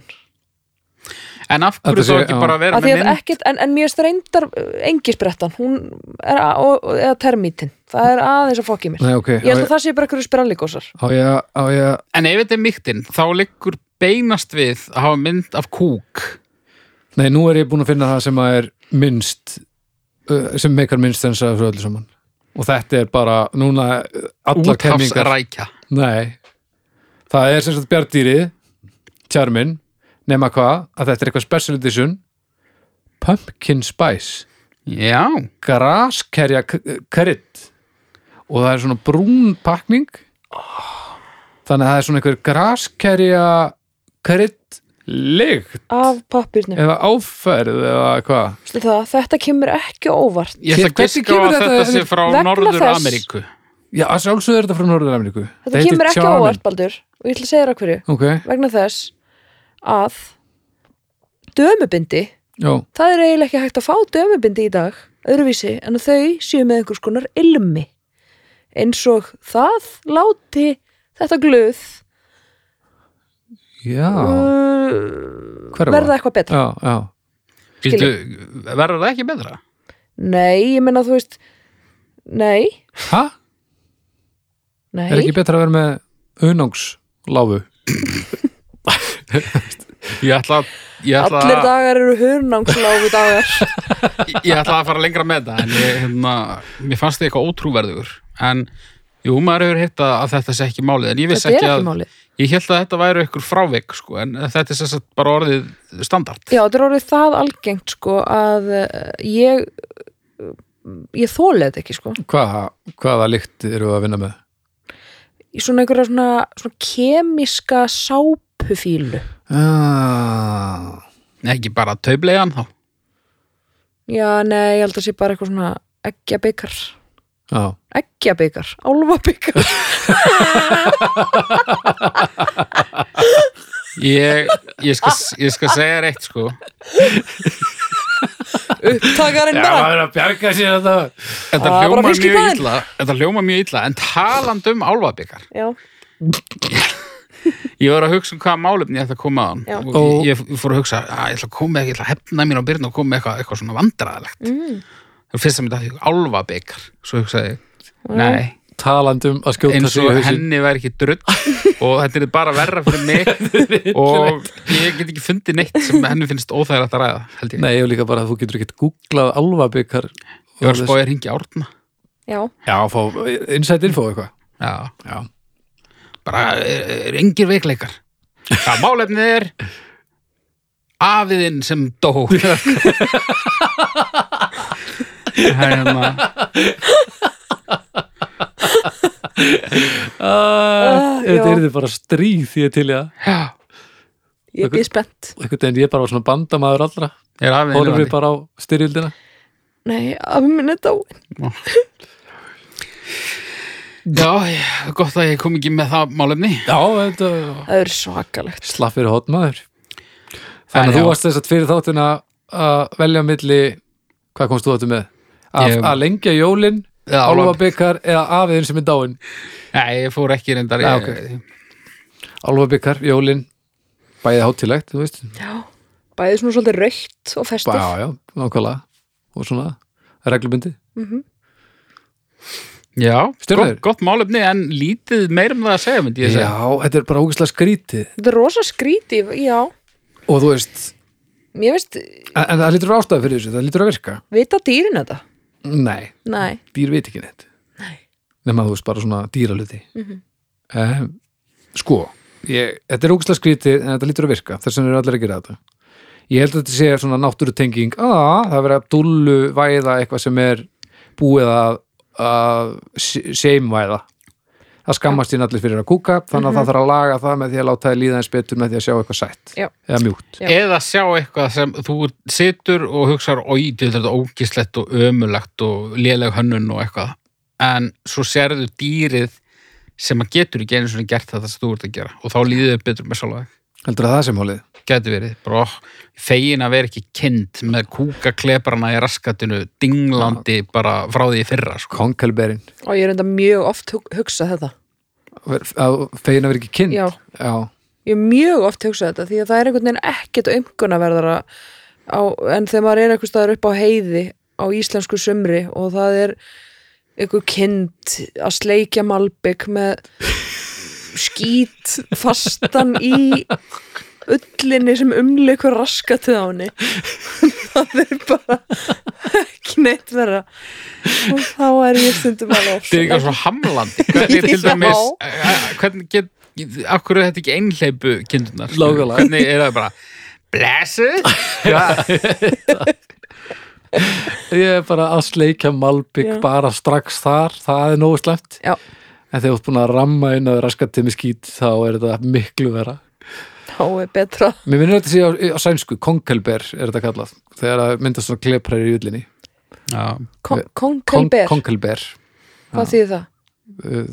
[SPEAKER 1] En af hverju
[SPEAKER 2] Þetta
[SPEAKER 1] þá
[SPEAKER 2] sé-
[SPEAKER 1] ekki
[SPEAKER 2] já.
[SPEAKER 1] bara að vera
[SPEAKER 3] Að
[SPEAKER 1] með
[SPEAKER 3] að
[SPEAKER 1] mynd
[SPEAKER 3] ekkit, en, en mér streyndar engisbrettan, hún er a, og, og- eða termítin. Það er aðeins að fokki mér.
[SPEAKER 2] nei, ok,
[SPEAKER 3] Ég
[SPEAKER 2] á
[SPEAKER 3] held
[SPEAKER 2] ég,
[SPEAKER 3] að það sé bara einhverju spralligósar.
[SPEAKER 2] á ég, á ég
[SPEAKER 1] En ef þetta er mýktinn, þá liggur beinast við að hafa mynd af kúk
[SPEAKER 2] Nei, nú er ég búin að finna það sem að er minnst uh, sem meikar minnst þensa þessu öllu saman og þetta er bara núna uh, allar kenningar
[SPEAKER 1] úthafsrækja
[SPEAKER 2] Nei, það er sem sagt bjardýri tjarmin nema hvað, að þetta er eitthvað special edition pumpkin spice
[SPEAKER 1] Já,
[SPEAKER 2] graskerja krydd og það er svona brún pakning þannig að það er svona einhver graskerja krydd lykt
[SPEAKER 3] Af pappirnum.
[SPEAKER 2] eða áferð eða hvað
[SPEAKER 3] Það, þetta kemur ekki á óvart.
[SPEAKER 1] ég ætla að
[SPEAKER 2] Hvernig
[SPEAKER 1] giska á
[SPEAKER 2] kemur
[SPEAKER 1] að
[SPEAKER 2] þetta-
[SPEAKER 1] þetta sé frá
[SPEAKER 3] Vegna þess-
[SPEAKER 1] Norður-Ameríku
[SPEAKER 2] Já, að sjálfsögðu er þetta frá Norður-Ameríku
[SPEAKER 3] Þetta kemur ekki á óvart, Baldur. Og ég ætla að segja þér að hverju.
[SPEAKER 2] Ok,
[SPEAKER 3] Vegna þess að dömubindi
[SPEAKER 2] já,
[SPEAKER 3] það er eiginlega ekki hægt að fá dömubindi í dag öðruvísi en að þau séu með einhvers konar ilmi eins og það láti þetta glöð
[SPEAKER 2] já
[SPEAKER 3] uh,
[SPEAKER 2] Hver
[SPEAKER 3] verða eitthvað betra
[SPEAKER 2] Já, já,
[SPEAKER 1] Býttu, Verður það ekki betra?
[SPEAKER 3] nei, ég menna þú veist nei,
[SPEAKER 2] ha?
[SPEAKER 3] nei
[SPEAKER 2] Er ekki betra að vera með unangsláfu?
[SPEAKER 1] Ég ætla, ég, ætla,
[SPEAKER 3] allir dagar eru hurnangsláfi
[SPEAKER 2] <laughs>
[SPEAKER 3] dagar
[SPEAKER 1] ég ætla að fara lengra með þetta en ég, hérna, mér fannst þið eitthvað ótrúverður en jú, maður hefur hitt að að þetta sé ekki málið en ég vissi
[SPEAKER 3] þetta er
[SPEAKER 1] ekki
[SPEAKER 3] ekki
[SPEAKER 1] að,
[SPEAKER 3] málið
[SPEAKER 1] ég held að þetta væri ykkur frávik sko, en þetta er sess að bara orðið standart
[SPEAKER 3] já, þetta er orðið það algengt sko að uh, ég ég þóla þetta ekki sko
[SPEAKER 2] Hvaða, hvaða lykt eru að vinna með?
[SPEAKER 3] í svona einhverja svona, svona kemiska sápufílu
[SPEAKER 2] Ah,
[SPEAKER 1] ekki bara taublegan þá
[SPEAKER 3] Já, nei, ég held að sé bara eitthvað svona eggjabikar,
[SPEAKER 2] já,
[SPEAKER 3] eggjabikar, álfabikar.
[SPEAKER 1] ég, ég, skal, ég skal segja þér eitt sko
[SPEAKER 3] Upptakarinn bara.
[SPEAKER 2] er að bjarga sér þetta
[SPEAKER 1] þetta
[SPEAKER 3] Það er Ah, bara
[SPEAKER 1] hljóma mjög
[SPEAKER 3] fiskibræðin.
[SPEAKER 1] illa þetta hljóma mjög illa, en taland um álfabikar
[SPEAKER 3] Já,
[SPEAKER 1] ég var að hugsa um hvaða málefni ég ætla að koma á hann
[SPEAKER 3] Já.
[SPEAKER 1] og ég, ég fór að hugsa að ég ætla að koma með, ég ætla að hefna mér á byrna og koma með eitthvað, eitthvað svona vandræðalegt
[SPEAKER 3] Mm.
[SPEAKER 1] það fyrst sem þetta því álfabikar svo hugsaði ég, nei,
[SPEAKER 2] Talandum að skjóta
[SPEAKER 1] eins
[SPEAKER 2] sig í
[SPEAKER 1] og
[SPEAKER 2] hausin
[SPEAKER 1] henni væri ekki drull og þetta er bara verra fyrir mig <laughs> og ég get ekki fundið neitt sem henni finnst óþægilegt að ræða held ég,
[SPEAKER 2] Nei, og líka bara að þú getur ekkert googlað alvabikar
[SPEAKER 1] ég var að spája að ringja árna
[SPEAKER 3] já,
[SPEAKER 2] Já, fá insight info eitthvað
[SPEAKER 1] Já,
[SPEAKER 2] Já,
[SPEAKER 1] bara er, er engir veikleikar. Það málefnið er afiðinn sem
[SPEAKER 2] <laughs>
[SPEAKER 1] dó. Það er hérna,
[SPEAKER 2] uh, Þetta
[SPEAKER 3] já.
[SPEAKER 2] er þið bara stríð því ég til í það
[SPEAKER 1] já,
[SPEAKER 3] ég er býð spennt
[SPEAKER 2] einhvern veginn ég bara var svona bandamaður allra
[SPEAKER 1] er afiðinn
[SPEAKER 2] horfum við
[SPEAKER 1] lifandi.
[SPEAKER 2] bara á styrjöldina
[SPEAKER 3] nei, afi minn er dáin
[SPEAKER 1] Já, ég- gott að ég kom ekki með það málefni.
[SPEAKER 2] Já, þetta
[SPEAKER 3] það er svakalegt
[SPEAKER 2] slapp fyrir hotmaður Þannig
[SPEAKER 1] Já,
[SPEAKER 2] að þú
[SPEAKER 1] já.
[SPEAKER 2] varst þess að fyrir þáttina að velja á milli hvað komst þú áttu með? Að,
[SPEAKER 1] Ég-
[SPEAKER 2] að lengja jólin,
[SPEAKER 1] Eða álfa-
[SPEAKER 2] álfabikar eða afiðin sem er dáin
[SPEAKER 1] Nei, ég fór ekki reyndar.
[SPEAKER 2] Já,
[SPEAKER 1] Ég,
[SPEAKER 2] Ah, ok. Álfabikar, jólin, bæði hátilegt þú veist,
[SPEAKER 3] já, bæði svona svolítið raukt og festið
[SPEAKER 2] já, já, nákvæmlega og svona reglubundi
[SPEAKER 1] Já,
[SPEAKER 2] Stjörnur.
[SPEAKER 1] gott, gott málefni en lítið meir um það að segja, myndi ég segja.
[SPEAKER 2] Já, þetta er bara ógæslega skrítið
[SPEAKER 3] þetta er rosa skríti, já
[SPEAKER 2] og þú veist,
[SPEAKER 3] mér veist,
[SPEAKER 2] en, en það lítur að vera ástæða fyrir þessu það lítur að virka,
[SPEAKER 3] vita dýrin þetta
[SPEAKER 2] nei
[SPEAKER 3] nei,
[SPEAKER 2] dýr veit ekki neitt
[SPEAKER 3] Nei. Mhm.
[SPEAKER 2] nema þú veist bara svona dýraluti mm sko ég, þetta er ógæslega skrítið en þetta lítur að virka þess vegna eru allir að gera þetta ég held að þetta sé svona náttúrutenging að það er verið að dullu væða eitthvað sem er búið að, að seimvæða það skammast þín allir fyrir að kúka þannig að það þarf að laga það með því að láta þið líða eins betur með því að sjá eitthvað sætt
[SPEAKER 3] Mhm. Já.
[SPEAKER 2] eða mjúkt
[SPEAKER 3] Já.
[SPEAKER 1] Eða sjá eitthvað sem þú situr og hugsar, oi, djú, þetta er ógislegt og ömulegt og léleg hönnun og eitthvað. En svo sérðu dýrið sem að getur ekki einu svona gert þetta sem þú ert að gera. Og þá líður þau betur með sjálf það.
[SPEAKER 2] heldur að það sem hólið
[SPEAKER 1] Gæti verið. Bara, oh, fegin að vera ekki kind með kúkaklebrana í raskatinu, dinglandi bara frá því í fyrra, sko.
[SPEAKER 2] konkelberin
[SPEAKER 3] og ég er enda mjög oft hug- hugsa þetta
[SPEAKER 2] fegin að vera ekki kind
[SPEAKER 3] Já.
[SPEAKER 2] Já.
[SPEAKER 3] ég er mjög oft hugsað þetta því að það er einhvern veginn ekkert umkunnaverðara á, en þegar maður er einhvers staðar upp á heiði á íslensku sumri og það er einhver kind að sleikja malbygg með skít fastan í ullinni sem umleikur raskatið á henni <laughs> það er bara ekki neitt vera og þá er ég stundum alveg
[SPEAKER 1] Þetta er eitthvað svo
[SPEAKER 3] <laughs>
[SPEAKER 1] hamlandi Hvernig er til
[SPEAKER 3] Já.
[SPEAKER 1] dæmis eh, Hvernig get Af hverju er þetta ekki einhleipu kindunar
[SPEAKER 2] Lókulega.
[SPEAKER 1] Hvernig er það bara Blessuð Já,
[SPEAKER 2] Ég er bara að sleikja malbygg
[SPEAKER 3] Já.
[SPEAKER 2] bara strax þar, það er nógu slemt
[SPEAKER 3] Já.
[SPEAKER 2] En þegar þú ert búin að ramma inn að raskat til mig skít þá er þetta miklu vera
[SPEAKER 3] þá er betra
[SPEAKER 2] Mér minnir þetta sé á, á sænsku, konkelber er þetta kallað Þegar það myndast svona klepræri í ullinni
[SPEAKER 1] já.
[SPEAKER 3] Kon- konkelber,
[SPEAKER 2] Konkelber, uh,
[SPEAKER 3] hvað þýðir það?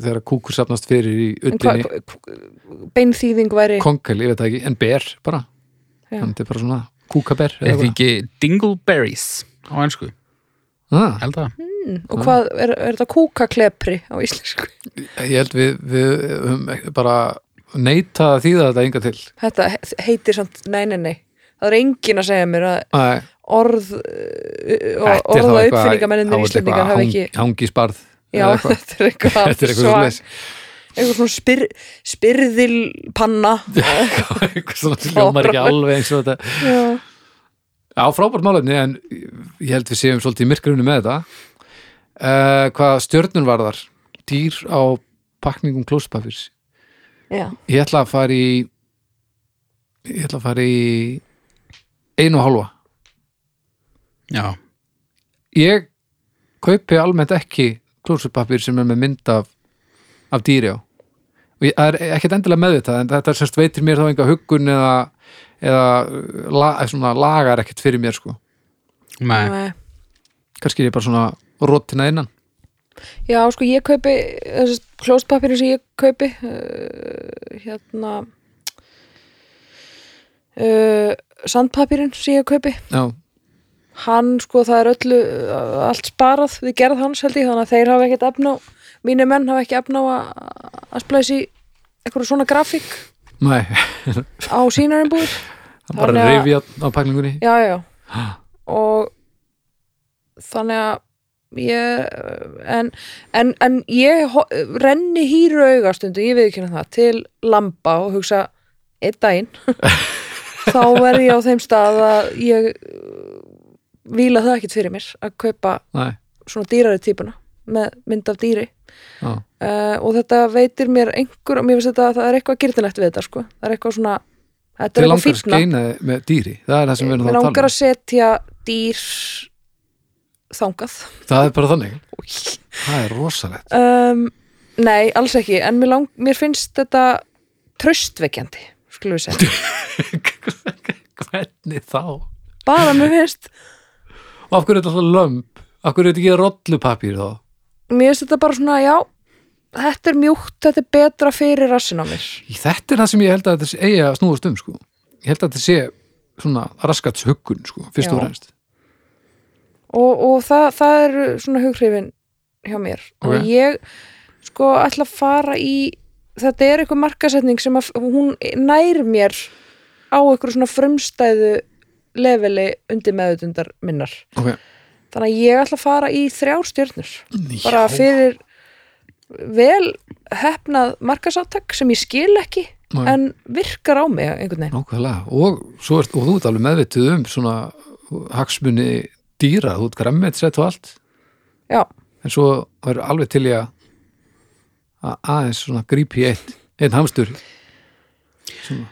[SPEAKER 2] þegar kúkur safnast fyrir í
[SPEAKER 3] En hvað,
[SPEAKER 2] ullinni
[SPEAKER 3] beinþýðing væri
[SPEAKER 2] Konkel, ég veit það ekki, en ber bara
[SPEAKER 3] Já.
[SPEAKER 2] Þannig þetta er bara svona kúkaber
[SPEAKER 1] Er þetta ekki Dingleberries Hmm. Á ennsku,
[SPEAKER 2] ah,
[SPEAKER 1] held það
[SPEAKER 3] og hvað, er, er þetta kúkaklepri á íslensku? <laughs>
[SPEAKER 2] Ég held við, við höfum bara neita að þýða þetta enga til
[SPEAKER 3] Þetta he- heitir samt, nei, nei, nei það er enginn að segja mér að
[SPEAKER 2] Æ,
[SPEAKER 3] orð uh, og orða uppfinningamenninir íslendingar hafi ekki
[SPEAKER 2] Hangisbarð
[SPEAKER 3] já, <laughs> þetta er eitthvað
[SPEAKER 2] <laughs> Þetta er eitthvað
[SPEAKER 3] svak- <laughs>
[SPEAKER 2] svoleiðis.
[SPEAKER 3] eitthvað svona spyr, spyrðilpanna
[SPEAKER 2] <laughs> eitthvað svona sem hljómar ekki alveg eins og þetta
[SPEAKER 3] já,
[SPEAKER 2] Já, frábært málefni en ég held við séum svolítið í myrkrunni með þetta uh, Hvað stjörnun varðar dýr á pakningum klóspapirs
[SPEAKER 3] já,
[SPEAKER 2] Ég ætla að fara í ég ætla að fara í einu og hálfa
[SPEAKER 1] Já,
[SPEAKER 2] Ég kaupi almennt ekki klósapapir sem er með mynd af, af dýri á og ég, það er ekkert endilega meðvitað en þetta er semst veitir mér þá enga huggun eða, eða la, svona, lagar ekkert fyrir mér sko
[SPEAKER 1] með
[SPEAKER 3] nei.
[SPEAKER 2] kannski er ég bara svona rótina innan
[SPEAKER 3] já, sko, ég kaupi þessi klóstpapirinn sem ég kaupi uh, hérna uh, sandpapirinn sem ég kaupi
[SPEAKER 2] já,
[SPEAKER 3] hann sko það er öllu uh, allt sparað við gerð hans held ég þannig að þeir hafa ekkert efna á mínir menn hafa ekki efna á að að splæsi einhverju svona grafík
[SPEAKER 2] nei,
[SPEAKER 3] á sínarumbúður
[SPEAKER 2] bara
[SPEAKER 3] Þannig að-
[SPEAKER 2] reyfi á pakningunni
[SPEAKER 3] já já og þannig að ég en, en, en ég ho- renni hýru augastundu, ég veit ekki hérna það til lamba og hugsa einn daginn þá verð ég á þeim stað að ég uh, víla það ekkert fyrir mér að kaupa
[SPEAKER 2] nei,
[SPEAKER 3] svona dýrari típuna með mynd af dýri
[SPEAKER 2] já,
[SPEAKER 3] uh, og þetta veitir mér einhver og mér finnst þetta að það er eitthvað gyrtilegt við þetta sko. það er eitthvað svona þetta
[SPEAKER 2] Þið
[SPEAKER 3] er eitthvað
[SPEAKER 2] langar að
[SPEAKER 3] fífna
[SPEAKER 2] skeina þig með dýri það er það sem við erum
[SPEAKER 3] mér
[SPEAKER 2] þá að
[SPEAKER 3] langar
[SPEAKER 2] tala um.
[SPEAKER 3] að setja dýr þangað
[SPEAKER 2] um það er bara þannig,
[SPEAKER 3] Új.
[SPEAKER 2] það er rosalegt
[SPEAKER 3] um, nei, alls ekki en mér, lang, mér finnst þetta tröstvekjandi skulum við segja
[SPEAKER 2] hvernig þá? Og
[SPEAKER 3] bara mér finnst
[SPEAKER 2] af hverju er þetta alltaf lömb? Af hverju er þetta ekki rollupapír þá?
[SPEAKER 3] mér finnst þetta bara svona, já þetta er mjúkt, þetta er betra fyrir rassin á mér
[SPEAKER 2] Þetta er það sem ég held að þetta eigi að snúast um sko. Ég held að þetta sé svona raskats huggun sko, fyrst
[SPEAKER 3] Já.
[SPEAKER 2] og fremst
[SPEAKER 3] og, og það, það eru svona hughrifin hjá mér
[SPEAKER 2] Ok.
[SPEAKER 3] og ég sko ætla að fara í þetta er eitthvað markasetning sem að hún nær mér á eitthvað svona frumstæðu leveli undir meðutundar minnar
[SPEAKER 2] okay.
[SPEAKER 3] þannig að ég ætla að fara í þrjár stjörnur bara fyrir vel hefnað markasáttak sem ég skil ekki
[SPEAKER 2] Nei.
[SPEAKER 3] en virkar á mig einhvern veginn
[SPEAKER 2] Nákvæmlega, og, svo ert, og þú ert alveg meðvituð um svona hagsmunni dýra, þú ert græmmið sett og allt,
[SPEAKER 3] já,
[SPEAKER 2] en svo er alveg til ég að aðeins svona grípi í eitt, eitt hamstur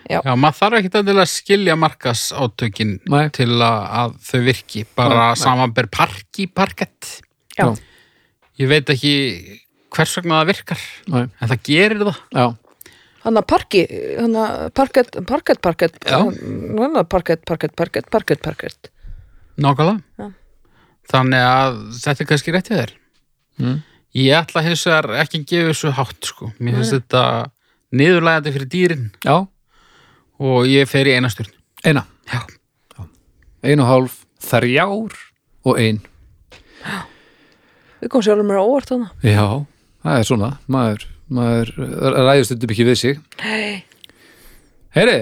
[SPEAKER 1] Já, maður þarf ekkit endilega að skilja markas átökin
[SPEAKER 2] Nei.
[SPEAKER 1] til að, að þau virki, bara samanber parki parkett.
[SPEAKER 3] já,
[SPEAKER 2] Já.
[SPEAKER 1] Ég veit ekki hvers vegna það virkar,
[SPEAKER 2] Nei,
[SPEAKER 1] en það gerir það.
[SPEAKER 2] já,
[SPEAKER 3] hann að parki hann að parkett, parkett, parkett
[SPEAKER 1] Já.
[SPEAKER 3] hann að parkett, parkett, parkett, parkett, parkett
[SPEAKER 1] Nákvæmlega.
[SPEAKER 3] Já.
[SPEAKER 1] Þannig að þetta er kannski rétt við þér. Hmm.
[SPEAKER 2] Mm.
[SPEAKER 1] Ég ætla hins vegar ekki að gefa þessu hátt, sko. Mér finnst þetta niðurlægandi fyrir dýrin
[SPEAKER 2] já,
[SPEAKER 1] og ég fer í einasturn.
[SPEAKER 2] eina
[SPEAKER 1] Já.
[SPEAKER 2] ein og hálf, þrjár og ein
[SPEAKER 3] við komum sjálfur mér á óvart þannig
[SPEAKER 2] Já, það er svona maður, maður ræðist þetta ekki við sig
[SPEAKER 3] hey,
[SPEAKER 2] Heyri,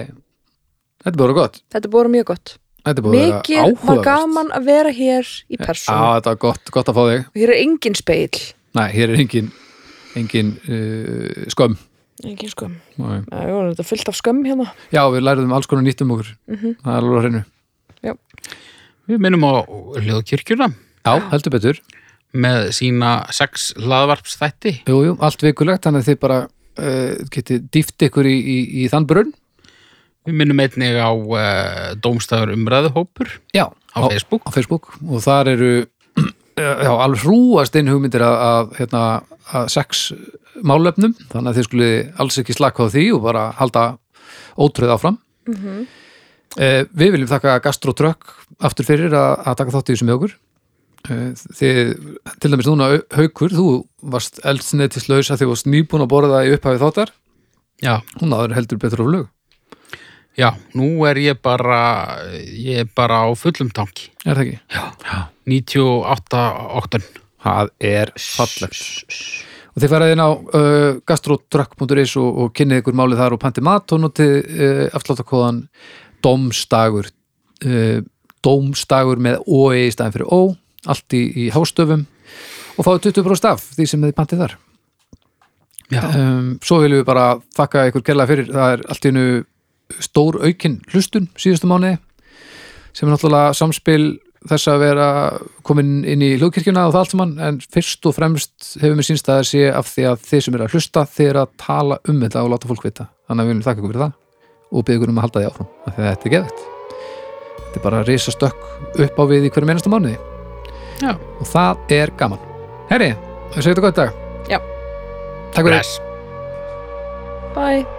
[SPEAKER 2] þetta er bara gott
[SPEAKER 3] þetta er búið að vera mjög gott
[SPEAKER 2] Þetta er bara
[SPEAKER 3] mikið var gaman að vera hér í
[SPEAKER 2] Já,
[SPEAKER 3] persónu
[SPEAKER 2] þetta er gott, gott að fá þig
[SPEAKER 3] og hér er engin speil
[SPEAKER 2] Nei, hér er engin, engin uh, skömm
[SPEAKER 3] engin skömm,
[SPEAKER 2] Nei.
[SPEAKER 3] já, jú, þetta er fullt af skömm hérna
[SPEAKER 2] Já, við læriðum alls konar nýtt um okkur
[SPEAKER 3] Mhm.
[SPEAKER 2] Það er alveg á hreinu
[SPEAKER 1] Við minnum á hljóðkirkjuna
[SPEAKER 2] Já, heldur betur
[SPEAKER 1] með sína sex hlaðvarpsþætti.
[SPEAKER 2] Jú, jú, allt vikulegt, þannig að þið bara uh, getið dýft ykkur í, í, í þann brunn
[SPEAKER 1] Við minnum einnig á uh, Dómstæður umræðuhópur
[SPEAKER 2] Já,
[SPEAKER 1] á Facebook.
[SPEAKER 2] á Facebook og þar eru <clears throat> já, alveg hrúast inn hugmyndir að, að, hérna, að sex málefnum þannig að þið skulle alls ekki slaka á því og bara halda ótröð áfram eh, Við viljum þakka gastrotrökk aftur fyrir að, að taka þátt í þessu með okkur eh, þið, til dæmis núna Au- haukur, þú varst eldsnetislaus að þið varst nýbúin að borða í upphafi þáttar
[SPEAKER 1] Já,
[SPEAKER 2] hún aður heldur betur á flug
[SPEAKER 1] já, nú er ég bara, ég er bara á fullum tanki.
[SPEAKER 2] er það ekki?
[SPEAKER 1] Já. 98 óttun.
[SPEAKER 2] Það er fallegt. Og þið faraði inn á uh, gastrotrökk.is og, og kynnið ykkur málið þar og panti mat og notið uh, afsláttakóðan dómstagur uh, dómstagur með OE í staðin fyrir Ó, allt í, í hástöfum og fáið 20% af því sem þið pantið þar.
[SPEAKER 1] Já,
[SPEAKER 2] Um, svo viljum við bara þakka ykkur gerlega fyrir, það er allt í einu stór aukin hlustun síðustu mánuði sem er náttúrulega samspil þess að vera komin inn í hljóðkirkjuna og það allt saman en fyrst og fremst hefur mér sínst að það sé af því að þið sem eru að hlusta þið eru að tala um þetta og láta fólk vita þannig að við viljum þakka ykkur fyrir það og byggja ykkur um að halda því áfram af því að þetta er geðvægt þetta er bara að reysa stökk upp á við í hverjum einasta mánuði
[SPEAKER 1] já.
[SPEAKER 2] og það er gaman Herri, þau segir þetta gott í dag
[SPEAKER 3] Já.
[SPEAKER 2] Takk fyrir
[SPEAKER 1] Bless.
[SPEAKER 3] bye